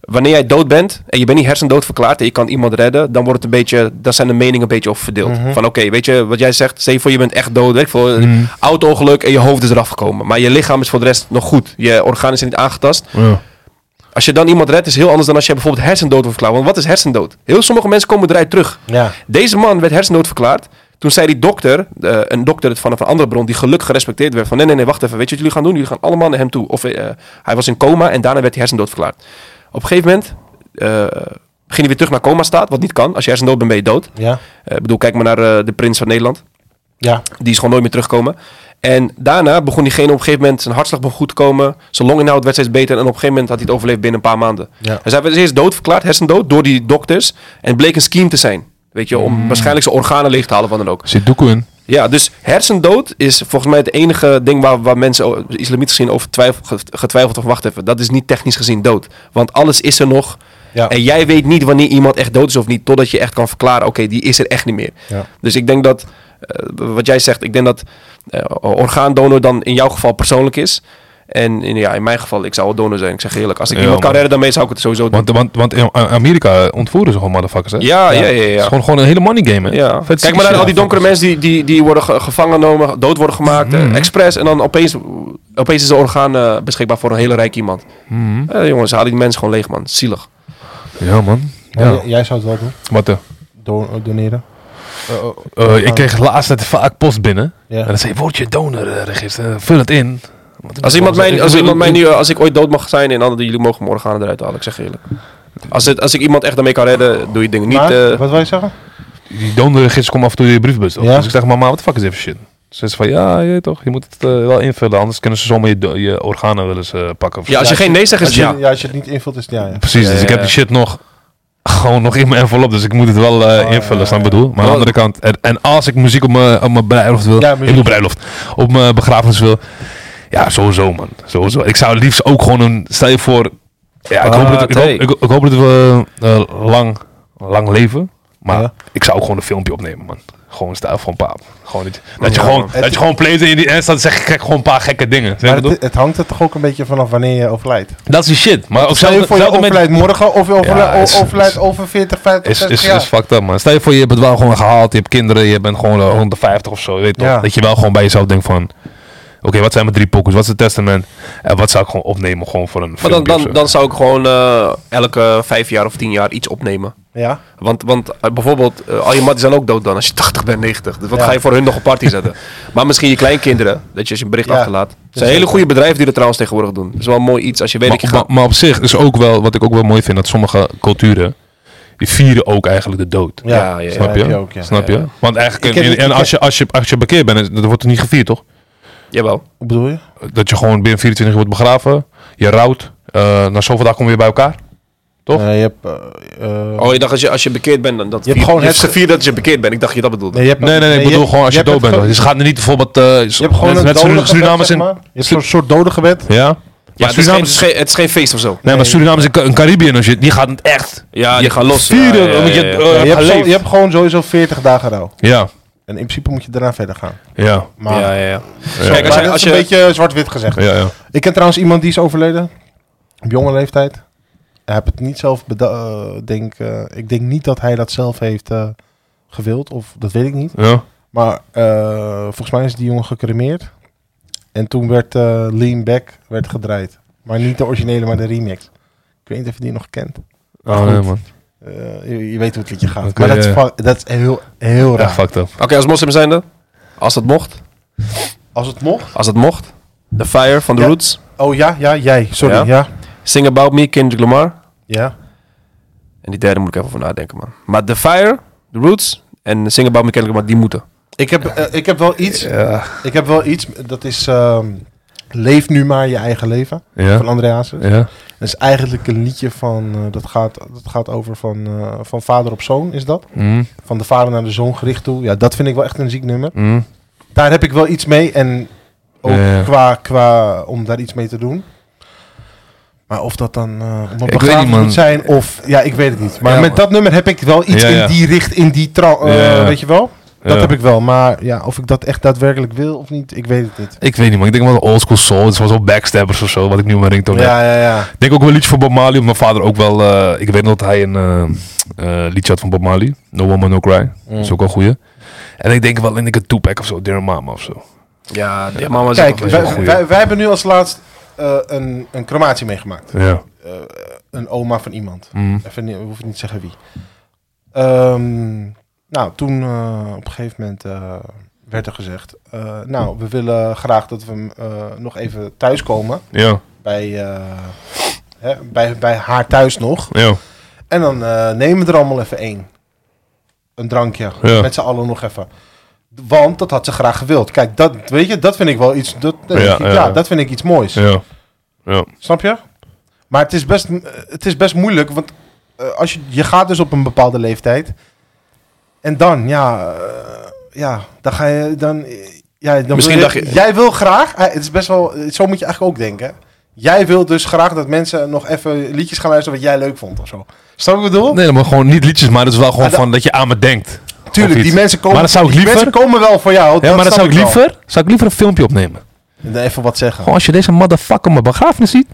S1: wanneer jij dood bent en je bent niet hersendood verklaard en je kan iemand redden, dan wordt het een beetje, daar zijn de meningen een beetje over verdeeld. Van oké, weet je wat jij zegt, stel je voor je bent echt dood, weet ik veel, een auto-ongeluk en je hoofd is eraf gekomen. Maar je lichaam is voor de rest nog goed, je organen zijn niet aangetast.
S3: Ja.
S1: Als je dan iemand redt is heel anders dan als je bijvoorbeeld hersendood wordt verklaard. Want wat is hersendood? Heel sommige mensen komen eruit terug.
S4: Ja.
S1: Deze man werd hersendood verklaard. Toen zei die dokter, eh, een dokter van een andere bron, die gelukkig gerespecteerd werd, van nee, nee, nee, wacht even, weet je wat jullie gaan doen? Jullie gaan allemaal naar hem toe. Of eh, hij was in coma en daarna werd hij hersendood verklaard. Op een gegeven moment eh, ging hij weer terug naar coma staat, wat niet kan. Als je hersendood bent, ben je dood.
S4: Ja.
S1: Eh, Ik bedoel, kijk maar naar eh, de prins van Nederland.
S4: Ja.
S1: Die is gewoon nooit meer teruggekomen. En daarna begon diegene op een gegeven moment... zijn hartslag begon goed te komen. Zijn longinhoud werd steeds beter. En op een gegeven moment had hij het overleefd binnen een paar maanden.
S4: Ja.
S1: Dus hij werd eerst doodverklaard, hersendood, door die dokters. En het bleek een scheme te zijn. Weet je, om waarschijnlijk zijn organen leeg te halen van dan ook.
S3: Zit doekoe in.
S1: Ja, dus hersendood is volgens mij het enige ding waar, waar mensen o- islamitisch gezien over twijfel, ge- getwijfeld of wacht even. Dat is niet technisch gezien dood. Want alles is er nog.
S4: Ja.
S1: En jij weet niet wanneer iemand echt dood is of niet. Totdat je echt kan verklaren, oké, die is er echt niet meer.
S4: Ja.
S1: Dus ik denk dat, eh, wat jij zegt, ik denk dat eh, orgaandonor dan in jouw geval persoonlijk is. En in, ja, in mijn geval, ik zou wel donor zijn. Ik zeg eerlijk, als ik
S3: Ja,
S1: iemand kan
S3: man.
S1: redden, dan mee zou ik het sowieso doen.
S3: Want, want, want in Amerika ontvoeren ze gewoon motherfuckers, hè?
S1: Ja, ja, ja. ja,
S3: Het is gewoon, gewoon een hele money game, hè?
S1: Ja.
S3: Vet
S1: Kijk maar naar
S3: shit.
S1: al die donkere mensen die, die, die worden ge- gevangen genomen, dood worden gemaakt, eh, expres. En dan opeens, opeens is een orgaan eh, beschikbaar voor een hele rijk iemand. Eh, jongens, haal die mensen gewoon leeg, man. Zielig.
S3: Ja, man.
S4: Maar
S3: Ja.
S4: j- Jij zou het wel doen.
S3: Wat, eh,
S4: Don- doneren.
S3: eh, ik kreeg laatst net vaak post binnen.
S4: Ja.
S3: En dan zei word je donorregister, vul het in. Want-
S1: Als iemand mij,
S3: Ik
S1: als
S3: wil-
S1: iemand mij nu, eh, als ik ooit dood mag zijn en anderen, jullie mogen mijn organen eruit halen, ik zeg je eerlijk. Als, het, als ik iemand echt daarmee kan redden, doe je dingen niet.
S4: Maar,
S1: eh,
S4: wat wil je zeggen?
S3: Die donorregister komt af en toe in je briefbus. op.
S4: Ja.
S3: Dus ik zeg, mama, wat de fuck is even shit? Ze zei van, ja, je, weet toch, je moet het eh, wel invullen, anders kunnen ze zomaar je, do- je organen wel eens eh, pakken.
S1: ja, als je
S4: ja,
S1: geen nee zegt, is
S4: Als
S1: het
S4: je,
S1: ja.
S4: ja, als je het niet invult, is het ja. ja.
S3: Precies,
S1: Ja,
S3: dus
S1: ja,
S3: ik
S1: ja.
S3: heb
S4: Eh,
S3: die shit nog gewoon nog in mijn envelop, dus ik moet het wel eh,
S4: Oh,
S3: invullen, snap je wat ik bedoel? Maar aan de
S1: Oh.
S3: andere kant, en, en als ik muziek op mijn, op mijn bruiloft wil,
S4: Ja,
S3: ik
S4: muziek.
S3: bedoel bruiloft, op mijn begrafenis wil, ja, sowieso man, sowieso. Ik zou het liefst ook gewoon een, stel je voor, ja, ik hoop
S1: Ah,
S3: dat, ik hoop,
S1: tee.
S3: ik, ik hoop dat we eh, lang, lang leven, Maar
S4: Ja.
S3: ik zou ook gewoon een filmpje opnemen, man. Gewoon stijl van paap. Gewoon dat, je- dat je
S1: Ja,
S3: gewoon,
S1: man.
S3: dat
S4: Het-
S3: je gewoon playt en, je die- en dan zeg ik kijk, gewoon een paar gekke dingen. Weet je
S4: Maar
S3: wat ik
S4: het,
S3: bedoel?
S4: het hangt er toch ook een beetje vanaf wanneer je overlijdt.
S3: dat is die shit. Maar ook
S4: Stel je
S3: zelfs
S4: voor je
S3: zelfs met-
S4: overlijdt morgen of je overlijdt
S3: is- is-
S4: overlijdt over 40, 50,
S3: is,
S4: 60
S3: is,
S4: jaar.
S3: is fucked up, man. Stel je voor, je hebt het wel gewoon gehaald. Je hebt kinderen, je bent gewoon eh, 150 of zo. Je weet toch?
S4: Ja.
S3: Dat je wel gewoon bij jezelf denkt van... Oké, wat zijn mijn drie pokus? Wat is het testament? En wat zou ik gewoon opnemen gewoon voor een
S1: Maar dan,
S3: filmpje of
S1: dan,
S3: zo?
S1: dan zou ik gewoon eh, elke vijf jaar of tien jaar iets opnemen.
S4: ja.
S1: Want, want eh, bijvoorbeeld, eh, al je matten zijn ook dood dan als je 80 bent, 90. Dus wat
S4: Ja.
S1: ga je voor hun nog een party zetten? maar misschien je kleinkinderen, dat je als je een bericht
S4: Ja.
S1: achterlaat. Het is een
S4: zeker.
S1: hele goede bedrijf die dat trouwens tegenwoordig doen. Dat is wel een mooi iets als je weet dat je
S3: maar, maar,
S1: gaat.
S3: maar op zich is ook wel... Wat ik ook wel mooi vind, dat sommige culturen... Die vieren ook eigenlijk de dood.
S4: Ja,
S1: Ja, ja,
S3: Snap
S4: ja,
S3: je?
S4: heb je ook, ja.
S3: Snap je?
S1: Ja, ja.
S3: Want eigenlijk,
S4: Ik heb-
S3: en
S4: ik
S3: als je, als je, als je bekeerd bent, is- dat wordt er niet gevierd, toch?
S1: Jawel.
S4: Hoe bedoel je?
S3: Dat je gewoon binnen 24 uur wordt begraven, je rouwt, eh na zoveel dagen kom je weer bij elkaar. Toch?
S4: Nee, je hebt, eh, eh,
S1: Oh, je dacht als je, als je bekeerd bent, dan dat
S4: hebt gewoon
S1: het
S4: het-
S1: gevierd dat je bekeerd bent. Ik dacht dat je dat bedoelde.
S4: nee, je hebt-
S3: Nee, nee, nee, ik
S4: je
S3: bedoel
S4: hebt-
S3: gewoon als je,
S4: hebt
S3: dood bent.
S4: het ge-
S3: Dus gaat er niet bijvoorbeeld... eh
S4: Je hebt gewoon
S3: net,
S4: een
S3: net
S4: dodengebed,
S3: Surinamers
S4: zeg
S3: in...
S4: maar. Je hebt zo'n soort dodengebed.
S3: Ja?
S1: ja,
S3: maar
S1: het, is geen, het,
S3: Surinamers...
S1: is geen, het is geen feest of zo.
S3: Nee, maar Surinamers en Ca- en Caribbean en shit, die gaat het echt.
S1: Ja,
S3: Je
S1: die gaan los.
S3: vieren,
S1: ja, ja,
S3: omdat je-
S1: ja, ja.
S3: eh,
S4: Ja, je, oh. hebt zo-
S3: geleefd.
S4: je hebt gewoon sowieso 40 dagen rouw.
S3: Ja,
S4: En in principe moet je daarna verder gaan.
S3: ja,
S4: Maar,
S1: Ja, ja, ja.
S4: Zo,
S1: Kijk, als
S4: maar
S1: je-
S4: dat
S1: als
S4: is een
S1: je-
S4: beetje zwart-wit gezegd.
S3: ja, ja.
S4: Ik ken trouwens iemand die is overleden. Op jonge leeftijd. Hij heeft het niet zelf beda- eh, denk, eh, Ik denk niet dat hij dat zelf heeft eh, gewild. Of dat weet ik niet.
S3: ja.
S4: Maar eh, volgens mij is die jongen gecremeerd. En toen werd eh, Lean Back werd gedraaid. Maar niet de originele, maar de remix. Ik weet niet of je die nog kent.
S3: Oh, nee, man.
S4: Eh, je, je weet hoe het liedje gaat.
S3: Oké,
S4: maar dat is,
S3: ja,
S4: fa- dat is heel, heel
S3: Echt
S4: raar.
S3: fucked up.
S1: Oké, als moslim zijn dan? Als dat mocht.
S4: Als het mocht.
S1: Als dat mocht. The Fire van The
S4: Ja.
S1: Roots.
S4: Oh ja, ja, jij. Sorry,
S1: Ja?
S4: ja. Ja.
S1: Sing About Me, Kendrick Lamar.
S4: ja.
S1: En die derde moet ik even over nadenken, man. Maar The Fire, The Roots en Sing About Me Kendrick Lamar, die moeten.
S4: Ik, heb, eh, ik heb wel iets. Ik heb wel iets. Dat is... ehm, Leef nu maar je eigen leven.
S3: Ja,
S4: Van André Hazes.
S3: ja,
S4: Dat is eigenlijk een liedje van... eh, dat, gaat, dat gaat over van, eh, van vader op zoon, is dat?
S3: mm,
S4: Van de vader naar de zoon gericht toe. Ja, dat vind ik wel echt een ziek nummer.
S3: mm.
S4: Daar heb ik wel iets mee. En ook
S3: Ja, ja.
S4: Qua, qua... Om daar iets mee te doen. Maar of dat dan eh op een
S3: weet
S4: begrafenis
S3: niet, man.
S4: moet zijn of... Ja, ik weet het niet. Maar
S3: Ja,
S4: met
S3: man.
S4: dat nummer heb ik wel iets
S3: Ja, ja.
S4: in die richt, in die trouw. eh,
S3: Ja, ja.
S4: Weet je wel? Dat
S3: Ja.
S4: heb ik wel, maar ja, of ik dat echt daadwerkelijk wil of niet, ik weet het niet.
S3: Ik weet niet, man. Ik denk wel old school soul. Het was wel backstabbers of zo, wat ik nu in mijn ringtone heb.
S4: Ja, ja, ja.
S3: Ik denk ook wel liedje van Bob Marley. omdat Mijn vader ook wel... eh, ik weet nog dat hij een eh, eh, liedje had van Bob Marley. No Woman, No Cry. Dat is ook wel een goeie. En ik denk wel in een Tupac of zo. Dear Mama of zo.
S1: Ja, die mama is
S4: Kijk,
S1: ook wel
S4: wij,
S1: zo goed.
S3: goeie.
S4: wij, wij hebben nu als laatst eh, een, een crematie meegemaakt. Eh,
S3: Ja.
S4: Een oma van iemand.
S3: Mm.
S4: Even, niet- we hoeven niet te zeggen wie. Ehm, nou, toen eh, op een gegeven moment eh, werd er gezegd... eh, nou, we willen graag dat we hem eh, nog even thuiskomen
S3: Ja.
S4: bij, eh, hè, bij, bij haar thuis nog.
S3: Ja.
S4: En dan eh, nemen we er allemaal even één. Een drankje.
S3: Ja.
S4: Met z'n allen nog even. Want dat had ze graag gewild. Kijk, dat, weet je, dat vind ik wel iets. Dat, dat
S3: Ja,
S4: vind ik-
S3: ja,
S4: ja,
S3: ja.
S4: dat vind ik iets moois.
S3: Ja. Ja.
S4: Snap je? Maar het is best, eh, het is best moeilijk. Want eh, als je, je gaat dus op een bepaalde leeftijd. En dan, ja. eh, ja, dan ga je. Dan, eh, ja, dan wil
S1: Misschien
S4: je-
S1: dacht je-
S4: Jij wil graag. eh, het is best wel. eh, Zo moet je eigenlijk ook denken. Jij wil dus graag dat mensen nog even liedjes gaan luisteren wat jij leuk vond of zo. Snap je wat ik bedoel?
S3: Nee, maar gewoon niet liedjes, maar dat is wel gewoon
S4: Ah, dat-
S3: van dat je aan me denkt. Of
S4: Tuurlijk,
S3: iets.
S4: die mensen komen.
S3: Maar dat zou ik
S4: die
S3: liever-
S4: mensen komen wel voor jou.
S3: Ja, maar dan
S4: snap
S3: zou ik
S4: wel.
S3: liever, zou ik liever een filmpje opnemen.
S4: En dan Even wat zeggen.
S3: Gewoon als je deze motherfucker mijn begrafenis ziet.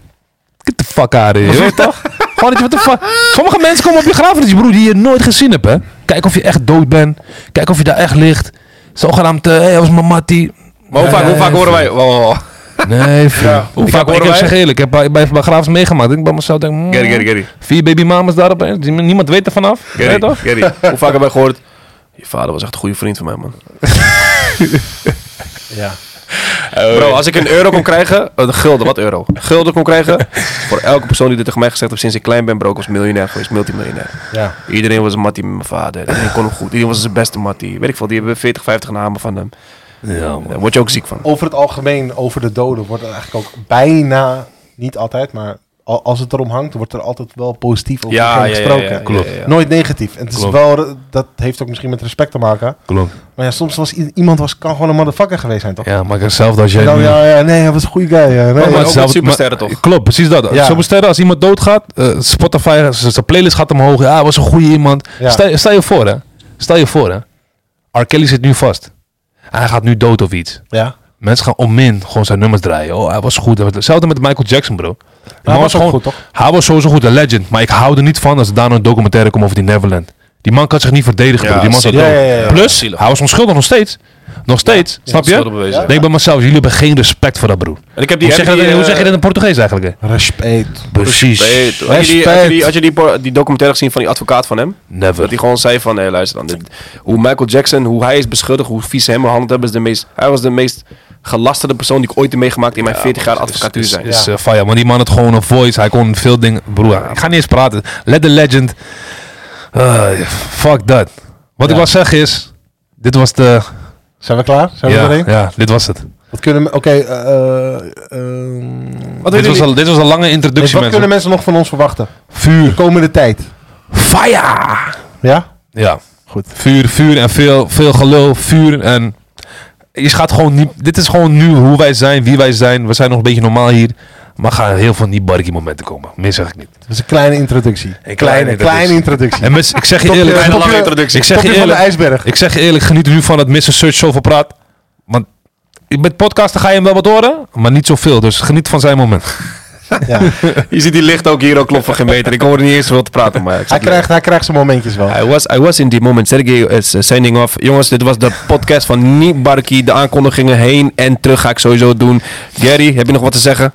S3: Get the fuck out of here. Weet je toch? Gewoon dat je wat de fuck. Sommige mensen komen op je begrafenis, broer, die je nooit gezien hebt, hè. Kijk of je echt dood bent. Kijk of je daar echt ligt. Zogenaamd, hé, hey, dat was mijn mattie.
S1: Maar hoe vaak, hoe vaak horen wij... Oh,
S3: Nee, vriend. Hoe
S1: Ik
S3: vaak
S1: heb-
S3: horen
S1: ik
S3: wij?
S1: heb-
S3: zeg eerlijk, ik heb bij, bij begrafenis meegemaakt. Ik bij mezelf denk, mm,
S1: Gary, Gary, Gary.
S3: vier babymamas daarop. hè, die- Niemand weet er vanaf. Weet je
S1: Gary,
S3: toch?
S1: Gary. Hoe vaak hebben wij gehoord... Je vader was echt een goede vriend van mij, man.
S4: Ja.
S1: Bro, als ik een euro kon krijgen... oh, Een gulden, wat euro? Een gulden kon krijgen... Voor elke persoon die dit tegen mij gezegd heeft sinds ik klein ben... Bro, ik was miljonair geweest, multimiljonair.
S4: Ja.
S1: Iedereen was een mattie met mijn vader. Iedereen kon hem goed. Iedereen was zijn beste mattie. Weet ik veel, die hebben 40, 50 namen van hem.
S3: Ja,
S1: Daar word je ook ziek van.
S4: over het algemeen, over de doden, wordt er eigenlijk ook bijna, niet altijd, maar al- als het erom hangt, wordt er altijd wel positief over
S1: Ja,
S4: diegene
S1: ja, ja,
S4: gesproken.
S1: ja, ja,
S3: Klopt.
S1: ja, ja.
S4: Nooit negatief. En het is
S3: Klopt.
S4: wel, dat heeft ook misschien met respect te maken.
S3: Klopt.
S4: Maar ja, soms was i- iemand was, kan gewoon een motherfucker geweest zijn, toch?
S3: Ja, maar hetzelfde als jij
S4: En dan,
S3: nu-
S4: ja, ja, nee, hij was een goede guy. ja, nee,
S1: Maar-
S4: ja.
S1: ook met
S3: hetzelfde-
S1: supersterren, toch?
S3: Klopt, precies dat.
S4: Ja.
S3: Supersterren, als iemand doodgaat, eh, Spotify, z- zijn playlist gaat omhoog. Ja, was een goede iemand.
S4: Ja.
S3: Stel, stel je voor, hè. Stel je voor, hè. R. Kelly zit nu vast. Hij gaat nu dood of iets.
S4: ja.
S3: Mensen gaan onmin gewoon zijn nummers draaien. Oh, hij was goed. Hetzelfde met Michael Jackson, bro. Die man
S4: was ook
S3: gewoon-
S4: goed, toch?
S3: Hij was sowieso goed, een legend. Maar ik hou er niet van als er daarna een documentaire komt over die Neverland. Die man kan zich niet verdedigen,
S1: Ja,
S3: bro. Die man zat
S1: zielig.
S3: dood.
S4: Ja, ja, ja, ja.
S3: Plus, hij was onschuldig nog steeds. Nog steeds, snap je?
S1: Schuldig bewezen.
S3: Ik denk bij mezelf, jullie hebben geen respect voor dat, broer.
S1: En ik heb die,
S3: Hoe zeg, je
S1: heb
S3: dat,
S1: die,
S3: hoe
S1: eh,
S3: zeg je dat in het Portugees eigenlijk? hè?
S4: Respect.
S3: Precies.
S1: Respect. Had je, die, had je, die, had je die, por- die documentaire gezien van die advocaat van hem? Dat hij
S3: Never.
S1: gewoon zei van, hé luister dan, dit- hoe Michael Jackson, hoe hij is beschuldigd, hoe vies ze hem behandeld hebben, is de meest, hij was de meest gelasterde persoon die ik ooit heb meegemaakt in mijn 40 jaar advocatuur
S3: Is,
S1: zijn.
S3: is eh, fire. Maar die man had gewoon een voice. Hij kon veel dingen... Broer, ik ga niet eens praten. Let the legend. Eh, fuck that. Wat ik wil zeggen is... Dit was de...
S4: Zijn we klaar? Zijn we
S3: ja,
S4: erin?
S3: ja, dit was het.
S4: Wat kunnen... me- Oké, eh, eh, ehm,
S1: Wat willen
S3: Dit was,
S1: jullie?
S3: al, dit was een lange
S4: Dus
S3: introductie,
S4: wat
S3: mensen.
S4: kunnen mensen nog van ons verwachten?
S3: Vuur.
S4: De komende tijd.
S3: Fire!
S4: Ja?
S3: Ja, goed. Vuur, vuur en veel, veel gelul, vuur en... Je gaat gewoon niet... Dit is gewoon nu hoe wij zijn, wie wij zijn. We zijn nog een beetje normaal hier. Maar er gaan heel veel niet barkie momenten komen. Meer zeg ik niet.
S4: Dat is een kleine introductie.
S3: kleine
S4: kleine,
S3: introductie.
S4: kleine introductie.
S3: En mis- ik zeg je
S4: Topje-
S3: eerlijk...
S4: topje-
S1: lange introductie.
S3: Ik zeg je
S4: topje van de
S3: eerlijk...
S4: ijsberg.
S3: Ik zeg je eerlijk, geniet er nu van dat Mr. Search zoveel praat. Want met podcasten ga je hem wel wat horen, maar niet zoveel. Dus geniet van zijn moment.
S4: Ja.
S1: Je ziet die licht ook hier ook klopt van geen meter. Ik hoorde niet eens veel te praten, maar ik
S4: hij, krijgt, hij krijgt zijn momentjes wel.
S1: I was, I was in die moment. Sergey is eh, sending off. Jongens, dit was de podcast van Niet Barkie. De aankondigingen heen en terug ga ik sowieso doen. Gary, heb je nog wat te zeggen?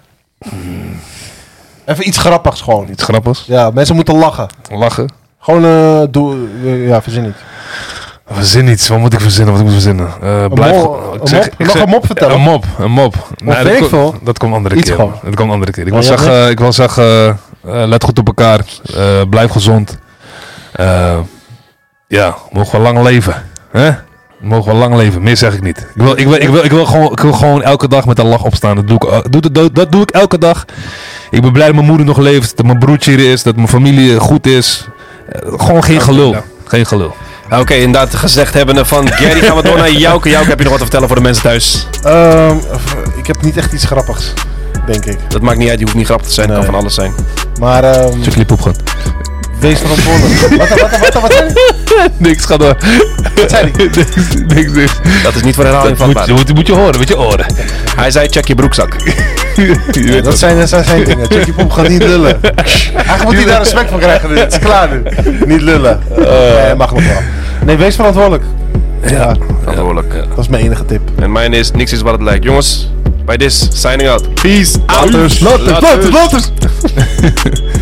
S4: Even iets grappigs gewoon.
S3: Iets grappigs.
S4: Ja, mensen moeten lachen.
S3: Lachen.
S4: Gewoon, eh, doe, eh, ja, verzin niet.
S3: Verzin iets. Wat moet ik verzinnen? Wat moet ik verzinnen? Eh, blijf
S4: mol-
S3: gewoon- ik
S4: een
S3: zeg-
S4: mop?
S3: ik
S4: Mag
S3: zeg-
S4: een mop vertellen?
S3: Een mop. Een mop. Nee,
S4: weet ik
S3: ko-
S4: veel.
S3: Dat komt andere
S4: Iets
S3: keer.
S4: gewoon.
S3: Dat komt andere keer. Ik wil
S4: Maar je hebt
S3: zeggen, eh, ik wil zeggen eh, eh, let goed op elkaar. Eh, blijf gezond. Eh, ja, mogen we lang leven. Hè? Mogen we lang leven. Meer zeg ik niet. Ik wil, ik wil, ik wil, ik wil, gewoon, ik wil gewoon elke dag met een lach opstaan. Dat doe, ik, eh, doe- dat, doe- dat doe ik elke dag. Ik ben blij dat mijn moeder nog leeft. Dat mijn broertje hier is. Dat mijn familie goed is. Eh, gewoon geen gelul. Geen gelul.
S1: Oké, inderdaad gezegd hebbende van Gary gaan we door naar Jouke. Jouke, heb je nog wat te vertellen voor de mensen thuis?
S4: Ehm, f- ik heb niet echt iets grappigs, denk ik.
S1: Dat maakt niet uit, je hoeft niet grappig te zijn. Het
S4: Nee.
S1: kan van alles zijn.
S4: Maar ehm,
S3: Stukje poep gaan.
S4: wees verantwoordelijk. wat, wat, wat, wat, wat zei die?
S3: Niks, ga door.
S4: Wat zei die?
S3: niks, niks, niks.
S1: Dat is niet voor herhaling
S3: Dat moet,
S1: vatbaar.
S3: je- moet, je- moet je horen, met je oren.
S1: Hij zei check je broekzak.
S4: Ja, dat zijn, dat zijn zijn dingen. Chucky Poep gaat niet lullen. Eigenlijk moet hij daar respect voor krijgen nu. Het is klaar nu. Niet lullen.
S3: Eh.
S4: nee, mag nog wel. Nee, wees verantwoordelijk. Ja,
S1: Verantwoordelijk.
S4: dat is mijn enige tip.
S1: En mijn is, niks is wat het lijkt. Jongens, bij this, signing out. Peace out.
S4: Laters, laters, laters, laters.